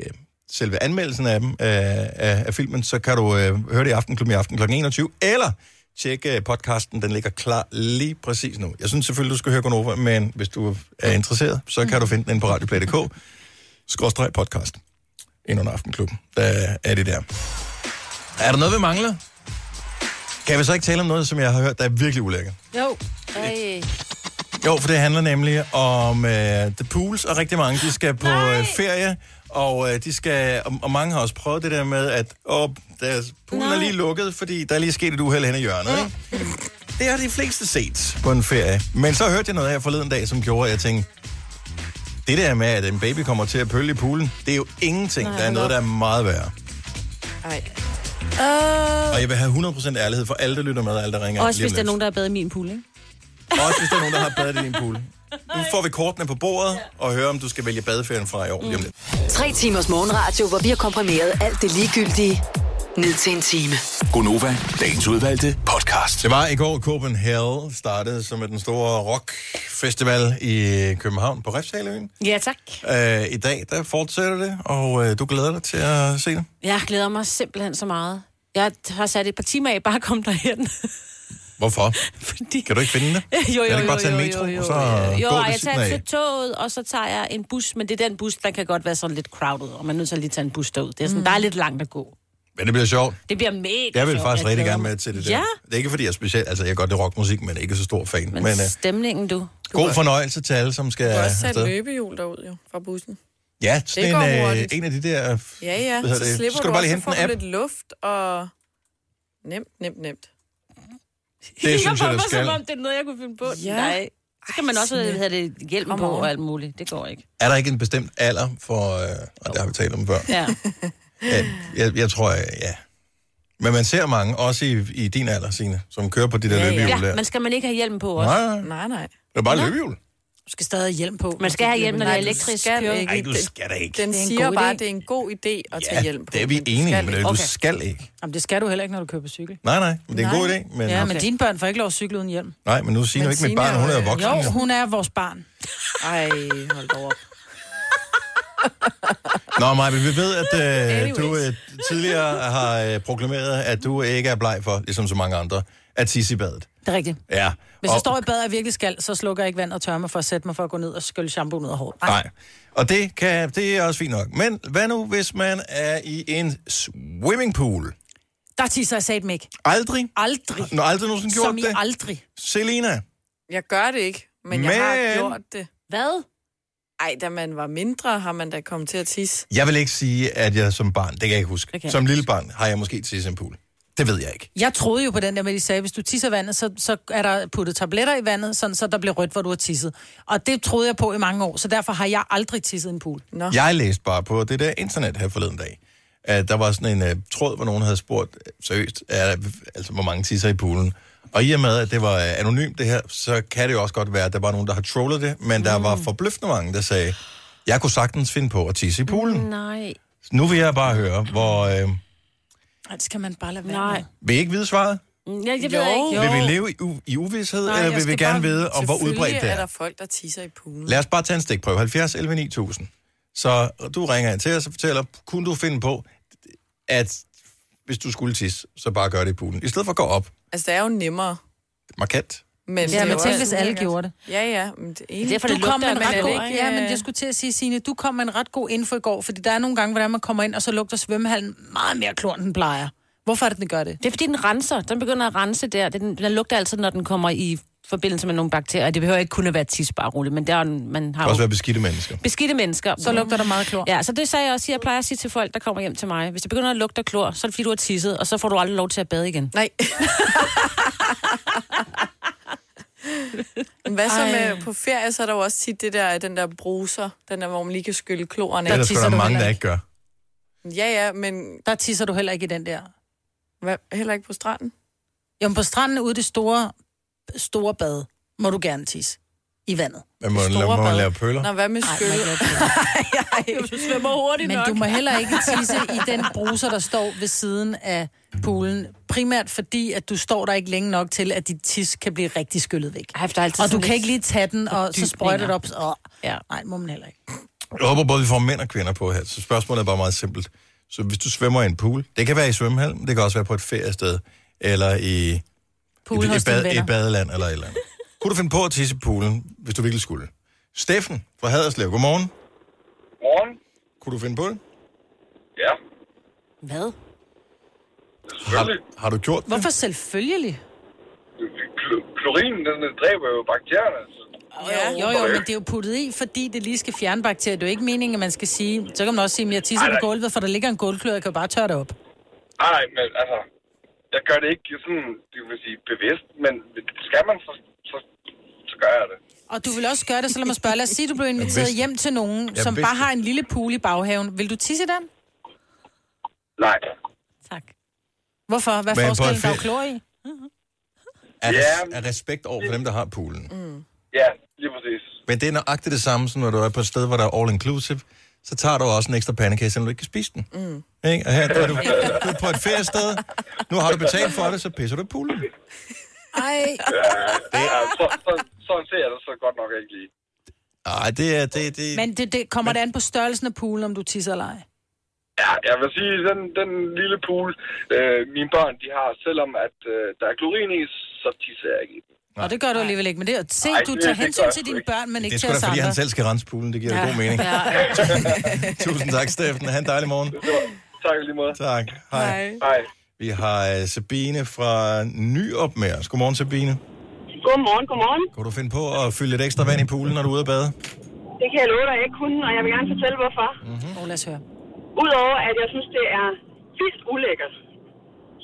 A: selve anmeldelsen af, dem, øh, af, af filmen, så kan du øh, høre det i Aftenklubben i aften kl. 21, eller tjekke øh, podcasten, den ligger klar lige præcis nu. Jeg synes selvfølgelig, du skal høre Gonova, men hvis du er interesseret, så kan du finde den inde på radioplay.dk, skråstreg podcast, ind under Aftenklubben. Der er det der. Er der noget, vi mangler? Kan vi så ikke tale om noget, som jeg har hørt, der er virkelig ulækkert?
C: Jo. Ej.
A: Jo, for det handler nemlig om øh, The Pools, og rigtig mange, de skal på øh, ferie, og, øh, de skal, og, og mange har også prøvet det der med, at åh, deres poolen er lige lukket, fordi der er lige sket et uheld hen i hjørnet, ikke? Det har de fleste set på en ferie. Men så hørte jeg noget her forleden dag, som gjorde, at jeg tænkte, det der med, at en baby kommer til at pølle i poolen, det er jo ingenting.
B: Nej,
A: der er
B: hold
A: noget,
B: op.
A: der er meget værre.
B: Ej.
A: Og jeg vil have 100% ærlighed for alle, der lytter med, og alle, der ringer.
C: Også
A: lige om
C: hvis der er
A: lidt.
C: nogen, der er bedre i min pool, ikke?
A: Også hvis der er nogen, der har badet i din pool. Nu får vi kortene på bordet og hører, om du skal vælge badeferien fra i år. Mm.
F: Tre timers morgenradio, hvor vi har komprimeret alt det ligegyldige ned til en time.
A: Gonova, dagens udvalgte podcast. Det var i går, Copenhagen startede som er den store rockfestival i København på Refshaløen.
C: Ja, tak.
A: Øh, I dag, der fortsætter det, og øh, du glæder dig til at se det.
C: Jeg glæder mig simpelthen så meget. Jeg har sat et par timer af, bare at komme derhen.
A: Hvorfor? Fordi... Kan du ikke finde det?
C: jo,
A: kan du
C: jo,
A: ikke bare
C: jo,
A: tage en
C: jo,
A: metro,
C: jo, jo,
A: og så
C: jo,
A: gå
C: og
A: ved
C: jeg
A: siden
C: tager til
A: af?
C: toget, og så tager jeg en bus, men det er den bus, der kan godt være sådan lidt crowded, og man er nødt til at lige tage en bus derud. Det er sådan, mm. der er lidt langt at gå.
A: Men det bliver sjovt.
C: Det bliver mega
A: Jeg vil
C: sjovt.
A: faktisk rigtig
C: glæder
A: gerne
C: mig.
A: med til det der.
C: Ja,
A: Det er ikke fordi, jeg er speciel. Altså, jeg kan godt lide rockmusik, men ikke så stor fan.
C: men,
A: Men, øh,
C: stemningen, du.
A: god fornøjelse til alle, som skal
B: Du har også sat
A: øh, afsted.
B: løbehjul derud jo, fra bussen.
A: Ja,
B: Det
A: sådan
B: går
A: en, øh,
B: hurtigt.
A: en af de der...
B: Ja, ja,
A: Hvad hedder
B: så
A: det?
B: slipper
A: Skal
B: du,
A: du bare
B: også,
A: lige
B: så
A: hente
B: får
A: en
B: du
A: app?
B: lidt luft, og nemt, nemt, nemt.
A: Det synes jeg,
C: jeg
A: du
C: mig,
A: skal.
C: som om det er noget, jeg kunne finde på.
B: Ja.
C: Ja. Nej. Så kan man
B: Ej,
C: også
B: Signe.
C: have det hjelm
B: Come
C: på
B: on.
C: og alt muligt. Det går ikke.
A: Er der ikke en bestemt alder for... Øh, og det har vi talt om før.
C: Ja.
A: Ja, jeg, jeg tror, jeg, ja. Men man ser mange, også i, i din alder, Signe, som kører på de der ja, løbehjul der.
C: ja, men skal man ikke have hjelm på også?
A: Nej,
B: nej. nej.
A: Det er bare
C: Nå.
A: løbehjul.
D: Du skal stadig have hjelm på.
C: Man skal have hjelm, når det er elektrisk. kører.
A: ikke. Ej, du skal da ikke.
B: Den
D: Det er en
B: siger
D: god
B: bare,
D: idé.
B: at det er en god idé at tage hjelm på.
A: det er vi enige i, men det er jo- du
D: Okay.
A: skal ikke.
D: Jamen, det skal du heller ikke, når du kører på cykel.
A: Nej, nej, men det er en god idé. Men,
D: ja, men dine børn får ikke lov at cykle uden hjelm.
A: Nej, men nu siger du
D: Men
A: ikke mit
D: Signe
A: barn, hun er jo voksen.
D: Jo,
A: Jo.
D: hun er vores barn.
B: Ej, hold da op.
A: Nå, Maja, vi ved, at øh,
B: Anyways.
A: du øh, tidligere har øh, proklameret, at du ikke er bleg for, ligesom så mange andre, at tisse i badet.
D: Det er rigtigt.
A: Ja.
D: Hvis jeg
A: og-
D: står i bad og jeg virkelig skal, så slukker jeg ikke vand og tørrer mig for at sætte mig for at gå ned og skylle shampoo ned af håret.
A: Nej. Og det, kan, det er også fint nok. Men hvad nu, hvis man er i en swimmingpool?
D: Der tisser jeg satme ikke.
A: Aldrig?
D: Aldrig.
A: Nå, aldrig nogensinde gjort
D: Som I
A: det?
D: aldrig.
A: Selena?
B: Jeg gør det ikke, men, men... jeg har
A: Men-
B: gjort det.
C: Hvad?
B: Ej, da man var mindre, har man da kommet til at tisse.
A: Jeg vil ikke sige, at jeg som barn, det kan jeg ikke huske,
B: Det kan jeg
A: som
B: ikke
A: lille barn har jeg måske tisset i en pool. Det ved jeg ikke.
D: Jeg troede jo på den der med, at de sagde, hvis du tisser i vandet, så, så er der puttet tabletter i vandet, sådan, så der bliver rødt, hvor du har tisset. Og det troede jeg på i mange år, så derfor har jeg aldrig tisset i en pool.
B: Nå.
A: Jeg læste bare på det der internet her forleden dag, at der var sådan en uh, tråd, hvor nogen havde spurgt, øh, seriøst, er, der- altså hvor mange tisser i poolen. Og i og med, at det var uh, anonymt det her, så kan det jo også godt være, at der var nogen, der har trollet det, men der var forbløffende mange, der sagde, jeg kunne sagtens finde på at tisse i poolen.
C: Nej.
A: Nu vil jeg bare høre, hvor... Øh,
D: Ej, det skal man bare lade være
C: Nej.
A: vil I ikke vide svaret?
C: Ja, jeg ved ikke.
A: Vil vi leve i, u- i uvidshed, Nej,
B: jeg
A: eller vil vi
B: skal
A: gerne
B: bare-
A: vide, om hvor
B: Selvfølgelig
A: udbredt det
B: er der
A: er?
B: folk, der tisser i poolen.
A: Lad os bare tage en stikprøve. 70 11 9000. Så du ringer ind til os og fortæller, kunne du finde på, at hvis du skulle tisse, så bare gør det i poolen. I stedet for at gå op
B: Altså, det er jo nemmere.
A: markant.
B: Men
D: Ja, men tænk,
B: også-
D: hvis alle gjorde det.
B: Ja, ja. Men det er enig.
C: derfor,
D: Du
C: det
D: kom med
C: lugter
D: en
C: af
D: ret
C: mad,
D: god,
C: ikke?
D: ja, men jeg skulle til at sige, Signe, du kom med en ret god info i går, fordi der er nogle gange, hvordan man kommer ind, og så lugter svømmehallen meget mere klor, end den plejer. Hvorfor er det, den gør det?
C: Det er fordi, den renser. Den begynder at rense der. Den, den lugter altid, når den kommer i forbindelse med nogle bakterier. Det behøver ikke kun at være tis, bare roligt, men der, er en- man
A: Det
C: har
A: kan også
C: jo
A: være beskidte mennesker.
C: beskidte mennesker.
D: Så lugter der meget klor.
C: Ja, så det sagde jeg også, jeg plejer at sige til folk, der kommer hjem til mig. Hvis det begynder at lugte af klor, så er det fordi, du har tisset, og så får du aldrig lov til at bade igen.
B: Nej. Men hvad så med på ferie, så er der jo også tit det der, den der bruser, den der, hvor man lige kan skylle kloerne
A: Ellers er
D: tisser
A: der
D: du
A: mange,
D: heller
A: der ikke gør.
B: Ja, ja, men
D: Der tisser du heller ikke i den der.
B: hvad, heller ikke på stranden.
D: Jamen på stranden ude i det store, store bad, må du gerne tisse i vandet.
A: Man må,
D: store
A: man må
D: bad.
A: lave pøller.
B: Nå, hvad med skylle?
C: Du svømmer hurtigt
D: Men du må heller ikke tisse i den bruser, der står ved siden af poolen. Primært fordi, at du står der ikke længe nok til, at dit tis kan blive rigtig skyllet væk.
C: Ej, for der er altid
D: Og du
C: sådan
D: kan
C: lidt-
D: ikke lige tage den, og så sprøjte det op.
C: fordybninger.
D: Åh,
C: Ja.
D: nej, det må man heller ikke.
A: Jeg håber både, vi får mænd og kvinder på her. Så spørgsmålet er bare meget simpelt. Så hvis du svømmer i en pool, det kan være i svømmehallen, det kan også være på et feriested, eller i et,
D: Poolen
A: et,
D: hos dine
A: bad, et
D: venner.
A: badeland, eller et eller andet. Kunne du finde på at tisse i poolen, hvis du virkelig skulle? Steffen fra Haderslev, godmorgen.
H: Morgen.
A: Kunne du finde på det?
H: Ja,
C: Hvad?
A: Har, har du gjort det?
D: Hvorfor selvfølgelig?
H: Klorin, den dræber jo bakterierne.
B: Ja.
D: Jo, jo, men det er jo puttet i, fordi det lige skal fjerne bakterier. Det er jo ikke meningen, at man skal sige... Så kan man også sige, at jeg tisser
H: Ej, nej.
D: på gulvet, for der ligger en gulvklør, jeg kan jo bare tørre det op.
H: Nej, men altså, jeg gør det ikke sådan, det vil sige, bevidst, men skal man, så, så, så gør jeg det.
D: Og du vil også gøre det, så lad mig spørge. Lad os sige, at du blev inviteret
A: vidste-
D: hjem til nogen,
A: Jeg
D: som
A: vidste-
D: bare har en lille pool i baghaven. Vil du tisse i den?
H: Nej.
C: Tak.
D: Hvorfor? Hvad
A: Men på
D: er
A: en
D: forskellen? Der er jo
A: ferie-
D: klor i.
A: Er,
H: Ja.
A: er respekt over for dem, der har poolen.
H: Ja, lige præcis.
A: Men det er nøjagtigt det samme, som når du er på et sted, hvor der er all-inclusive, så tager du også en ekstra pandekage, selvom du ikke kan spise den. Mm. Ikke? Og her der er du, du er på et feriested, nu har du betalt for det, så pisser du i poolen.
D: Ej,
H: Ja, så, så, sådan ser jeg det så godt nok ikke lige.
A: Ej, det er... Det, det...
D: Men det, det kommer det an på størrelsen af poolen, om du tisser eller ej.
H: Ja, jeg vil sige, den, den lille pool, øh, mine børn, de har, selvom at øh, der er klorin i, så tisser jeg ikke i den.
D: Og det gør du alligevel ikke. Men det er se,
H: Ej,
D: du
H: det-
D: tager
H: det gør
D: hensyn
H: jeg
D: til
H: sgu
D: dine
H: ikke.
D: børn, men
A: det
D: ikke
A: er
D: til
A: sgu da,
D: os
A: fordi
D: andre.
A: han selv skal rense poolen. Det giver jo god mening.
C: Ja,
A: Tusind tak, Steffen. Ha' en dejlig morgen.
H: Tak i lige måde.
A: Tak. Hej. Hej.
H: Hej.
A: Vi har øh, Sabine fra Nyop med os. Godmorgen, Sabine.
I: Godmorgen, godmorgen.
A: Kunne du finde på at fylde lidt ekstra vand i poolen, når du er ude at bade?
I: Det kan jeg love dig, jeg ikke kunne, og jeg vil gerne fortælle, hvorfor.
D: Oh, lad os høre.
I: Udover at jeg synes, det er vildt ulækkert,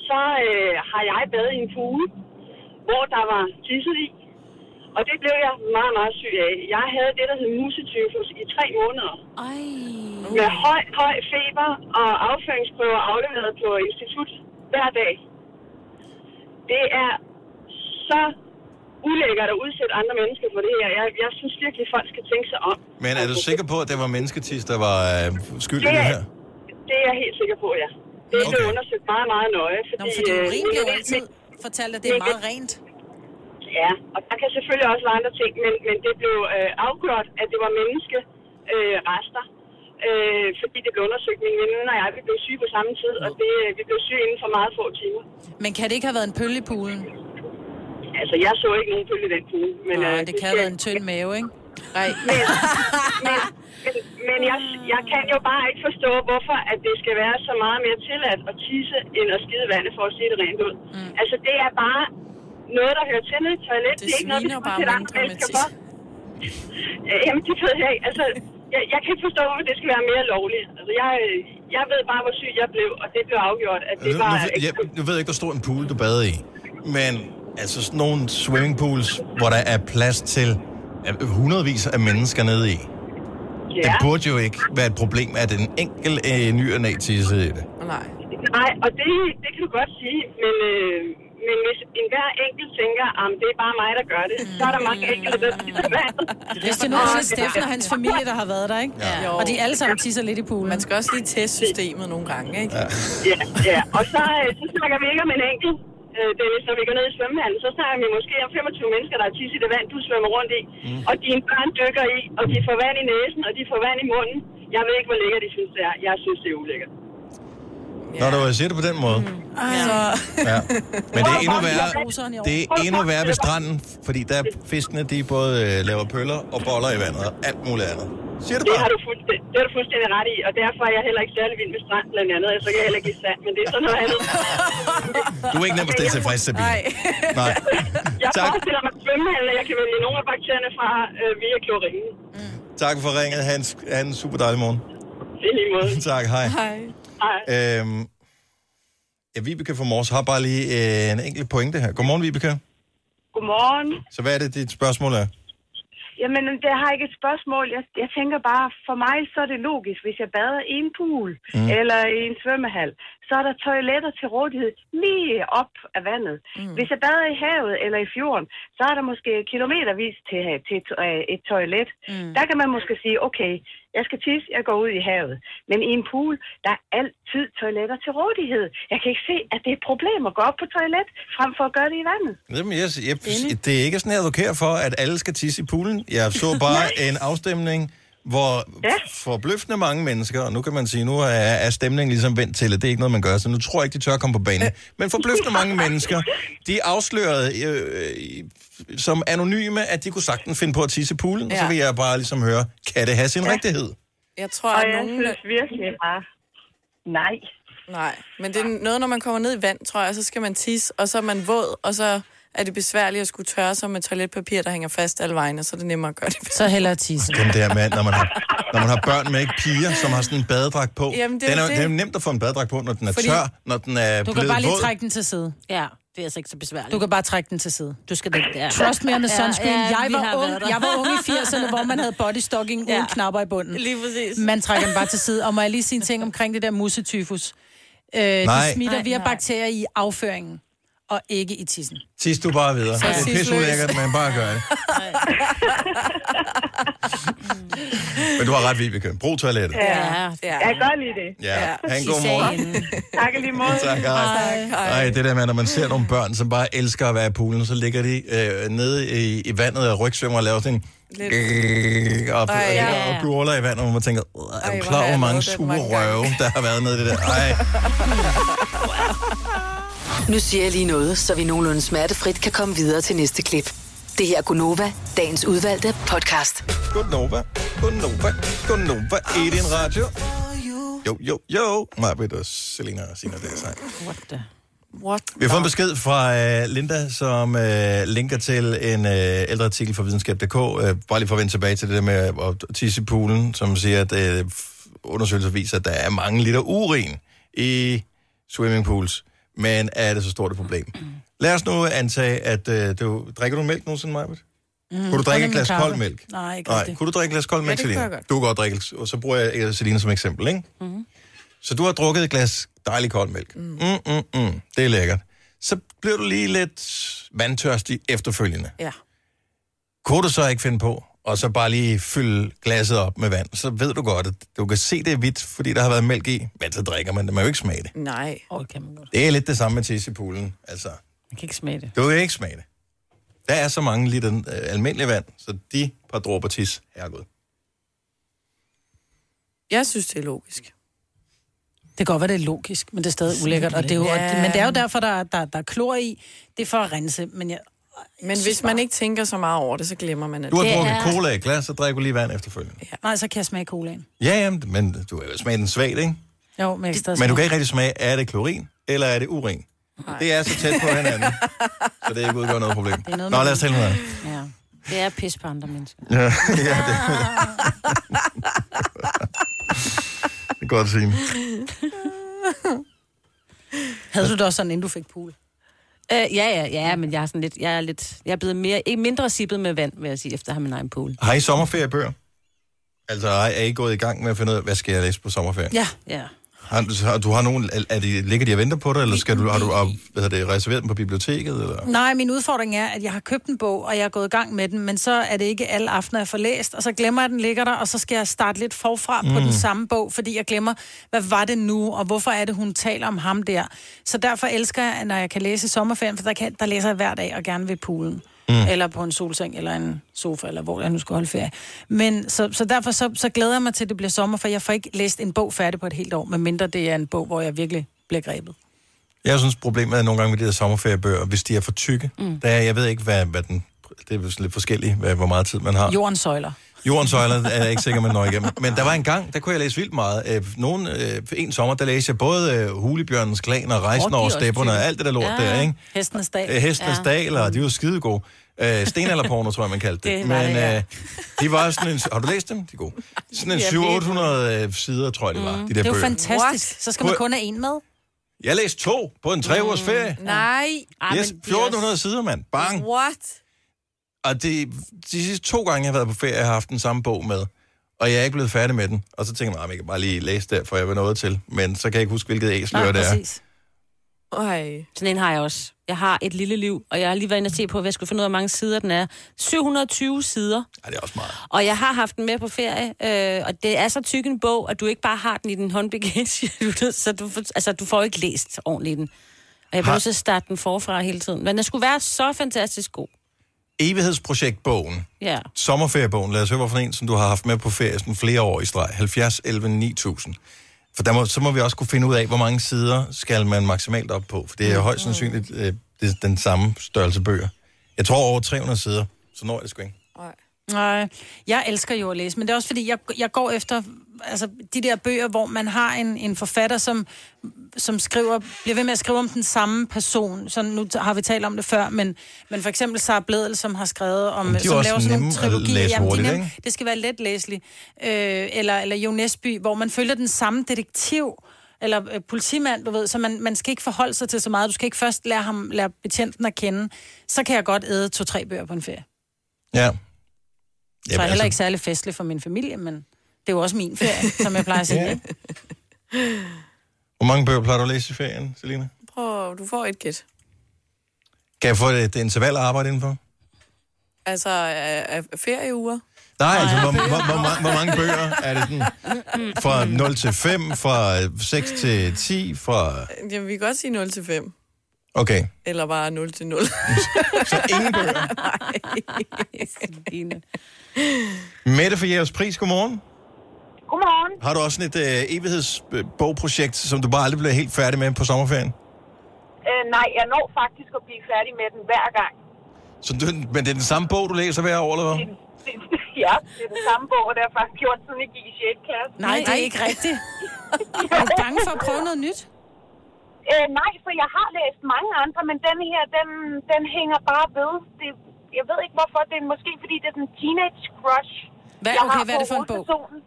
I: så øh, har jeg badet i en pool, hvor der var tisset i. Og det blev jeg meget, meget syg af. Jeg havde det, der hed musetyfus i tre måneder.
C: Ej.
I: Med høj, høj feber og afføringsprøver afleveret på institut hver dag. Det er så ulækkert at udsætte andre mennesker for det her. Jeg, jeg synes virkelig, folk skal tænke sig om.
A: Men er du sikker på, at det var mennesketis, der var øh, skyld i det her?
I: Det er jeg helt sikker på, ja. Det er blevet
A: Okay.
I: undersøgt meget, meget nøje. Fordi,
D: Nå, fordi
I: øh,
D: urin bliver jo altså.
I: men-
D: altid fortalt, at det er meget rent.
I: Ja, og der kan selvfølgelig også være andre ting, men, men det blev øh, afgjort, at det var menneskerester. Øh, rester. øh, fordi det blev undersøgt. Min veninde og jeg, vi blev syge på samme tid, og det, øh, vi blev syge inden for meget få timer.
D: Men kan det ikke have været en pølle i poolen?
I: Altså, jeg så ikke nogen pøl i den pool. Men,
D: Nej,
I: øh,
D: det kan have
I: skal-
D: været en tynd mave, ikke?
B: Nej.
I: Men, men, men jeg, jeg kan jo bare ikke forstå, hvorfor at det skal være så meget mere tilladt at tisse, end at skide vandet, for at sige det rent ud. Mm. Altså, det er bare noget, der hører til nede i et toilet.
B: Det
I: Det, er ikke noget, vi
B: sviner
I: skal
B: bare
I: sætte andre
B: mindre med
I: mennesker
B: tisse.
I: for. Øh, Jamen, det ved jeg ikke. Altså, jeg, jeg kan ikke forstå, hvorfor det skal være mere lovligt. Altså, jeg, øh, jeg ved bare, hvor syg jeg blev, og det blev afgjort, at det
A: Nu, nu,
I: var...
A: ved- jeg, nu ved jeg ikke, hvor stor en pool du bader i, men altså sådan nogle swimmingpools, hvor der er plads til øh, hundredvis af mennesker nede i. Det
I: ja.
A: burde jo ikke være et problem, at en enkelt øh, ny og næ tissede i det.
B: nej.
I: Nej, og det, det kan du godt sige, men, øh, men hvis enhver enkelt tænker, at det er bare mig, der gør det,
A: Mm.
I: så er der mange enkelte, der spiser vand.
D: Hvis det nu kun er Steffen og hans familie, der har været der, ikke?
B: Ja.
D: Og de alle sammen tisser lidt i poolen.
B: Man skal også lige teste systemet nogle gange, ikke? Ja.
I: Ja, ja. Og så, øh, så snakker vi ikke om en enkelt. Øh, Dennis, når vi går ned i svømmehallen, så snakker vi måske om 25 mennesker, der er tisse i det vand, du svømmer rundt i. Mm. Og dine børn dykker i, og de får vand i næsen, og de får vand i munden. Jeg ved ikke, hvor lækkert de synes, det er. Jeg synes, det er ulækkert.
A: Når du siger det på den måde. Mm.
D: Altså,
A: Ja. Men det er endnu værre,
D: Bruseren i år.
A: det er endnu værre ved stranden, fordi der fiskene, de både øh, laver pøller og boller i vandet og alt muligt andet. Siger du
I: Det har
A: bare?
I: du, fuldstændig, det har du fuldstændig ret i, og derfor er jeg heller ikke særlig vild med strand, blandt andet. Jeg så kan jeg heller ikke i sand, men det er sådan noget andet.
A: Du er ikke nem at stille tilfreds, Sabine.
B: Nej.
A: Nej.
I: Jeg
A: Tak.
I: forestiller mig svømmehallen, at jeg kan vælge nogle af bakterierne fra øh, via kloringen.
A: Tak for ringet. Ha' en, sk- ha' en super dejlig morgen.
I: Det er lige måde.
A: tak, hej.
B: Hej.
I: Hej.
A: Øhm, ja, Vibeke fra Mors har bare lige øh, en enkelt pointe her. Godmorgen, Vibeke.
K: Godmorgen.
A: Så hvad er det, dit spørgsmål er?
K: Jamen, det har jeg ikke et spørgsmål. Jeg, jeg tænker bare, for mig så er det logisk, hvis jeg bader i en pool
A: Mm.
K: mm. eller i en svømmehal, så er der toiletter til rådighed lige op af vandet. Mm. Hvis jeg bader i havet eller i fjorden, så er der måske kilometervis til, til et, øh, et toilet. Mm. Der kan man måske sige, okay, jeg skal tisse, jeg går ud i havet. Men i en pool, der er altid toiletter til rådighed. Jeg kan ikke se, at det er et problem at gå op på toilet, frem for at gøre det i vandet.
A: Jamen, jeg, jeg, det er ikke sådan, jeg advokerer for, at alle skal tisse i poolen. Jeg så bare en afstemning, hvor ja. forbløffende mange mennesker, og nu kan man sige, nu er, er stemningen ligesom vendt til, at det er ikke noget, man gør, så nu tror jeg ikke, de tør komme på banen. Men forbløffende mange mennesker, de afslørede øh, i- som anonyme, at de kunne sagtens finde på at tisse i poolen, ja. og så
B: Ja.
A: vil jeg bare ligesom høre, kan det have sin ja. rigtighed?
B: Jeg tror,
K: Og
B: at
K: jeg
B: nogen...
K: synes virkelig bare, nej.
B: Nej, men det er noget, når man kommer ned i vand, tror jeg, så skal man tisse, og så er man våd, og så er det besværligt at skulle tørre sig med toiletpapir, der hænger fast alle vegne, så er det nemmere at gøre det.
D: Så hellere tisse.
A: Den der mand, når man har, når man har børn med ikke piger, som har sådan en badedragt på.
B: Jamen, det er
A: den er,
B: jo det.
A: det er nemt at få en badedragt på, når den er
D: Fordi
A: tør, når den er
D: Du kan
A: blevet
D: bare lige
A: våd.
D: trække den til side.
C: Ja, det er altså ikke så besværligt.
D: Du kan bare trække den til side.
C: Du skal ikke der.
D: Trust me on the
C: Ja,
D: sunscreen.
C: ja,
D: jeg,
C: vi
D: var
C: har været
D: ung,
C: der.
D: jeg var ung i 80'erne, hvor man havde bodystocking ja. uden
C: Ja.
D: knapper i bunden.
B: Lige præcis.
D: Man trækker den bare til side. Og må jeg lige sige en ting omkring det der mussetyfus? Øh,
A: Nej.
D: det smitter
C: Nej,
D: via
C: nej.
D: bakterier i afføringen, og ikke i tissen.
A: Tis du bare videre.
D: Så
A: det er
D: tis løs.
A: pisseulækkert, men bare gør det. men du har ret, Vibeke. Brug toilettet. Ja.
C: Ja,
B: ja.
K: Jeg kan godt lide det.
A: ja. Ha' en
C: I
A: god morgen.
C: sagen.
K: Tak i lige måde.
A: Tak, hej. Ej, det der med, når man ser nogle børn, som bare elsker at være i poolen, så ligger de øh, nede i, i vandet og rygsvømmer og laver sådan en... Og,
B: Ej,
A: Ej,
B: ja.
A: og blurler i vandet, og man tænker, "Åh, er
B: Ej,
A: du
B: hvor
A: klar
B: har
A: over, hvor
B: jeg
A: mange
B: lavet det
A: sure
B: mange gange."
A: røve, der har været nede i det der? Ej.
F: Nu siger jeg lige noget, så vi nogenlunde smertefrit kan komme videre til næste klip. Det her er Gunova, dagens udvalgte podcast.
A: Godnova, Godnova, Godnova, i din radio. Jo, jo, jo. Marbet og Selina og Sina, det er sejt.
B: What?
A: Vi har fået en besked fra øh, Linda, som øh, linker til en øh, ældre artikel fra videnskab.dk. Øh, bare lige for at vende tilbage til det der med at tisse i poolen, som siger, at øh, f- undersøgelser viser, at der er mange liter urin i swimmingpools. Men er det så stort et problem? Lad os nu antage, at øh, du... Drikker du mælk nogensinde, Marbet? Mm, kunne du
D: kun
A: drikke
D: med
A: et glas
D: kaffe.
A: kold mælk?
D: Nej, ikke
A: Nej,
D: rigtigt.
A: kunne du drikke et glas kold mælk,
B: det kunne
A: Selina?
B: jeg godt. Mhm.
A: Du kan godt drikke, og så bruger jeg øh, Selina som eksempel, ikke? Mm-hmm. Så du har drukket et glas dejlig kold mælk. Mm. Mm, mm, mm. Det er lækkert. Så bliver du lige lidt vandtørstig efterfølgende.
B: Ja.
A: Kunne du så ikke finde på, og så bare lige fylde glasset op med vand, så ved du godt, at du kan se det er hvidt, fordi der har været mælk i. Men så drikker man det, man vil jo ikke smage det.
B: Nej.
C: Åh, kan
B: Mm.
C: man godt.
A: Det er lidt det samme med tisse i poolen. Altså,
C: Man kan ikke smage det.
A: du vil ikke smage det. Der er så mange liter øh, almindelig vand, så de par dråber tis, herregud.
B: Jeg synes, det er logisk.
D: Det kan godt være, det er logisk, men det er stadig ulækkert. Og det er jo,
B: Ja.
D: ja. Men det er jo derfor, der, der, der er klor i. Det er for at rense. Men jeg,
B: Men hvis man ikke tænker så meget over det, så glemmer man det.
A: Du har
C: Det
A: drukket
C: er-
A: cola i et glas, så drikker du lige vand efterfølgende.
D: nej, så kan jeg smage colaen.
A: Ja, jamen, men du har smagen den svagt, ikke?
D: Jo, men, jeg kan stadig
A: Men du
D: smage.
A: kan ikke rigtig smage, er det klorin, eller er det urin? Nej. Det er så tæt på hinanden, så det ikke udgør noget problem.
D: er noget
A: Nå,
D: med
A: lad os tale med dig.
C: Ja. Det er pis på andre mennesker.
A: Ja, ja, det. det er godt at sige.
D: Havde du det også sådan, inden du fik pool?
C: Øh, ja, ja, ja, men jeg er sådan lidt, jeg er lidt, jeg er blevet mere, ikke mindre sippet med vand, vil jeg sige, efter at have min egen pool.
A: Har I sommerferiebøger? Altså, er I gået i gang med at finde ud af, hvad skal jeg læse på sommerferien?
D: Ja.
C: Ja.
A: Har, du- har, du har nogen, er- er de, ligger de og venter på dig, eller skal du, har du op, hvad hedder det, reserveret dem på biblioteket? Eller?
D: Nej, min udfordring er, at jeg har købt en bog, og jeg er gået i gang med den, men så er det ikke alle aftener, jeg får læst, og så glemmer jeg, at den ligger der, og så skal jeg starte lidt forfra mm. på
L: Mm.
D: den samme bog, fordi jeg glemmer, hvad var det nu, og hvorfor er det, hun taler om ham der. Så derfor elsker jeg, når jeg kan læse i sommerferien, for der, kan, der læser jeg hver dag, og gerne ved poolen. Mm.
L: Mm.
D: Eller på en solseng, eller en sofa, eller hvor jeg nu skal holde ferie. Men så, så derfor så, så glæder jeg mig til, at det bliver sommer, for jeg får ikke læst en bog færdig på et helt år, medmindre det er en bog, hvor jeg virkelig bliver grebet.
A: Jeg synes, problemet er nogle gange med de der sommerferiebøger, hvis de er for tykke. Mm. Der er, jeg ved ikke, hvad, hvad den, det er vel sådan lidt forskelligt, hvad, hvor meget tid man har.
D: Jordens søjler.
A: Jordens søjler er jeg ikke sikker, man når igennem. Men der var en gang, der kunne jeg læse vildt meget. Øh, Nogen, øh, en sommer, der læste jeg både øh, Hulebjørnens Klan og Rejsen
D: Åh, de er
A: over
D: også
A: stepperne og
D: tykke.
A: alt det der lort
D: Ja,
A: der, ikke?
D: Hestenes dag.
A: Øh, Hestenes ja.
D: Ja.
A: Dal, og de var skide gode. Øh, Stenalderporno, tror jeg, man kaldte det.
D: Det var
A: Men
D: det, ja.
A: øh, de var sådan en... Har du læst dem? De er gode. Sådan en
D: Ja,
A: 700-800 øh, sider, tror jeg, det var, mm. de der
D: det er jo
A: bøger.
D: fantastisk. What? Så skal man Mm.
A: Prøv-
D: kun have en med.
A: Jeg læste to på en tre ugers ferie.
B: Nej. Ej,
A: Yes,
B: men de er
A: 1400 sider, mand. Bang.
B: What?
A: Og det, de sidste to gange, jeg har været på ferie, har jeg haft den samme bog med. Og jeg er ikke blevet færdig med den. Og så tænker jeg, at jeg kan bare lige læse der, for jeg vil noget til. Men så kan jeg ikke huske, hvilket æsler det er.
B: Ej.
C: Sådan en har jeg også. Jeg har et lille liv, og jeg har lige været inde og se på, hvad jeg skulle finde ud af, hvor mange sider den er. 720 sider.
A: Ja, det er også meget.
C: Og jeg har haft den med på ferie, øh, og det er så tyk en bog, at du ikke bare har den i din håndbagage, du ved, så du, får- altså, du får ikke læst ordentligt i den. Og jeg
A: Har-
C: blev så starte den forfra hele tiden. Men den skulle være så fantastisk god.
A: Evighedsprojektbogen.
C: Ja.
A: Sommerferiebogen. Lad os høre, hvorfor en, som du har haft med på ferie sådan flere år i streg. 70, 11, 9000. For der må, så må vi også kunne finde ud af, hvor mange sider skal man maksimalt op på. For det er højst
D: Mm.
A: sandsynligt øh, det er den samme størrelse bøger. Jeg tror over 300 sider, så når jeg det sgu ikke.
D: Nej, jeg elsker jo at læse, men det er også fordi, jeg, jeg går efter altså, de der bøger, hvor man har en, en forfatter, som, som skriver, bliver ved med at skrive om den samme person. Så nu t- har vi talt om det før, men, men for eksempel Sara Bledel, som har skrevet om...
A: Men de er
D: som
A: også nemme at læse
D: de er
A: hurtigt,
D: nemme.
A: ikke?
D: Det skal være let læseligt. Øh, eller, eller Jo Nesby, hvor man følger den samme detektiv, eller øh, politimand, du ved, så man, man skal ikke forholde sig til så meget. Du skal ikke først lære ham, lære betjenten at kende. Så kan jeg godt æde to-tre bøger på en ferie.
A: Ja.
D: Jamen, så er jeg
A: altså-
D: heller ikke særlig festlig for min familie, men det er jo også min ferie, som jeg plejer at sige.
A: Ja.
D: ja.
A: Hvor mange bøger plejer du at læse i ferien, Selina?
B: Prøv, du får et gæt.
A: Kan jeg få et, et interval at arbejde indenfor?
B: Altså, øh, øh, ferieuger.
A: Nej, altså, hvor, hvor, hvor, hvor, hvor mange bøger er det den? Fra 0 til 5, fra øh, 6 til 10, fra...
B: Jamen, vi kan godt sige 0 til 5.
A: Okay.
B: Eller bare 0 til 0.
A: Så ingen bøger?
C: Nej.
A: Mette for jeres pris, godmorgen.
M: Godmorgen.
A: Har du også sådan et øh, evighedsbogprojekt, som du bare aldrig bliver helt færdig med på sommerferien?
M: Øh, nej, jeg når faktisk at blive færdig med den hver gang.
A: Så du, men det er den samme bog, du læser hver år, eller hvad?
M: ja, det er den samme bog, der er faktisk gjort, siden jeg gik i 6. klasse.
D: Nej, det er ikke rigtigt. Er du bange for at prøve noget nyt?
M: Øh, nej, for jeg har læst mange andre, men den her, den, den hænger bare ved. Det, jeg ved ikke hvorfor, det er måske fordi, det er den teenage crush.
C: Hvad-
M: jeg
C: okay,
M: har
C: hvad er
M: på
C: det for en bog?
M: hovedpersonen.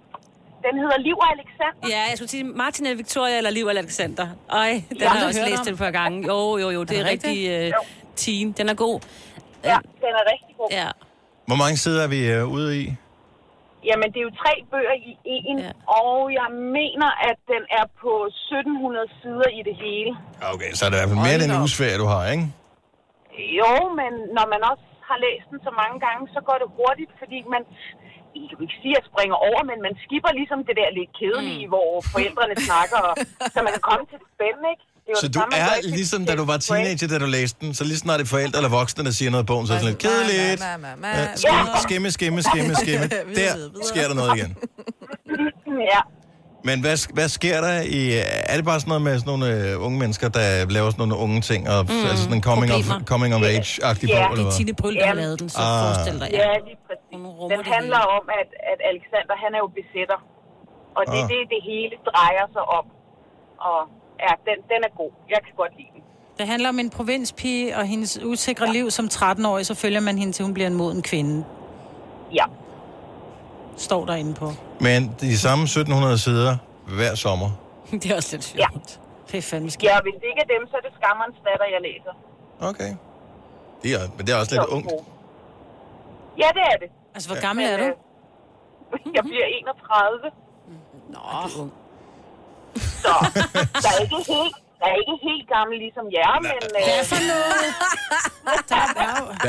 M: Den hedder Liv og Alexander.
C: Ja, jeg skulle sige Martin eller Victoria eller Liv eller Alexander. Ej, den
M: Jeg har
C: har jeg
M: aldrig
C: også
M: hørt
C: læst
M: om.
C: den par gange. Jo, jo, jo, det er,
M: den
C: er rigtig øh, teen. Den er god.
M: Ja, den er rigtig god.
C: Ja.
A: Hvor mange sider er vi øh, ude i?
M: Jamen, det er jo tre bøger i en, ja. og jeg mener, at den er på 1700 sider i det hele.
A: Okay, så er det i hvert fald mere end en uges ferie, du har, ikke?
M: Jo, men når man også har læst den så mange gange, så går det hurtigt, fordi man, jeg kan jo ikke sige, at jeg springer over, men man skipper ligesom det der lidt kedelige, mm. hvor forældrene snakker, og, så man kan komme til det spændende, ikke? Det
A: Så
M: det
A: du
M: samme, man gør
A: er
M: ikke til
A: ligesom, da du var teenager, da du læste den, så lige snart det er forældre eller voksne, der siger noget i bogen, så er det sådan lidt kedeligt. Ja, skimme, Skimme, skimme, skimme, skimme. Der sker der noget igen.
M: Ja.
A: Men hvad, hvad sker der i... Er det bare sådan noget med sådan nogle øh, unge mennesker, der laver sådan nogle unge ting, og mm, altså sådan en coming of,
C: problemer.
A: coming of age-agtig bog, eller
C: det er
A: hvad?
C: Tine Bryl, der har lavet den, så
A: Ah.
C: forestil dig.
M: Ja, lige præcis. Den handler om, at, at Alexander, han er jo besætter. Og det er
A: Ah.
M: det, det hele drejer sig om. Og ja, den, den er god. Jeg kan godt lide den.
D: Det handler om en provinspige og hendes usikre liv som 13-årig, så følger man hende til, hun bliver en moden kvinde.
M: Ja.
D: Står der inde på.
A: Men de samme 1700 sider hver sommer.
C: Det er også lidt sjovt.
M: Ja.
D: Det er fandme skidt.
M: Ja, hvis det ikke er dem, så er det skammerens datter, jeg læser.
A: Okay. Det er, men det er også lidt ungt.
M: Ja, det er det.
D: Altså, hvor gammel er du?
I: øh,
M: Jeg bliver 31.
C: Nå.
M: Så jeg er ikke helt, jeg er ikke helt gammel ligesom jer, men... Hvad
I: øh,
M: for noget?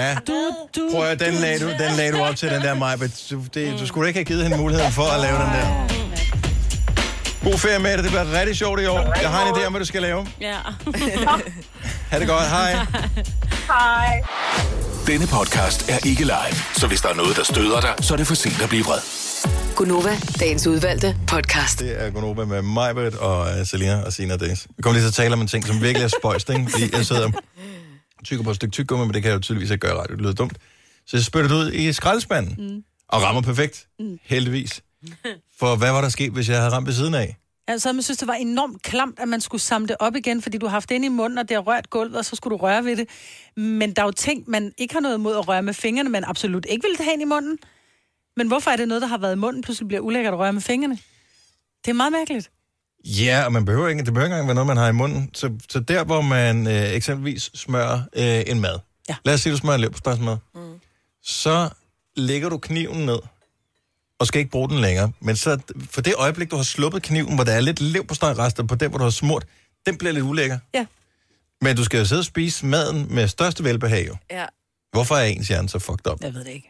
A: Ja. Du, du, Prøv at, den, lagde du, Mm. den lagde du op til, den der mig. Du, det, du skulle da ikke have givet hende muligheden for at lave den der. God ferie med dig. Det bliver rigtig sjovt i år. Jeg har en idé om, hvad du skal lave.
C: Ja.
A: Ha' det godt. Hej.
M: Hej.
G: Denne podcast er ikke live, så hvis der er noget, der støder dig, så er det for sent at blive vred.
F: Gunova, dagens udvalgte podcast.
A: Det er Gunova med Majbert og uh, Selina og Sina Days. Vi kommer lige til at tale om en ting, som virkelig er spøjst, ikke? Fordi jeg sidder og tykker på et stykke tyggegummi, men det kan jeg jo tydeligvis ikke gøre i radio. Det lyder dumt. Så jeg spytter det ud i skraldespanden mm. og rammer perfekt. Mm. Heldigvis. For hvad var der sket, hvis jeg havde ramt ved siden af?
D: Altså, man synes, det var enormt klamt, at man skulle samle det op igen, fordi du har haft det inde i munden, og det har rørt gulvet, og så skulle du røre ved det. Men der er jo ting, man ikke har noget imod at røre med fingrene, man absolut ikke vil have ind i munden. Men hvorfor er det noget, der har været i munden, pludselig bliver ulækkert at røre med fingrene? Det er meget mærkeligt.
A: Ja, og man behøver ikke, det behøver ikke engang være noget, man har i munden. Så, så der, hvor man øh, eksempelvis smører øh, en mad. Ja. Lad os sige, du smører en leverpostejsmad. Mm. Så lægger du kniven ned, og skal ikke bruge den længere. Men så, for det øjeblik, du har sluppet kniven, hvor der er lidt leverpostejrester på den, hvor du har smurt, den bliver lidt ulækker.
D: Ja.
A: Men du skal jo sidde og spise maden med største velbehag jo.
B: Ja.
A: Hvorfor er ens hjerne så fucked up?
D: Jeg ved det ikke.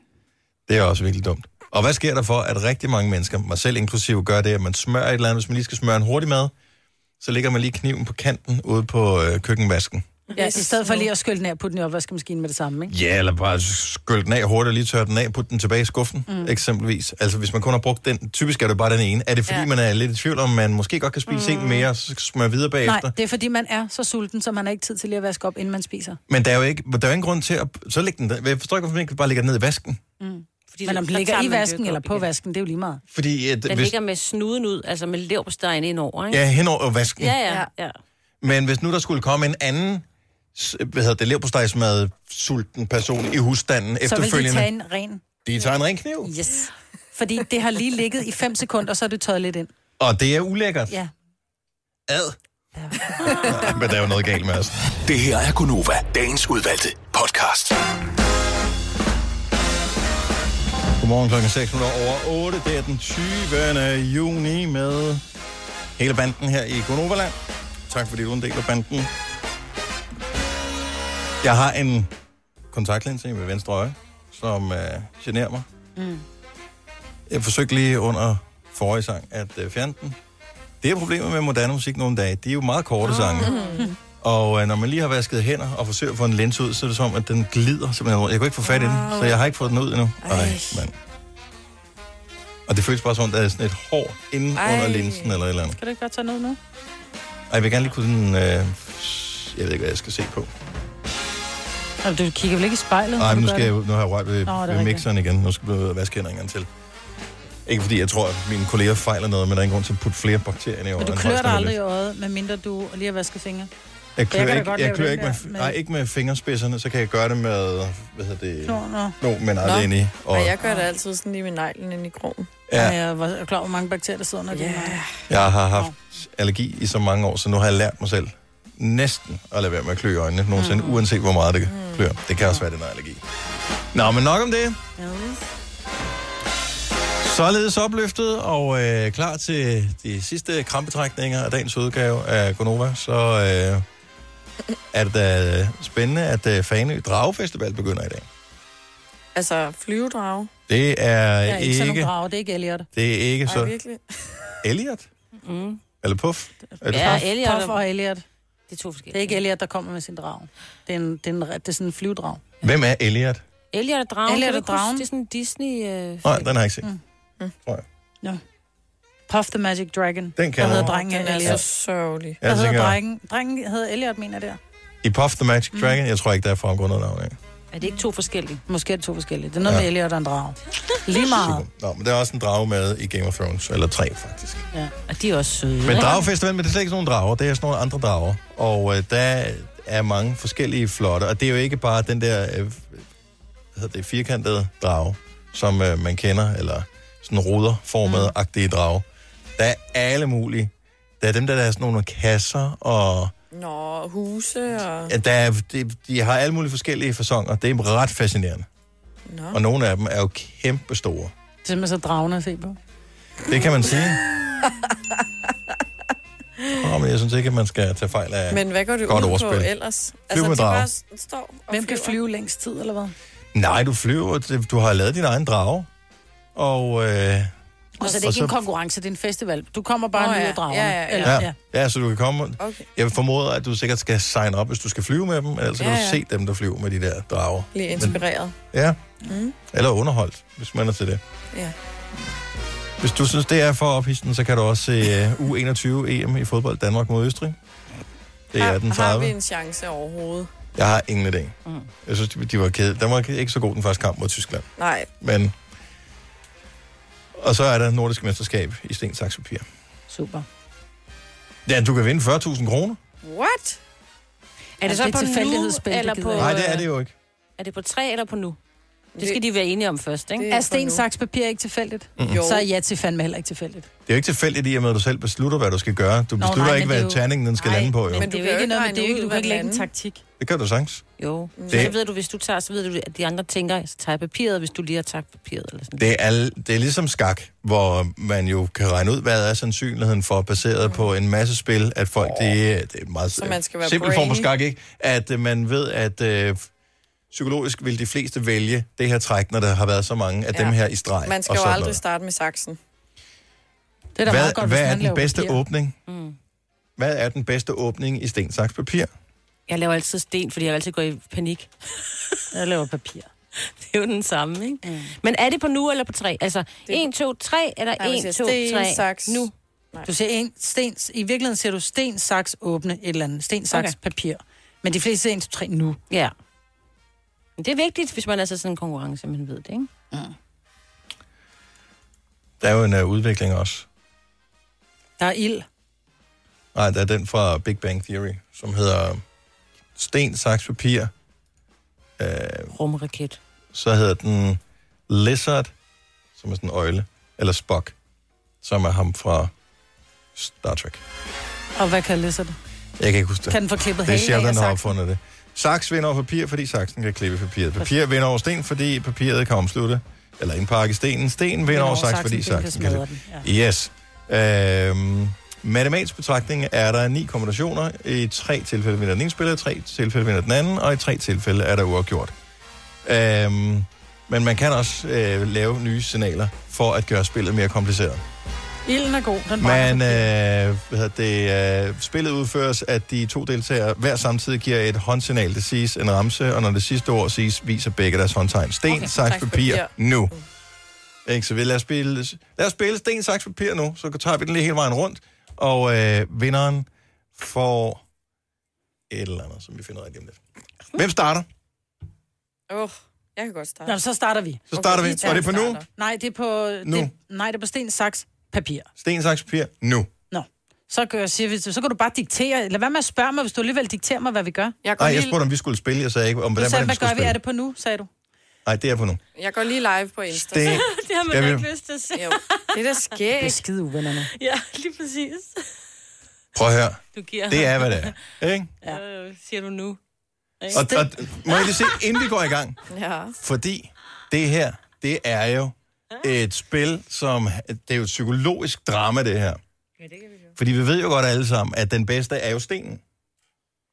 A: Det er også virkelig dumt. Og hvad sker der for, at rigtig mange mennesker, mig selv inklusive, gør det, at man smører et eller andet, hvis man lige skal smøre en hurtig mad, så lægger man lige kniven på kanten ude på øh, køkkenvasken.
D: Ja, i stedet for lige at skylle den af og putte den i opvaskemaskinen med det samme, ikke?
A: Ja, eller bare skylle den af hurtigt og lige tørre den af, putte den tilbage i skuffen, mm. eksempelvis. Altså, hvis man kun har brugt den, typisk er det bare den ene. Er det fordi,
D: Ja.
A: ja. man er lidt i tvivl om, man måske godt kan spise mm. en mere, og så smøre videre bagefter?
D: Nej, det er fordi, man er så sulten, så man har ikke tid til lige at vaske op, inden man spiser.
A: Men der er jo ikke, der er jo ingen grund til at... Så læg den der. Jeg forstår ikke, hvorfor man ikke bare lægger den ned i vasken.
D: Mm.
C: Fordi
D: Men om
C: så
D: den ligger
C: tager
D: i
C: man det
D: vasken
C: jo
D: eller
C: op
D: på vasken, det er jo lige meget.
A: Fordi... At,
C: Den
A: hvis,
C: ligger med snuden ud, altså med leverpostejen indover, ikke?
A: Ja, hen over vasken.
C: Ja, ja, ja.
A: Men hvis nu der skulle komme en anden s- hvad hedder det, leverpostejsmad sulten person i husstanden
D: Så vil de
A: efterfølgende.
D: tage en ren.
A: de tager en ren kniv.
D: Yes. Fordi det har lige ligget i 5 sekunder, og så er det tøjet lidt ind.
A: Og det er ulækkert.
D: Ja.
A: Ad. Men der er jo noget galt med os.
G: Det her er Gunova, dagens udvalgte podcast.
A: Godmorgen klokken 6 minutter over 8. Det er den 20. juni med hele banden her i Konovaland. Tak fordi du er en del af banden. Jeg har en kontaktlinse i mit venstre øje, som øh, generer mig.
E: Mm.
A: Jeg forsøgte lige under forrige sang at øh, fjerne den. Det er problemet med moderne musik nogle dage. De er jo meget korte sange. Og øh, når man lige har vasket hænder og forsøger at få en linse ud, så er det som, om, at den glider simpelthen rundt. Jeg kunne ikke få fat i den, så jeg har ikke fået den ud endnu. Ej, mand. Og det føles bare som, om, der er sådan et hår inde
D: Ej.
A: under linsen eller et eller andet.
D: Kan du ikke godt tage noget nu?
A: Ej, jeg vil gerne lige kunne... Øh, jeg ved ikke, hvad jeg skal se på.
D: Altså, du kigger vel ikke i spejlet?
A: Nej, men
D: når du
A: nu,
D: gør
A: skal jeg,
D: det?
A: ud- nu har jeg rørt ved,
D: Nå, det er
A: ved
D: rigtigt.
A: mixeren igen. Nu skal jeg ud og vaske hænder en gang til. Ikke fordi jeg tror, at mine kolleger fejler noget, men der er ingen grund til at putte flere bakterier ind i
D: Men
A: øjet.
D: du
A: end
D: klør
A: højst
D: dig aldrig i
A: nødvendigt.
D: øjet, medmindre du lige har vasket fingre.
A: Jeg
D: Jeg kan
A: klør
D: da
A: ikke,
D: godt
A: jeg
D: lave
A: klør
D: den
A: ikke,
D: der,
A: med,
D: men-
A: nej, ikke med fingerspidserne, så kan jeg gøre det med, hvad hedder det?
D: Nå, nå.
A: Nå, men aldrig inde i.
B: Og... jeg gør det altid sådan lige med neglen ind i krogen.
A: Ja.
D: Ja. Jeg var klar over, hvor mange bakterier, der sidder under yeah. det.
A: Jeg har haft allergi i så mange år, så nu har jeg lært mig selv næsten at lade være med at klø i øjnene nogensinde, mm. uanset hvor meget det mm. klør. Det kan også være, det er noget allergi. Nå, men nok om det. Således opløftet og øh, klar til de sidste krampetrækninger af dagens udgave af Gonova, så øh, er det da spændende, at øh, Fanø Dragefestival begynder i dag.
B: Altså flyvedrage.
A: Det er
D: Jeg er ikke sådan
A: ikke,
D: nogen drage, det er ikke Elliot.
A: det er ikke
D: Ej,
A: så...
D: virkelig?
A: Elliot?
D: Mm.
A: Eller Puff? Er det
D: Ja,
A: Puff?
D: Elliot. Puff og Elliot. Det er to forskellige. Det er ikke Elliot, der kommer med sin drag. Det er, en, det er, en, det er sådan en flyvedrag.
A: Hvem er Elliot?
C: Elliot og dragen.
D: Elliot
C: kan du
D: og
C: ikke huske,
D: dragen.
C: Det er sådan en Disney... Øh...
A: Nej, den har jeg ikke set.
D: Mm.
A: Mm.
D: Ja. Puff the Magic Dragon.
A: Den kan
D: Der hedder
A: jeg.
D: drengen
A: Den er
D: Elliot.
A: så
B: sørgelig.
A: Ja,
D: Hvad hedder
A: tænker jeg.
D: drengen? Drengen hedder Elliot, mener jeg der.
A: I Puff the
D: Mm.
A: Magic Dragon? Jeg tror ikke, der er fremgået noget navn af.
D: Er det ikke to forskellige? Måske er det to forskellige. Det er noget
A: Ja.
D: med Elliot og en drag. Lige meget.
A: Nå, men der er også en drage med i Game of Thrones, eller tre faktisk.
D: Ja. Og de er også søde.
A: Men dragefestivalen, men det er slet ikke sådan nogle drager, det er sådan nogle andre drager. Og øh, der er mange forskellige flotte, og det er jo ikke bare den der øh, hvad hedder det, firkantede drage, som øh, man kender, eller sådan ruderformede
B: Mm.
A: agtige drage. Der er alle mulige. Der er dem, der, der er sådan nogle kasser, og
B: Nå, huse og...
A: ja, der er, de, de har alle mulige forskellige fasonger. Det er ret fascinerende.
B: Nå.
A: Og nogle af dem er jo kæmpe store.
D: Det er simpelthen så dragende at se på.
A: Det kan man sige. Nå, men jeg synes ikke, at man skal tage fejl af
B: Men hvad går du
A: godt
B: ud
A: ordspil.
B: på ellers?
A: Flyv
B: Altså,
A: med
B: de
A: drage.
B: bare s- står og
D: Hvem kan
B: flyver.
D: flyve længst tid, eller hvad?
A: Nej, du flyver. Det- Du har lavet din egen drage. Og, øh,
D: Og så er det ikke en konkurrence, det er en festival. Du kommer bare
B: Nå,
D: oh,
B: ja.
D: ja. og drager.
B: Ja, ja, ja.
D: Eller,
A: ja. ja, så du kan komme.
B: Okay.
A: Jeg formoder, at du sikkert skal sign op, hvis du skal flyve med dem. Ellers ja,
B: Ja,
A: kan du
B: ja.
A: se dem, der flyver med de der drager.
B: Blive
A: Men-
B: inspireret.
A: Ja,
B: Mm.
A: eller underholdt, hvis man er til det.
B: Ja.
A: Hvis du synes, det er for ophidsende, så kan du også se uh, U21 EM i fodbold Danmark mod Østrig. Det er den
B: Har vi
A: 30.
B: en chance overhovedet?
A: Jeg har ingen idé.
B: Mm.
A: Jeg synes, de- de var kede. Den var ikke så god den første kamp mod Tyskland.
B: Nej.
A: Men... Og så er der Nordisk Mesterskab i sten, saks, papir.
D: Super.
A: Ja, du kan vinde 40.000 kroner.
B: What?
C: Er det så
D: det
C: på
D: tilfældighedsspil,
C: nu,
D: det
C: eller på...
D: gider
A: Nej, det er det jo ikke.
C: Er det på tre eller på nu? Det skal
D: Det-
C: de være enige om først, ikke?
D: Er sten, saks, papir ikke tilfældigt?
A: Mm-mm. Jo.
D: Så er ja til fandme heller ikke tilfældigt.
A: Det er jo ikke tilfældigt i og med, at du selv beslutter, hvad du skal gøre. Du beslutter
D: nej,
A: Nå,
D: men
A: nej, ikke,
D: det er
A: hvad
D: jo-
A: terningen den skal nej, lande på. Jo.
D: Men det er jo ikke noget, men det er jo ikke, du kan ikke lægge en taktik.
A: Det kan du sagtens.
C: Jo.
A: Det-
C: Det. Så ved du, hvis du tager, så ved du, at de andre tænker, så tager jeg papiret, hvis du lige har taget papiret. Eller sådan.
A: Det er, det er ligesom skak, hvor man jo kan regne ud, hvad er sandsynligheden for, baseret på en masse spil, at folk, det, er- det er en meget
B: Så man skal være
A: simpel form for
B: brainy.
A: skak, ikke? At øh, man ved, at øh, psykologisk vil de fleste vælge det her træk, når der har været så mange af ja. dem her i streg.
B: Man skal
A: og
B: jo
A: sådan
B: aldrig
A: noget.
B: starte med saksen.
D: Det er da
A: hvad,
D: meget godt, hvis
A: hvad
D: man
A: er den
D: laver
A: bedste
D: papir.
A: åbning?
C: Mm.
A: Hvad er den bedste åbning i sten, saks, papir?
C: Jeg laver altid sten, fordi jeg altid går i panik. jeg laver papir. Det er jo den samme, ikke? Mm. Men er det på nu eller på tre? Altså, 1, 2, 3, eller
D: Nej, man
C: 1,
D: siger
C: 2,
D: sten,
C: 3,
D: saks.
C: nu?
D: Du ser en sten, i virkeligheden ser du sten, saks, åbne et eller andet. Sten, saks,
C: Okay.
D: okay. papir. Men de fleste ser en, to, tre nu.
C: Ja. Men det er vigtigt, hvis man er til sådan en konkurrence, man ved det, ikke? Mm.
A: Der er jo en uh, udvikling også.
D: Der er ild.
A: Nej, der er den fra Big Bang Theory, som hedder øh, sten, saks, papir. Øh,
C: Rumraket.
A: Så hedder den Lizard, som er sådan en øjle, eller Spock, som er ham fra Star Trek.
D: Og hvad kan læse det?
A: Jeg kan ikke huske det.
D: Kan den få klippet
A: det er
D: halen af
A: Sheldon, der har
D: saksen?
A: opfundet det. Saks vinder over papir, fordi saksen kan klippe papiret. Papir vinder over sten, fordi papiret kan omslutte, eller indpakke stenen. Sten vinder over saks, fordi saksen kan klippe. Yes. Øhm, matematisk betragtning er der ni kombinationer. I tre tilfælde vinder den ene spiller, i tre tilfælde vinder den anden, og i tre tilfælde er der uafgjort. Øhm, men man kan også øh, lave nye signaler for at gøre spillet mere kompliceret.
D: Ilden er god, den brænder.
A: Men øh,
D: altså
A: hvad hedder det, øh, spillet udføres, at de to deltagere hver samtidig giver et håndsignal. Det siges en ramse, og når det sidste ord siges, viser begge deres håndtegn. Sten, okay, saks, papir, nu. Ikke, så vi lad os spille, lad os spille sten, saks, papir nu, så tager vi den lige hele vejen rundt, og øh, vinderen får et eller andet, som vi finder ud af lige om lidt. Hvem starter?
B: Åh, oh, jeg kan godt starte.
D: Nå, så starter vi.
A: øh, Så starter vi. Og det er på nu?
D: Nej, det er på...
A: Nu.
D: Det, nej, det er på sten, saks, papir.
A: Sten, saks, papir, nu.
D: Nå. Så, gør, siger vi, så kan du bare diktere. Lad være med at spørge mig, hvis du alligevel dikterer mig, hvad vi gør.
B: Jeg
A: Nej, jeg spurgte, om vi skulle spille. Jeg sagde ikke, om
D: du
A: hvordan
D: sagde,
A: man
D: hvad
A: skulle
D: gør vi? Er
A: spille.
D: det på nu, sagde du?
A: Nej, det er på nu.
B: Jeg går lige live på Insta.
A: Sten-
C: det har man
A: Skal
C: da
A: vi-
C: ikke lyst til at se.
B: Jo, det er da skægt.
D: Det er skide uvennerne.
C: Ja, lige præcis.
A: Prøv at høre.
C: Du giver
A: Det
C: ham.
A: er, hvad det er. Ikke?
C: Ja. Øh, siger du nu. Ikke?
A: Og, og, må jeg lige se, inden vi går i gang,
B: Ja.
A: fordi det her, det er jo et spil, som, det er jo et psykologisk drama, det her. Fordi vi ved jo godt alle sammen, at den bedste er jo stenen.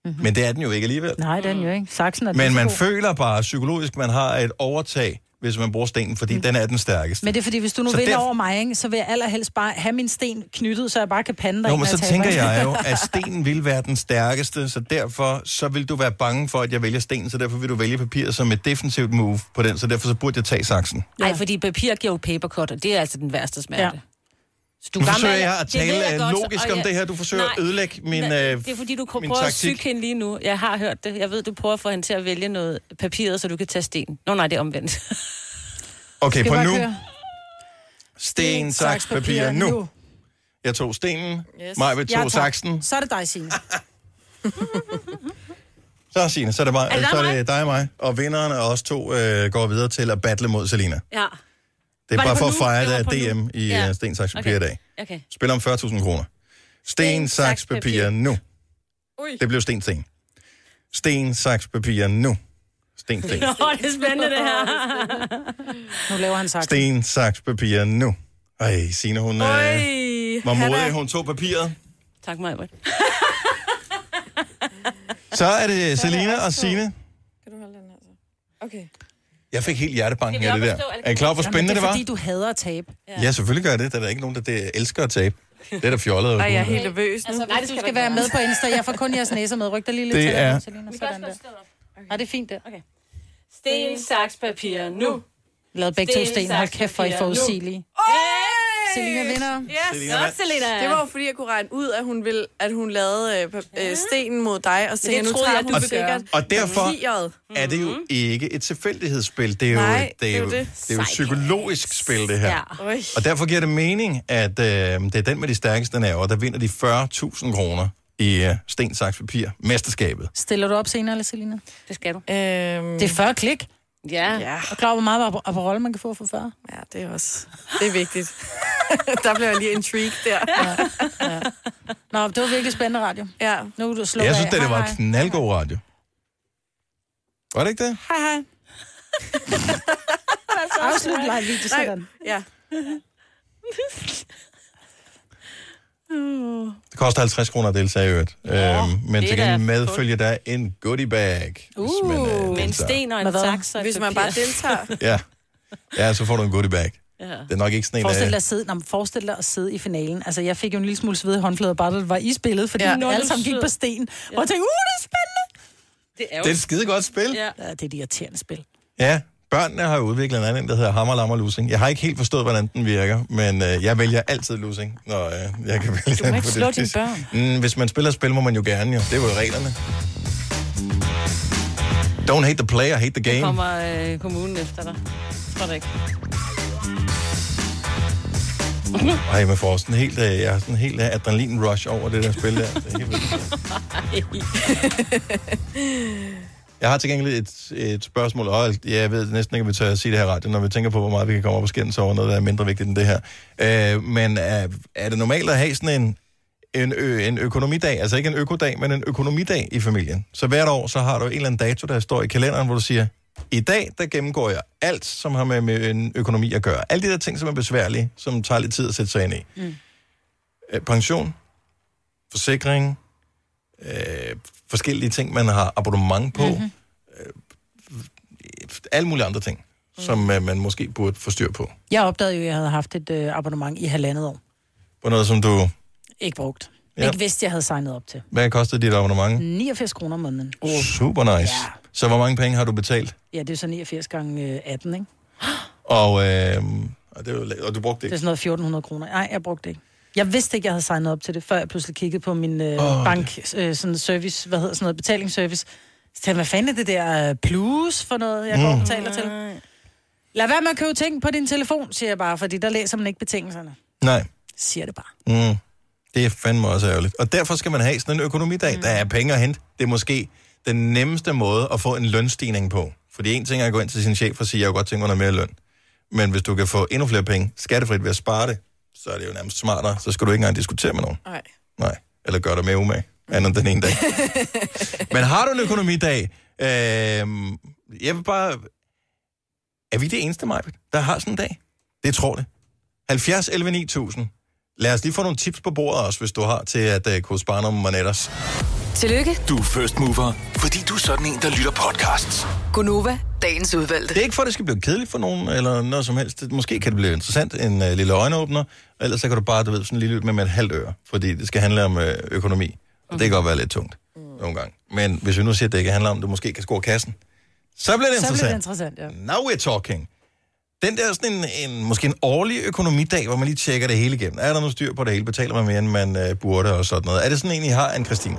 A: Mm-hmm. Men det er den jo ikke alligevel.
D: Mhm. Nej, den jo ikke. Saksen er
A: Men man
D: pissegod.
A: føler bare psykologisk, man har et overtag, hvis man bruger stenen, fordi mm. den er den stærkeste.
D: Men det er fordi, hvis du nu
A: Så
D: vinder
A: derf-
D: over mig, ikke, så vil jeg allerhelst bare have min sten knyttet, så jeg bare kan pande dig.
A: Nå,
D: ind,
A: men
D: når
A: så
D: taber.
A: tænker jeg jo, at stenen vil være den stærkeste, så derfor så vil du være bange for, at jeg vælger stenen, så derfor vil du vælge papiret som et defensivt move på den, så derfor så burde jeg tage saksen.
C: Nej, ja. fordi papir giver jo papercut, og det er altså den værste smerte. Ja. Så
A: Du nu
C: gammel-
A: forsøger jeg at
C: Det ved
A: tale
C: jeg
A: øh,
C: godt, så-
A: logisk
C: og
A: om
C: jeg-
A: det her. Du forsøger
C: Nej,
A: at ødelægge min,
C: nej,
A: øh,
C: det er fordi, du
A: min
C: prøver at
A: taktik.
C: psyke hende lige nu. Jeg har hørt det. Jeg ved, du prøver at få hende til at vælge noget papiret, så du kan tage sten. Nå nej, det er omvendt.
A: Okay,
C: Skal
A: på
C: vi bare
A: nu.
C: køre?
A: Sten, saks, papir, nu. Jeg tog stenen. Yes. Maj ved
D: Jeg
A: tog
D: tager-
A: saksen.
D: Så er det dig, Signe.
A: Så, Signe, så er det, mig,
D: Er det dig
A: så
D: og
A: er det dig og mig. Og vinderen og os to øh, går videre til at battle mod Selina.
C: Ja.
A: Det er
C: Var
A: bare
C: det
A: for
C: på
A: at
C: nu?
A: fejre,
C: Det
A: der
C: var på
A: er
C: nu.
A: DM i
C: Ja.
A: ja. sten, saks, papir
C: Okay.
A: i dag.
C: Okay.
A: Spil om 40.000 kroner. Sten, saks, papir, nu.
C: Ui.
A: Det blev sten, sten. Sten, saks, papir, nu. Sten, sten.
C: Nå, det er spændende det her.
D: nu laver han saksen.
A: Sten, saks, papir, nu. Ej, Signe, hun øh,
B: Øj,
A: var
B: han
A: modig.
B: er-
A: Hun tog papiret.
C: Tak, mig, Britt.
A: Så er det Selina og Sine.
B: Okay.
A: Jeg fik helt hjertebanken
D: Det
A: af
D: vil
A: det
D: jeg
A: der.
D: forstå,
A: Er I klar, hvor
D: Jamen,
A: spændende det
D: er
A: var?
D: fordi, du hader at tabe.
A: Ja, selvfølgelig gør jeg det. Der er der ikke nogen, der det elsker at tabe. Det er da fjollet.
B: Ej, jeg er helt nervøs nu.
D: Altså, nej, du skal være med på Insta. Jeg får kun jeres næser med. Ryk dig lige lidt
A: Det
D: til.
A: er-
D: Selina. Sådan der. Nej, det er fint der. Okay.
C: Sten, saks, papir, nu.
D: Lavet begge to sten. Hold kæft, for I får usigelige. Selina vinder.
B: Yes.
D: Selina vandt. Godt, Selina.
B: Det var jo fordi, jeg kunne regne ud, at hun, ville, at hun lavede øh, pa- øh, stenen mod dig, og så
C: det
B: tænkte, jeg, nu
C: troede
B: tager
C: jeg,
B: hun
C: du ville
B: sikkert
C: gøre.
A: Og derfor
B: tieret.
A: er det jo ikke et tilfældighedsspil. Det er jo,
B: Nej,
A: det er jo, det er jo et psykologisk spil, det her.
B: Ja. Øj.
A: Og derfor giver det mening, at øh, det er den med de stærkeste nerver, der vinder de 40.000 kroner i øh, sten, saks, papir, mesterskabet.
D: Stiller du op senere, eller Selina?
C: Det skal du.
B: Øhm...
D: Det er 40 klik.
C: Ja.
B: ja.
D: Og klar, hvor meget op- op- rolle man kan få for 40.
B: Ja, det er også... Det er vigtigt. der blev jeg lige intrigued der. Ja.
D: Nå, det var virkelig spændende radio.
B: Ja.
D: Nu er du slået
A: Jeg synes,
D: af.
A: det, det
D: Hej,
A: var
D: hej.
A: knaldgod radio. Var det ikke det?
D: Hej, hej. Afslut live-video, sådan.
B: Ja.
A: Det koster 50 kroner at deltage i øvrigt. øhm, men til
C: det er
A: gengæld
C: da
A: medfølger der en goodie bag.
C: Uh,
A: man, øh,
C: med en
A: deltager.
C: sten og en
D: Med hvad?
C: saks og et
B: Hvis man
C: papir.
B: bare deltager.
A: Ja. ja, så får du en goodie bag.
C: Ja.
A: Det er nok ikke sådan en, øh,
D: Forestil
A: der-
D: dig, at sidde, nå, men forestil dig at sidde i finalen. Altså, jeg fik jo en lille smule sved i håndflader, bare da det var i spillet, fordi
C: Ja.
D: ja.
C: Nå, det
D: alle
C: er
D: sammen gik
C: sød.
D: på sten. Ja. Og jeg tænkte, uh, det er spændende!
C: Det er
A: Det er et skide godt spil.
C: Ja.
D: ja, det er et irriterende spil.
A: Ja, børnene har jo udviklet en anden, der hedder Hammer, Lammer, Lussing. Jeg har ikke helt forstået, hvordan den virker, men øh, jeg vælger altid Lussing, når øh, jeg kan vælge Du
L: må ikke slå dine børn.
A: Mm, hvis man spiller spil, må man jo gerne jo. Det er jo reglerne. Don't hate the player, hate the game.
C: Kommer øh, kommunen efter dig. Tror det ikke.
A: Ej, man får sådan helt, øh, jeg har sådan helt øh, adrenalin-rush over det der spil der. Det er helt vildt. Jeg har til gengæld et, et spørgsmål, og jeg ved næsten ikke, om vi tør at sige det her i radioen, når vi tænker på, hvor meget vi kan komme op og skændes over noget, der er mindre vigtigt end det her. Øh, men er, er det normalt at have sådan en, en, ø, en økonomidag, altså ikke en økodag, men en økonomidag i familien? Så hvert år, så har du en eller anden dato, der står i kalenderen, hvor du siger, i dag, der gennemgår jeg alt, som har med, med en økonomi at gøre. Alle de der ting, som er besværlige, som tager lidt tid at sætte sig ind i.
N: Mm.
A: Øh, pension, forsikring, øh, forskellige ting, man har abonnement på, mm-hmm. øh, alle mulige andre ting, mm. som øh, man måske burde få styr på.
D: Jeg opdagede jo, at jeg havde haft et øh, abonnement i halvandet år.
A: På noget, som du...
D: Ikke brugt.
A: Ja.
D: Ja. Ikke vidste, jeg havde signet op til.
A: Hvad kostede dit abonnement?
D: 89 kroner om måneden.
A: Mm. Super nice. Mm. Ja. Så hvor mange penge har du betalt?
D: Ja, det er så 89 gange øh, 18, ikke?
A: Og, øh, og, det var, la- og du brugte
D: Det
A: det
D: er
A: ikke?
D: sådan noget 1400 kroner. Nej, jeg brugte det ikke. Jeg vidste ikke, jeg havde signet op til det, før jeg pludselig kiggede på min øh,
A: Åh,
D: oh, bank, øh, sådan service, hvad hedder sådan noget, betalingsservice. Så tænkte jeg, hvad fanden er det der øh, plus for noget, jeg går og
A: Mm.
D: betaler til? Lad være med at købe ting på din telefon, siger jeg bare, fordi der læser man ikke betingelserne.
A: Nej.
D: Siger det bare.
A: Mm. Det er fandme også ærgerligt. Og derfor skal man have sådan en økonomidag. Mm. Der er penge at hente. Det er måske den nemmeste måde at få en lønstigning på. Fordi en ting er at gå ind til sin chef og sige, jeg kunne godt tænke mig noget mere løn. Men hvis du kan få endnu flere penge skattefrit ved at spare det, så er det jo nærmest smartere. Så skal du ikke engang diskutere med nogen.
B: Nej.
A: Nej. Eller gør dig mere umage. Andet end den ene dag. Men har du en økonomidag? Øh, jeg vil bare... Er vi det eneste, Majbet, der har sådan en dag? Det tror det. 70 11 9000. Lad os lige få nogle tips på bordet også, hvis du har til at uh, kunne spare nogle manetters.
F: Tillykke,
A: Du er first mover.
G: Fordi du er sådan en, der lytter podcasts.
F: Gunova, dagens udvalgte.
A: Det er ikke for, at det skal blive kedeligt for nogen, eller noget som helst. Det- Måske kan det blive interessant, en uh, lille øjenåbner. Ellers så kan du bare, du ved, sådan lige lytte med med et halvt øre. Fordi det skal handle om uh, økonomi. Og det kan godt være lidt tungt nogle gange. Men hvis vi nu siger, at det ikke handler om, at du måske kan score kassen, så bliver det
D: Så
A: interessant. Mm.
D: bliver det interessant, ja.
A: Now we're talking. Den der sådan en, en, måske en årlig økonomidag, hvor man lige tjekker det hele igennem. Er der noget styr på det hele? Betaler man mere, end man øh, burde og sådan noget? Er det sådan en, I har, anne Christine?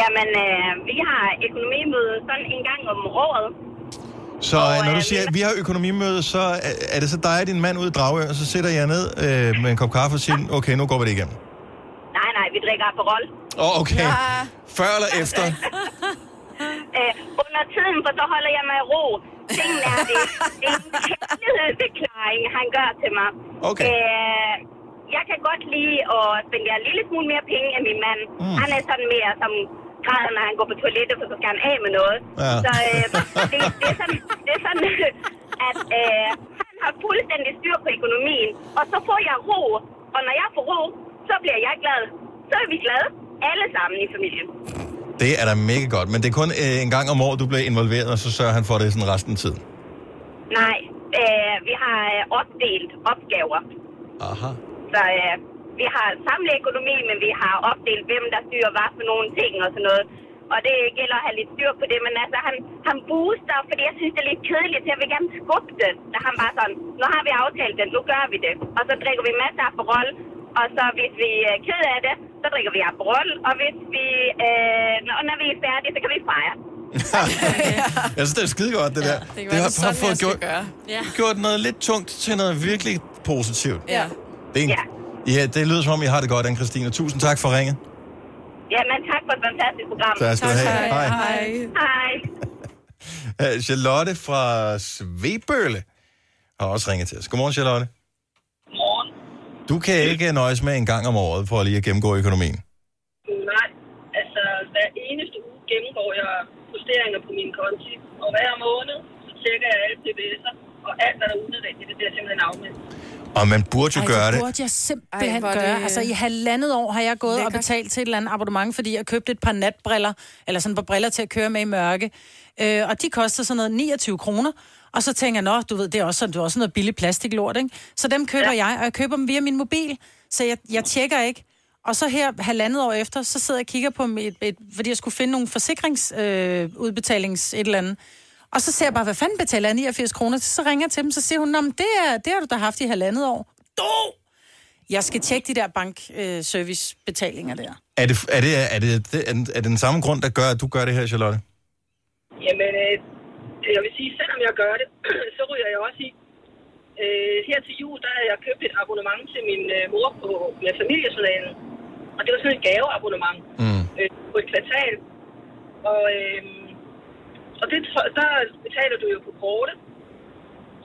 J: Jamen, øh, vi har økonomimøde sådan en gang om året.
A: Så øh, når du siger, at vi har økonomimøde, så er, er det så dig og din mand ude i Dragør, og så sætter jeg ned øh, med en kop kaffe og siger, okay, nu går vi det igennem.
J: Nej, nej, vi drikker Aperol.
A: Åh, oh, okay. Før eller efter?
J: Øh, under tiden, for så holder jeg mig i ro. Tingene er det. Det er en kærlighedsbeklaring, han gør til mig.
A: Okay.
J: Øh, jeg kan godt lide at spendere en lille smule mere penge end min mand.
A: Mm.
J: Mm. Han er sådan mere som græder, når han går på toilettet, for så skal han af med noget.
A: Ja.
J: Så øh, det, det, er sådan, det er sådan, at øh, han har fuldstændig styr på økonomien. Og så får jeg ro. Og når jeg får ro, så bliver jeg glad. Så er vi glade alle sammen i familien.
A: Det er da mega godt, men det er kun øh, en gang om året, du bliver involveret, og så sørger han for det sådan resten af tiden.
J: Nej, øh, vi har øh, opdelt opgaver.
A: Aha.
J: Så øh, vi har samlet økonomi, men vi har opdelt, hvem der styrer hvad for nogle ting og sådan noget. Og det gælder at have lidt styr på det, men altså, han, han booster, fordi jeg synes, det er lidt kedeligt, så jeg vil gerne skubbe det. Så han bare sådan, nu har vi aftalt det, nu gør vi det. Og så drikker vi masser af Aperol, og så hvis vi øh, er ked af det, så drikker vi Aperol, og hvis vi, øh, når, når vi er færdige, så kan vi fejre.
A: Jeg synes, det er skide godt, det ja, der.
J: være,
A: har
J: det er sådan,
A: bare fået
J: jeg skal
A: gjort,
J: gøre. Ja.
A: gjort noget lidt tungt til noget virkelig positivt.
J: Ja.
A: Det er en, ja. ja, det lyder som om, I har det godt, Anne-Christine. Tusind tak for ringet.
J: Ja, men tak for et fantastisk program.
A: Tak skal du have. Tak, hej.
J: Hej. Hej.
A: Uh, Charlotte fra Svebølle har også ringet til os. Godmorgen, Charlotte.
I: Morgen.
A: Du kan ikke nøjes med en gang om året for lige at gennemgå økonomien.
I: Nej, altså hver eneste uge gennemgår jeg justeringer på min konti, og hver måned så tjekker jeg alle PBS'er, og alt, hvad der er unødvendigt, det bliver simpelthen afmeldt.
A: Og man burde jo
D: Ej,
A: gøre
D: det
A: det.
D: burde jeg simpelthen
I: Ej,
D: Ej,
I: hvor
D: gøre.
I: det-
D: Det... Altså, i halvandet år har jeg gået Lækkert. og betalt til et eller andet abonnement, fordi jeg købte et par natbriller, eller sådan et par briller til at køre med i mørke. Øh, og de koster sådan noget 29 kroner. Og så tænker jeg, nå, du ved, det er også sådan, det er også sådan noget billig plastiklort, ikke? Så dem køber ja. jeg, og jeg køber dem via min mobil, så jeg, jeg tjekker ikke. Og så her halvandet år efter, så sidder jeg og kigger på mit, et, fordi jeg skulle finde nogle forsikringsudbetalings øh, udbetalings- et eller andet. Og så ser jeg bare, hvad fanden betaler jeg 89 kroner til? Så ringer jeg til dem, så siger hun, nå, men det, er, det har du da haft i halvandet år. Du! Jeg skal tjekke de der bankservicebetalinger der.
A: Er det, er, det, er, det, er, det, er det den samme grund, der gør, at du gør det her, Charlotte?
I: Jamen, øh, jeg vil sige, selvom jeg gør det, så ryger jeg også i. Øh, her til jul, der havde jeg købt et abonnement til min øh, mor på med familiejournalen. Og det var sådan et gaveabonnement
A: mm.
I: øh, på et kvartal. Og, øh, og det, tror- der betaler du jo på kortet.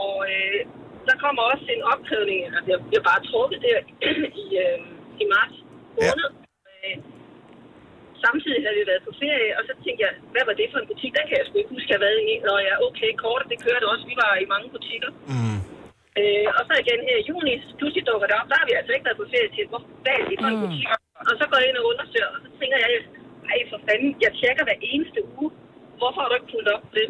I: Og øh, der kommer også en opkrævning, altså jeg bliver bare trukket der i, øh, i marts måned. Ja. Øh, samtidig havde vi været på ferie, og så tænkte jeg, hvad var det for en butik? Der kan jeg sgu ikke huske, jeg har været i. Når jeg, okay, kortet, det kørte også. Vi var i mange butikker.
A: Mm.
I: Øh, og så igen her i juni, så pludselig dukker det op. Der har vi altså ikke været på ferie til, hvor hvad er det for en
N: Mm.
I: butik? Og så går jeg ind og undersøger, og så tænker jeg, ej for fanden, jeg tjekker hver eneste uge. Hvorfor har du ikke fulgt op på det?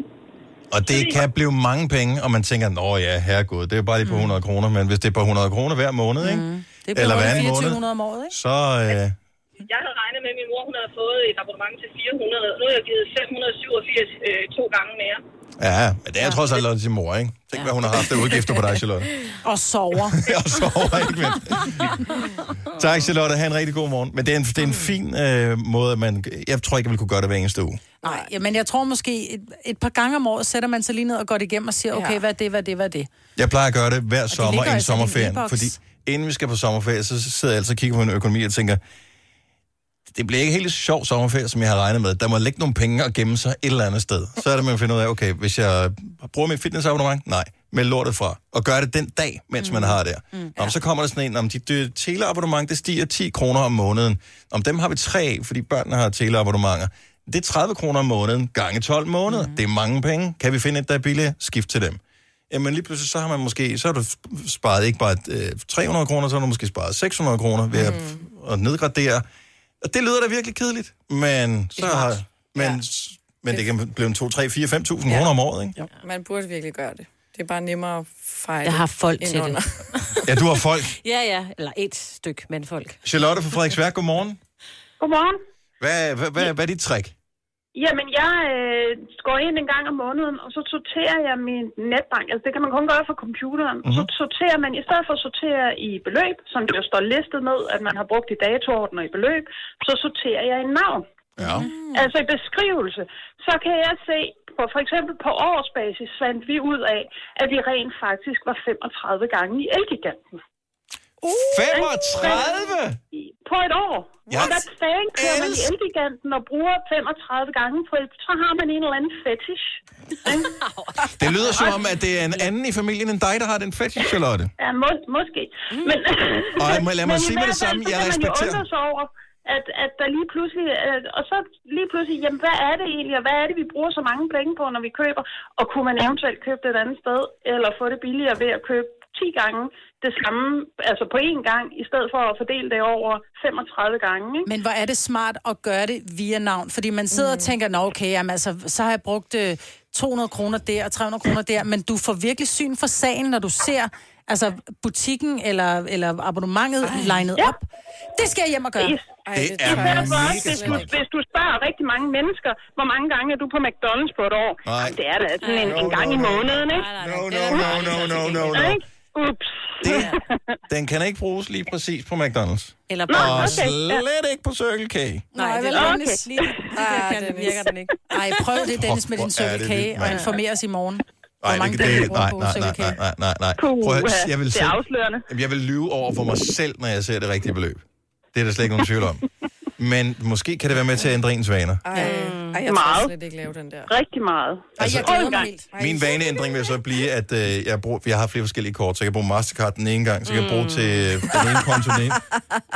A: Og det kan blive mange penge, og man tænker, nå ja, herregud, det er jo bare lige på 100 kroner, men hvis det er på 100 kroner hver måned, ikke? Mm.
D: Mm. Det
A: Eller hver anden måned,
D: 2400 om året, ikke?
A: så... Øh,
I: Jeg havde regnet med, at min mor hun havde fået et abonnement til 400. Nu har jeg givet 587 øh, to gange mere.
A: øh, ja, men det er trods alt også sin mor, ikke? Tænk, hvad hun har haft af udgifter på dig, Charlotte.
D: Og sover.
A: og sover, ikke mindst. Tak, Charlotte. Ha' en rigtig god morgen. Men det er en, det
D: Mm.
A: er en fin øh, måde, at man... Jeg tror ikke, jeg ville kunne gøre det hver eneste uge.
D: Nej, ja, men jeg tror måske et, et par gange om året sætter man sig lige ned og går det igennem og siger, okay, hvad er det, hvad er det, hvad er det?
A: Jeg plejer at gøre det hver sommer
D: ligger
A: inden
D: altså i din
A: sommerferien,
D: e-boks.
A: fordi inden vi skal på sommerferie, så sidder jeg altid og kigger på en økonomi og tænker, det bliver ikke helt sjov sommerferie, som jeg har regnet med. Der må ligge nogle penge og gemme sig et eller andet sted. Så er det, man finder ud af, okay, hvis jeg bruger mit fitnessabonnement, nej, meld lortet fra. Og gør det den dag, mens mm. man har det. Mm. Om, så kommer der sådan en, om dit øh, teleabonnement, det stiger 10 kroner om måneden. Om dem har vi tre, af, fordi børnene har teleabonnementer. Det er 30 kroner om måneden, gange 12 måneder. Mm. Det er mange penge. Kan vi finde et, der er billigere? Skift til dem jamen lige pludselig så har man måske, så har du sp- sparet ikke bare øh, 300 kroner, så har du måske sparet 600 kroner ved at, at nedgradere. Og det lyder da virkelig kedeligt, men så har, men, ja. men det kan blive en 2, 3, 4, 5.000 kroner om året, ikke?
B: Man burde virkelig gøre det. Det er bare nemmere at fejle.
C: Jeg har folk til det.
B: indenunder.
A: Ja, du har folk.
C: Ja, ja. Eller et stykke mandfolk.
A: Charlotte fra Frederiksværk, godmorgen.
N: Godmorgen.
A: Hvad, hvad, hvad, hvad er dit trick?
N: Jamen, jeg øh, går ind en gang om måneden, og så sorterer jeg min netbank. Altså, det kan man kun gøre fra computeren. Mm-hmm. Så
A: Mhm.
N: sorterer man, i stedet for at sortere i beløb, som det jo står listet ned, at man har brugt i datoorden og i beløb, så sorterer jeg i navn.
A: Ja.
N: Altså i beskrivelse. Så kan jeg se, på, for eksempel på årsbasis, fandt vi ud af, at vi rent faktisk var 35 gange i Elgiganten. På et år.
A: Jeg
N: Yes. Hvad fanden kører man i
A: elsker-
N: Elgiganten og bruger 35 gange på et, så har man en eller anden fetish.
A: Det lyder som om, at det er en anden i familien end dig, der har den fetish, Charlotte.
N: Ja, må, måske. Men,
A: Og jeg Mm. må- lad mig
N: men i
A: sige med det
N: hvert fald,
A: samme,
N: så
A: jeg
N: kan Man
A: respekterer-
N: jo undre sig over, at, at der lige pludselig, at, og så lige pludselig, jamen hvad er det egentlig, og hvad er det, vi bruger så mange penge på, når vi køber, og kunne man eventuelt købe det et andet sted, eller få det billigere ved at købe 10 gange det samme, altså på én gang, i stedet for at fordele det over 35 gange. Ikke?
D: Men hvor er det smart at gøre det via navn? Fordi man sidder mm. og tænker, nå okay, jamen, altså, så har jeg brugt øh, 200 kroner der og 300 kroner der, men du får virkelig syn for sagen, når du ser altså, butikken eller, eller abonnementet Ej. lignet ja. op. Det skal jeg hjem og gøre.
A: Ej, det er
N: I stedet for
A: mega
N: også, hvis, du,
A: smart.
N: hvis du spørger rigtig mange mennesker, hvor mange gange er du på McDonald's på et år?
A: Nej.
N: Jamen, det er da sådan en, en gang i måneden, ikke?
A: No, no, no, no, no, no, no.
N: Ikke? Ups.
A: Den kan ikke bruges lige præcis på McDonald's.
C: Eller
N: Nå,
A: Og
N: okay, ja.
A: slet ikke på Circle K.
D: Nej, vel,
N: Okay.
D: Dennis, lige.
C: Ah, det virker den ikke.
D: Ej, prøv det, Dennis, med din
A: Hvor er det
D: Circle
A: vildt,
D: K, og
A: mand.
D: informer os i morgen.
A: Nej,
D: mange
A: det,
D: penge
A: det,
D: du bruger
A: nej,
D: på
A: nej, nej,
D: Circle K.
A: nej, nej, nej, nej. Prøv at høre,
N: Puha,
A: jeg vil
N: det
A: selv,
N: er afslørende.
A: Jamen, jeg vil lyve over for mig selv, når jeg ser det rigtige beløb. Det er der slet ikke nogen tvivl om. Men måske kan det være med til at ændre ens vaner.
B: Ej, ej jeg
N: Mm. Meget.
B: tror slet ikke lave den der.
N: Rigtig meget.
A: Altså,
B: jeg glæder
N: en
B: mig
N: gang.
B: helt.
A: Min vaneændring vil så blive, at øh, jeg, bruger, jeg har flere forskellige kort, så jeg kan bruge Mastercard den ene gang, så kan jeg
D: Mm.
A: bruge til øh, den ene konto den ene.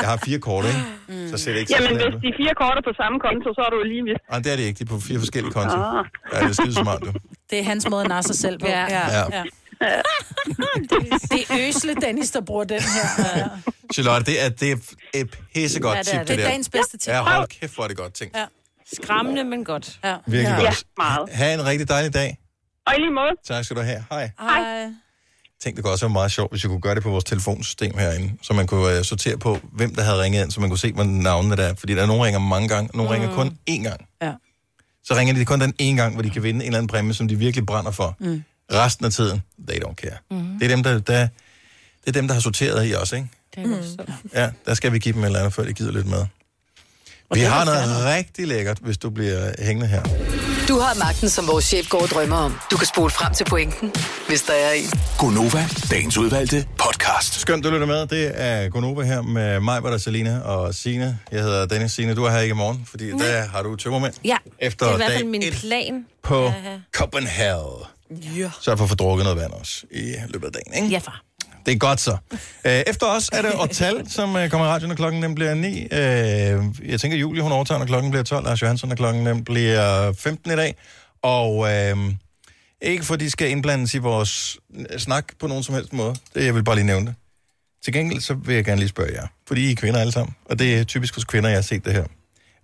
A: Jeg har fire kort, ikke?
D: Mm.
A: Så ser det ikke
N: Jamen,
A: så
N: hvis
A: slemt ud.
N: de fire kort er på samme konto, så er du jo lige vist.
A: Nej, det er det ikke. De er på fire forskellige konti.
N: Ah.
A: Ja, det er skide smart, du.
D: Det er hans måde at narre sig selv på. Ja.
A: Ja.
D: Det er Øsle Dennis, der bruger den her. Ja.
A: Charlotte, det er, det er et pissegodt
C: Ja, det er
A: tip, det,
C: det.
D: Det er
A: der.
D: dagens bedste tip.
A: Ja, hold kæft, hvor er det godt ting.
D: Ja.
C: Skræmmende, men godt.
D: Ja.
A: Virkelig
N: Ja,
A: godt.
N: meget.
A: Ha' en rigtig dejlig dag.
N: Og i lige måde.
A: Tak skal du have. Hej.
D: Hej.
A: Tænk, det kunne også være meget sjovt, hvis jeg kunne gøre det på vores telefonsystem herinde, så man kunne øh, sortere på, hvem der havde ringet ind, så man kunne se, hvad navnene der er. Fordi der er nogen, der ringer mange gange, og nogen mm. ringer kun én gang.
D: Ja.
A: Så ringer de kun den ene gang, hvor de kan vinde en eller anden præmie, som de virkelig brænder for. Mm. Resten af tiden, they don't care. Mm. Det, er dem, der, der, det er dem, der har sorteret i os, ikke? Ja, der skal vi give dem et eller andet, før de gider lidt med. Vi har noget rigtig lækkert, hvis du bliver hængende her.
F: Du har magten, som vores chef går og drømmer om. Du kan spole frem til pointen, hvis der er en.
G: Gonova, dagens udvalgte podcast.
A: Skønt, du lytter med. Det er Gonova her med mig, Bader, Selina og Sine. Jeg hedder Dennis Sine. Du er her ikke i morgen, fordi Nej. der har du tømmermænd.
C: Ja,
A: Efter
C: det er i hvert
A: dag
C: fald min
A: et
C: plan.
A: på Copenhagen.
B: Ja.
A: Så for at få drukket noget vand også i løbet af dagen, ikke?
C: Ja, far.
A: Det er godt så. Øh, Efter os er det Otal, som øh, kommer i radioen, når klokken den bliver 9. Øh, Jeg tænker, Julie hun overtager, når klokken bliver 12. Lars Johansson, når klokken den bliver 15 i dag. Og øh, ikke for, de skal indblandes i vores øh, snak på nogen som helst måde. Det, jeg vil bare lige nævne det. Til gengæld så vil jeg gerne lige spørge jer, fordi I er kvinder alle sammen, og det er typisk hos kvinder, jeg har set det her.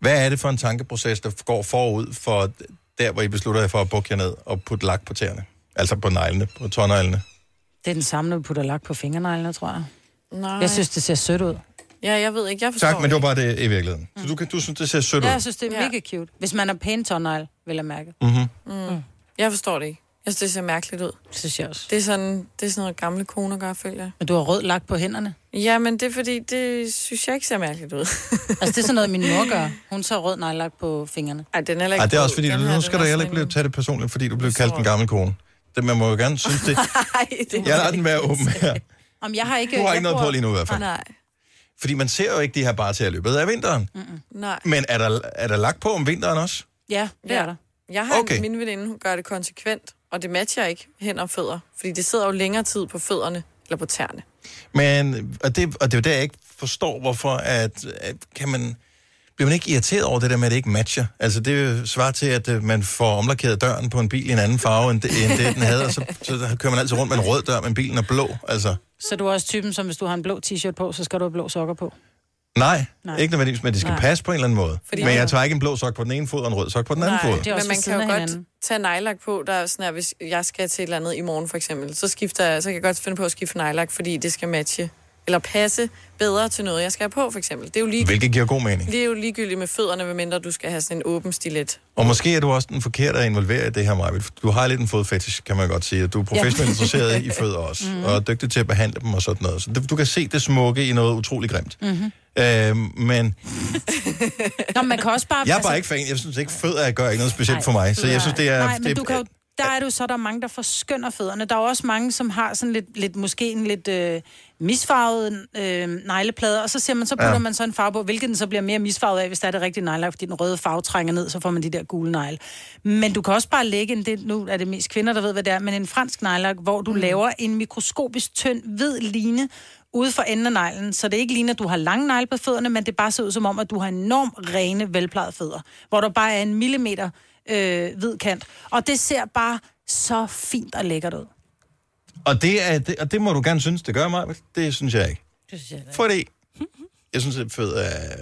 A: Hvad er det for en tankeproces, der går forud for der, hvor I beslutter jer for at bukke jer ned og putte lak på tæerne? Altså på neglene, på tårneglene.
D: Det er den samme, når vi putter lak på fingerneglene, tror jeg.
B: Nej.
D: Jeg synes, det ser sødt ud.
B: Ja, jeg ved ikke. Jeg forstår
A: Tak, men det var bare det i virkeligheden. Så du, kan, du synes, det ser sødt ud.
D: Ja, jeg synes, det er mega cute. Hvis man har pæne tårnegle, vil jeg mærke.
A: Mm-hmm.
B: ikke. Mm. Jeg forstår det ikke. Jeg synes, det ser mærkeligt ud.
C: Mm. Det synes jeg også.
B: Det er sådan, det er sådan noget gamle koner gør, føler jeg.
D: Men du har rød lak på hænderne.
B: Ja, men det er fordi, det synes jeg ikke ser mærkeligt ud.
D: Altså, det er sådan noget, min mor gør. Hun tager rød neglelak på fingrene.
B: Ej, den er heller ikke
A: Ej, det er
B: god.
A: også fordi,
B: Den
A: du,
B: her,
A: nu
B: den
A: skal
B: er
A: du heller ikke
B: sådan
A: blive tage det personligt, fordi du blev
B: Jeg
A: kaldt
B: tror-
A: en gammel kone. Det, man må jo gerne synes det.
B: en- Ej,
A: Jeg
B: det
A: lader den være åben her.
D: Om jeg har ikke...
A: Du har
D: jeg
A: ikke noget
D: bruger-
A: på lige nu i hvert fald.
B: Nej,
A: Fordi man ser jo ikke de her bare til at løbet af vinteren.
B: nej.
A: Men er der, er der lagt på om vinteren også?
D: Ja, det er der.
B: Jeg har
A: Okay.
B: okay. min veninde, hun gør det konsekvent, og det matcher ikke hænder og fødder. Fordi det sidder jo længere tid på fødderne, eller på tæerne.
A: Men, og det, og det er jo der, jeg ikke forstår, hvorfor, at, at kan man, bliver man ikke irriteret over det der med, at det ikke matcher? Altså, det svarer til, at øh, man får omlakeret døren på en bil i en anden farve, end det, end det den havde, og så, så kører man altid rundt med en rød dør, men bilen er blå, altså.
D: Så du er også typen, som hvis du har en blå t-shirt på, så skal du have blå sokker på.
A: Nej, Nej.
D: Nej.
A: ikke nødvendigvis, men det skal Nej.
D: Nej.
A: passe på en eller anden måde. Fordi
B: Fordi-
A: men jeg tager ikke en blå sok på den ene fod og en rød sok på den anden
B: Nej,
A: fod.
D: Det er også
B: men man
D: ved
B: kan
D: siden
B: jo
D: af
B: godt
D: hinanden.
B: tage nejlak på, der er sådan, at hvis jeg skal til et eller andet i morgen for eksempel, så, skifter, jeg- så kan jeg godt finde på at skifte nejlak, fordi det skal matche eller passe bedre til noget, jeg skal have på, for eksempel. Det er jo, lige,
A: Hvilket giver god mening.
B: det er jo ligegyldigt med fødderne, medmindre du skal have sådan en åben stilet.
A: Og måske er du også den forkerte at involvere i det her, Maja. Du har lidt en fodfetish, kan man godt sige. og Du er professionelt interesseret i fødder også,
D: Mhm.
A: mm-hmm. og er dygtig til at behandle dem og sådan noget. Så du- du kan se det smukke i noget utrolig grimt. Mm-hmm. Øh, men
D: Nå, men man kan også bare...
A: jeg er bare ikke fan. Jeg synes ikke, fødder gør ikke noget specielt
D: altså- Nej.
A: for mig. Så jeg synes, det er...
D: Nej, men
A: det,
D: du kan jo, der er det jo så, der er mange, der forskynder fødderne. Der er jo også mange, som har sådan lidt, lidt måske en lidt øh, misfarvet øh, negleplade, og så ser man, så putter
A: Ja.
D: ja. man så en farve på, hvilket den så bliver mere misfarvet af, hvis der er det rigtige neglelak, fordi den røde farve trænger ned, så får man de der gule negle. Men du kan også bare lægge en, det, nu er det mest kvinder, der ved, hvad det er, men en fransk neglelak, hvor du mm. laver en mikroskopisk tynd, hvid line, ude for enden af neglen, så det ikke ligner, at du har lange negle på fødderne, men det bare ser ud som om, at du har enormt rene, velplejede fødder, hvor der bare er en millimeter øh, hvid kant. Og det ser bare så fint og lækkert ud.
A: Og det, er, det, og det må du gerne synes, det gør mig. men Det synes jeg ikke.
C: Det synes jeg heller ikke.
A: Fordi jeg synes, at fødder er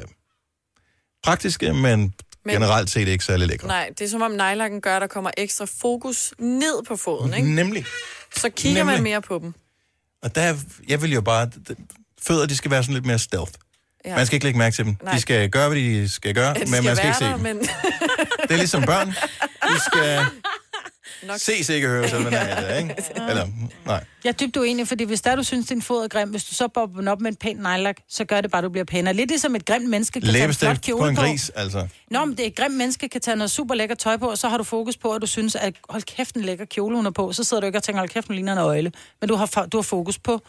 A: praktiske, men, men generelt set ikke særlig lækre.
B: Nej, det er som om nejlakken gør, at der kommer ekstra fokus ned på foden, ikke?
A: Nemlig.
B: Så kigger man
A: Nemlig.
B: mere på dem.
A: Og der, jeg vil jo bare... Fødder, de skal være sådan lidt mere stealth. Ja. Man skal ikke lægge mærke til dem.
B: Nej.
A: Nej. De skal gøre, hvad de skal gøre,
B: De
A: men man skal
B: være
A: ikke se
B: der,
A: dem.
B: Men...
A: Det er ligesom børn. De skal
B: Nok.
A: ses ikke høres, eller hvad det er, ikke? Eller, nej.
D: Jeg er dybt uenig, fordi hvis der du synes, din fod er grim, hvis du så bobber den op med en pæn nejlak, så gør det bare, at du bliver pænere. Lidt ligesom et grimt menneske kan tage en
A: Læbestift
D: flot
A: på
D: kjole
A: en gris, altså.
D: Nå, men det er et grimt menneske, kan tage noget super lækker tøj på, og så har du fokus på, at du synes, at hold kæft, en lækker kjole hun er på. Så sidder du ikke og tænker, hold kæft, hun ligner en øjle. Men du har, fo- du har fokus på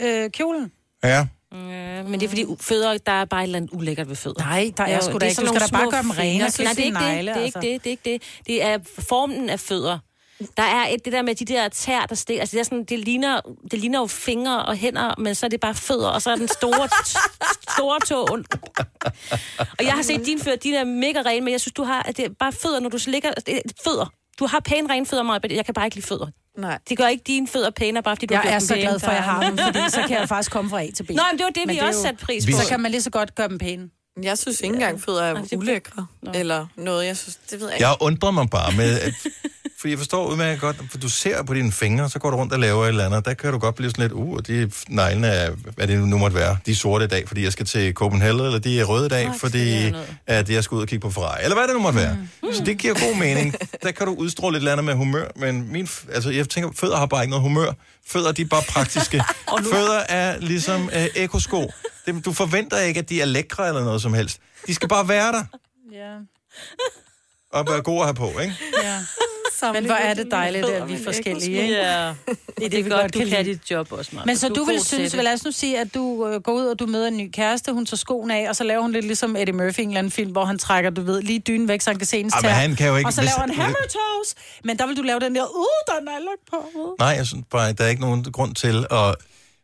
D: øh, kjolen.
A: Ja.
C: Øh, men det er fordi u- fødder, der er bare et eller andet ulækkert ved fødder.
D: Nej, der er sgu da ikke. Du skal da bare gøre dem rene og
C: Nej, det er ikke
D: klippe
C: det.
D: dine
C: det, er
D: negle,
C: ikke
D: altså.
C: det, det er ikke det. Det er formen af fødder. Der er et, det der med de der tær, der stikker. Altså, det, er sådan, det, ligner, det ligner jo fingre og hænder, men så er det bare fødder, og så er den store, store tå. Og jeg har set dine fødder, de er mega rene, men jeg synes, du har, at det er bare fødder, når du så ligger... Det er fødder. Du har pæne rene fødder, Maja, men jeg kan bare ikke lide fødder.
B: Nej.
C: Det gør ikke dine fødder pænere, bare fordi du har
D: Jeg
C: gjort
D: er
C: dem
D: så
C: pæne.
D: glad for, at jeg har dem,
C: Der-
D: fordi så kan jeg faktisk komme fra A til B.
C: Nå, men det var det, vi også satte pris
A: Vi- på.
D: Så kan man lige så godt gøre dem pæne.
B: Jeg synes ikke engang, fødder er ulækre. Eller noget, jeg synes, det ved jeg ikke.
A: Jeg undrer mig bare med... At, fordi jeg forstår udmærket godt, for du ser på dine fingre, så går du rundt og laver et eller andet. Der kan du godt blive sådan lidt, uh, de neglene er, hvad det nu måtte være. De er sorte i dag, fordi jeg skal til Copenhagen, eller de er røde i dag,
G: Nå,
A: fordi at jeg skal ud og kigge på Ferrari. Eller hvad det nu måtte være. Mm. Så det giver god mening. Der kan du udstråle et eller andet med humør, men min, f- altså, jeg tænker, fødder har bare ikke noget humør. Fødder, de er bare praktiske. fødder er ligesom øh, ekosko. Dem- Du forventer ikke, at de er lækre eller noget som helst. De skal bare være der
D: Ja.
A: og være gode at have på, ikke?
D: ja. Men hvor er det dejligt, at vi er forskellige, ikke?
C: Ja. Det er det, vi godt, du kan dit job også, Maja.
D: Men så
C: er
D: du,
C: god
D: vil
C: til
D: synes,
C: det.
D: vel, lad os nu sige, at du øh, går ud, og du møder en ny kæreste, hun tager skoen af, og så laver hun lidt ligesom Eddie Murphy i en eller anden film, hvor han trækker, du ved, lige dynen væk, så han kan se hendes
A: Ej, Ah, men
D: tæer.
A: han kan jo ikke-
D: Og så
A: hvis-
D: laver han hammer toes. Men der vil du lave den der, uh, der er nejlagt på.
A: Nej, jeg synes bare, der er ikke nogen grund til at...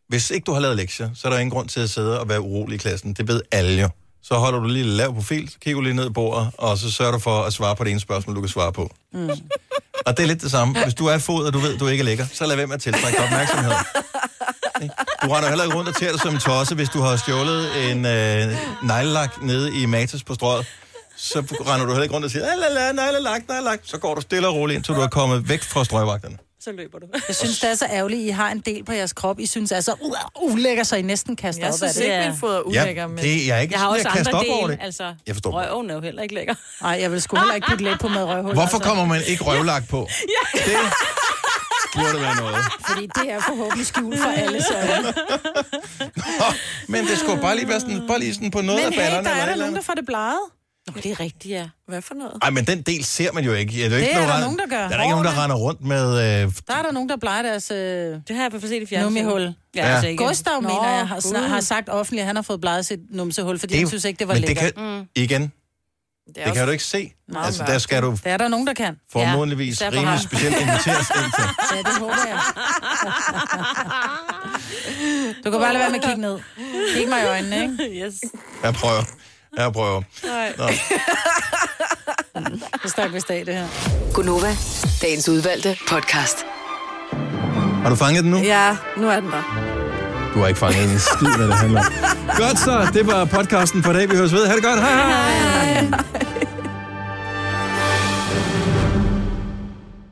A: Hvis ikke du har lavet lektier, så er der ingen grund til at sidde og være urolig i klassen. Det ved alle jo. Så holder du lige en lav profil, så kigger du lige ned i bordet, og så sørger du for at svare på det ene spørgsmål, du kan svare på.
D: Mm.
A: Og det er lidt det samme. Hvis du er fod, og du ved, du ikke er lækker, så lad være med at tiltrække dig opmærksomhed. Ikke? Du render heller ikke rundt og tærer dig som en tosse, hvis du har stjålet en øh, neglelak nede i Matas på strøget. Så render du heller ikke rundt og siger, "Ah, la la, neglelak, neglelak. Så går du stille og roligt, indtil du er kommet væk fra strøgvagterne.
C: Så løber du.
D: Jeg synes, det er så ærgerligt, I har en del på jeres krop. I synes altså, uh, ulækker, så I næsten kaster
C: Jeg
D: op
C: synes
D: af det.
C: ikke, min fod er
A: ulækker, men- det- jeg er ikke
C: Jeg har
A: sådan,
C: også
A: jeg kaster
C: andre
A: op over
C: dele,
A: det.
C: altså.
A: Jeg forstår det.
C: Røven er jo heller ikke lækker.
D: Nej, jeg vil sgu heller ikke putte læb på med røvhul.
A: Hvorfor
D: altså.
A: kommer man ikke røvlagt på?
C: Ja.
A: Det burde være noget.
D: Fordi det er forhåbentlig skjult for alle så.
A: Men det skulle bare lige være sådan, bare lige sådan på noget
D: Men
A: af
D: hey,
A: ballerne. eller
D: der er
A: et
D: der
A: eller
D: nogen,
A: andet.
D: der får det bleget. Nå,
C: det er rigtigt, ja.
B: Hvad for noget?
A: Ej, men den del ser man jo ikke. Ja, Det er, jo
D: Det
A: ikke
D: er der
A: nogen,
D: nogen, der gør.
A: Der er ikke nogen, der render rundt med... Øh,
D: Der er der nogen, der plejer deres... Øh, det
C: har jeg i hvert fald set i
D: fjernsynet. Nummihul.
A: Ja, altså ikke-
D: Gustav
C: Nå,
D: Nå, mener, jeg har, snak,
C: Gud.
D: har sagt offentligt, at han har fået bleget sit numsehul, fordi
A: er
D: det,
A: jo-
D: han synes ikke, det var
A: men
D: lækkert. Mm.
A: Det kan,
C: Mm.
A: Igen, det, det
D: også
A: kan du ikke se.
D: meget
A: altså, der
D: mørkt.
A: skal du
D: Det er der nogen, der kan.
A: formodentligvis
D: Ja,
A: ja,
D: derfor
A: rimelig
D: har-
A: specielt inviteres ind til.
D: Ja, det håber jeg. Du kan bare lade være med at kigge ned. Kig mig i øjnene, ikke?
C: Yes.
A: Jeg prøver. Jeg prøver.
D: Nej.
A: Nå.
D: Det stak vist af, det her.
F: Gunova, dagens udvalgte podcast.
A: Har du fanget den nu?
B: Ja, nu er den der.
A: Du har ikke fanget en skid, hvad det handler om. Godt så, det var podcasten for i dag. Vi høres ved. Ha' det godt. Hej hej.
B: Hej.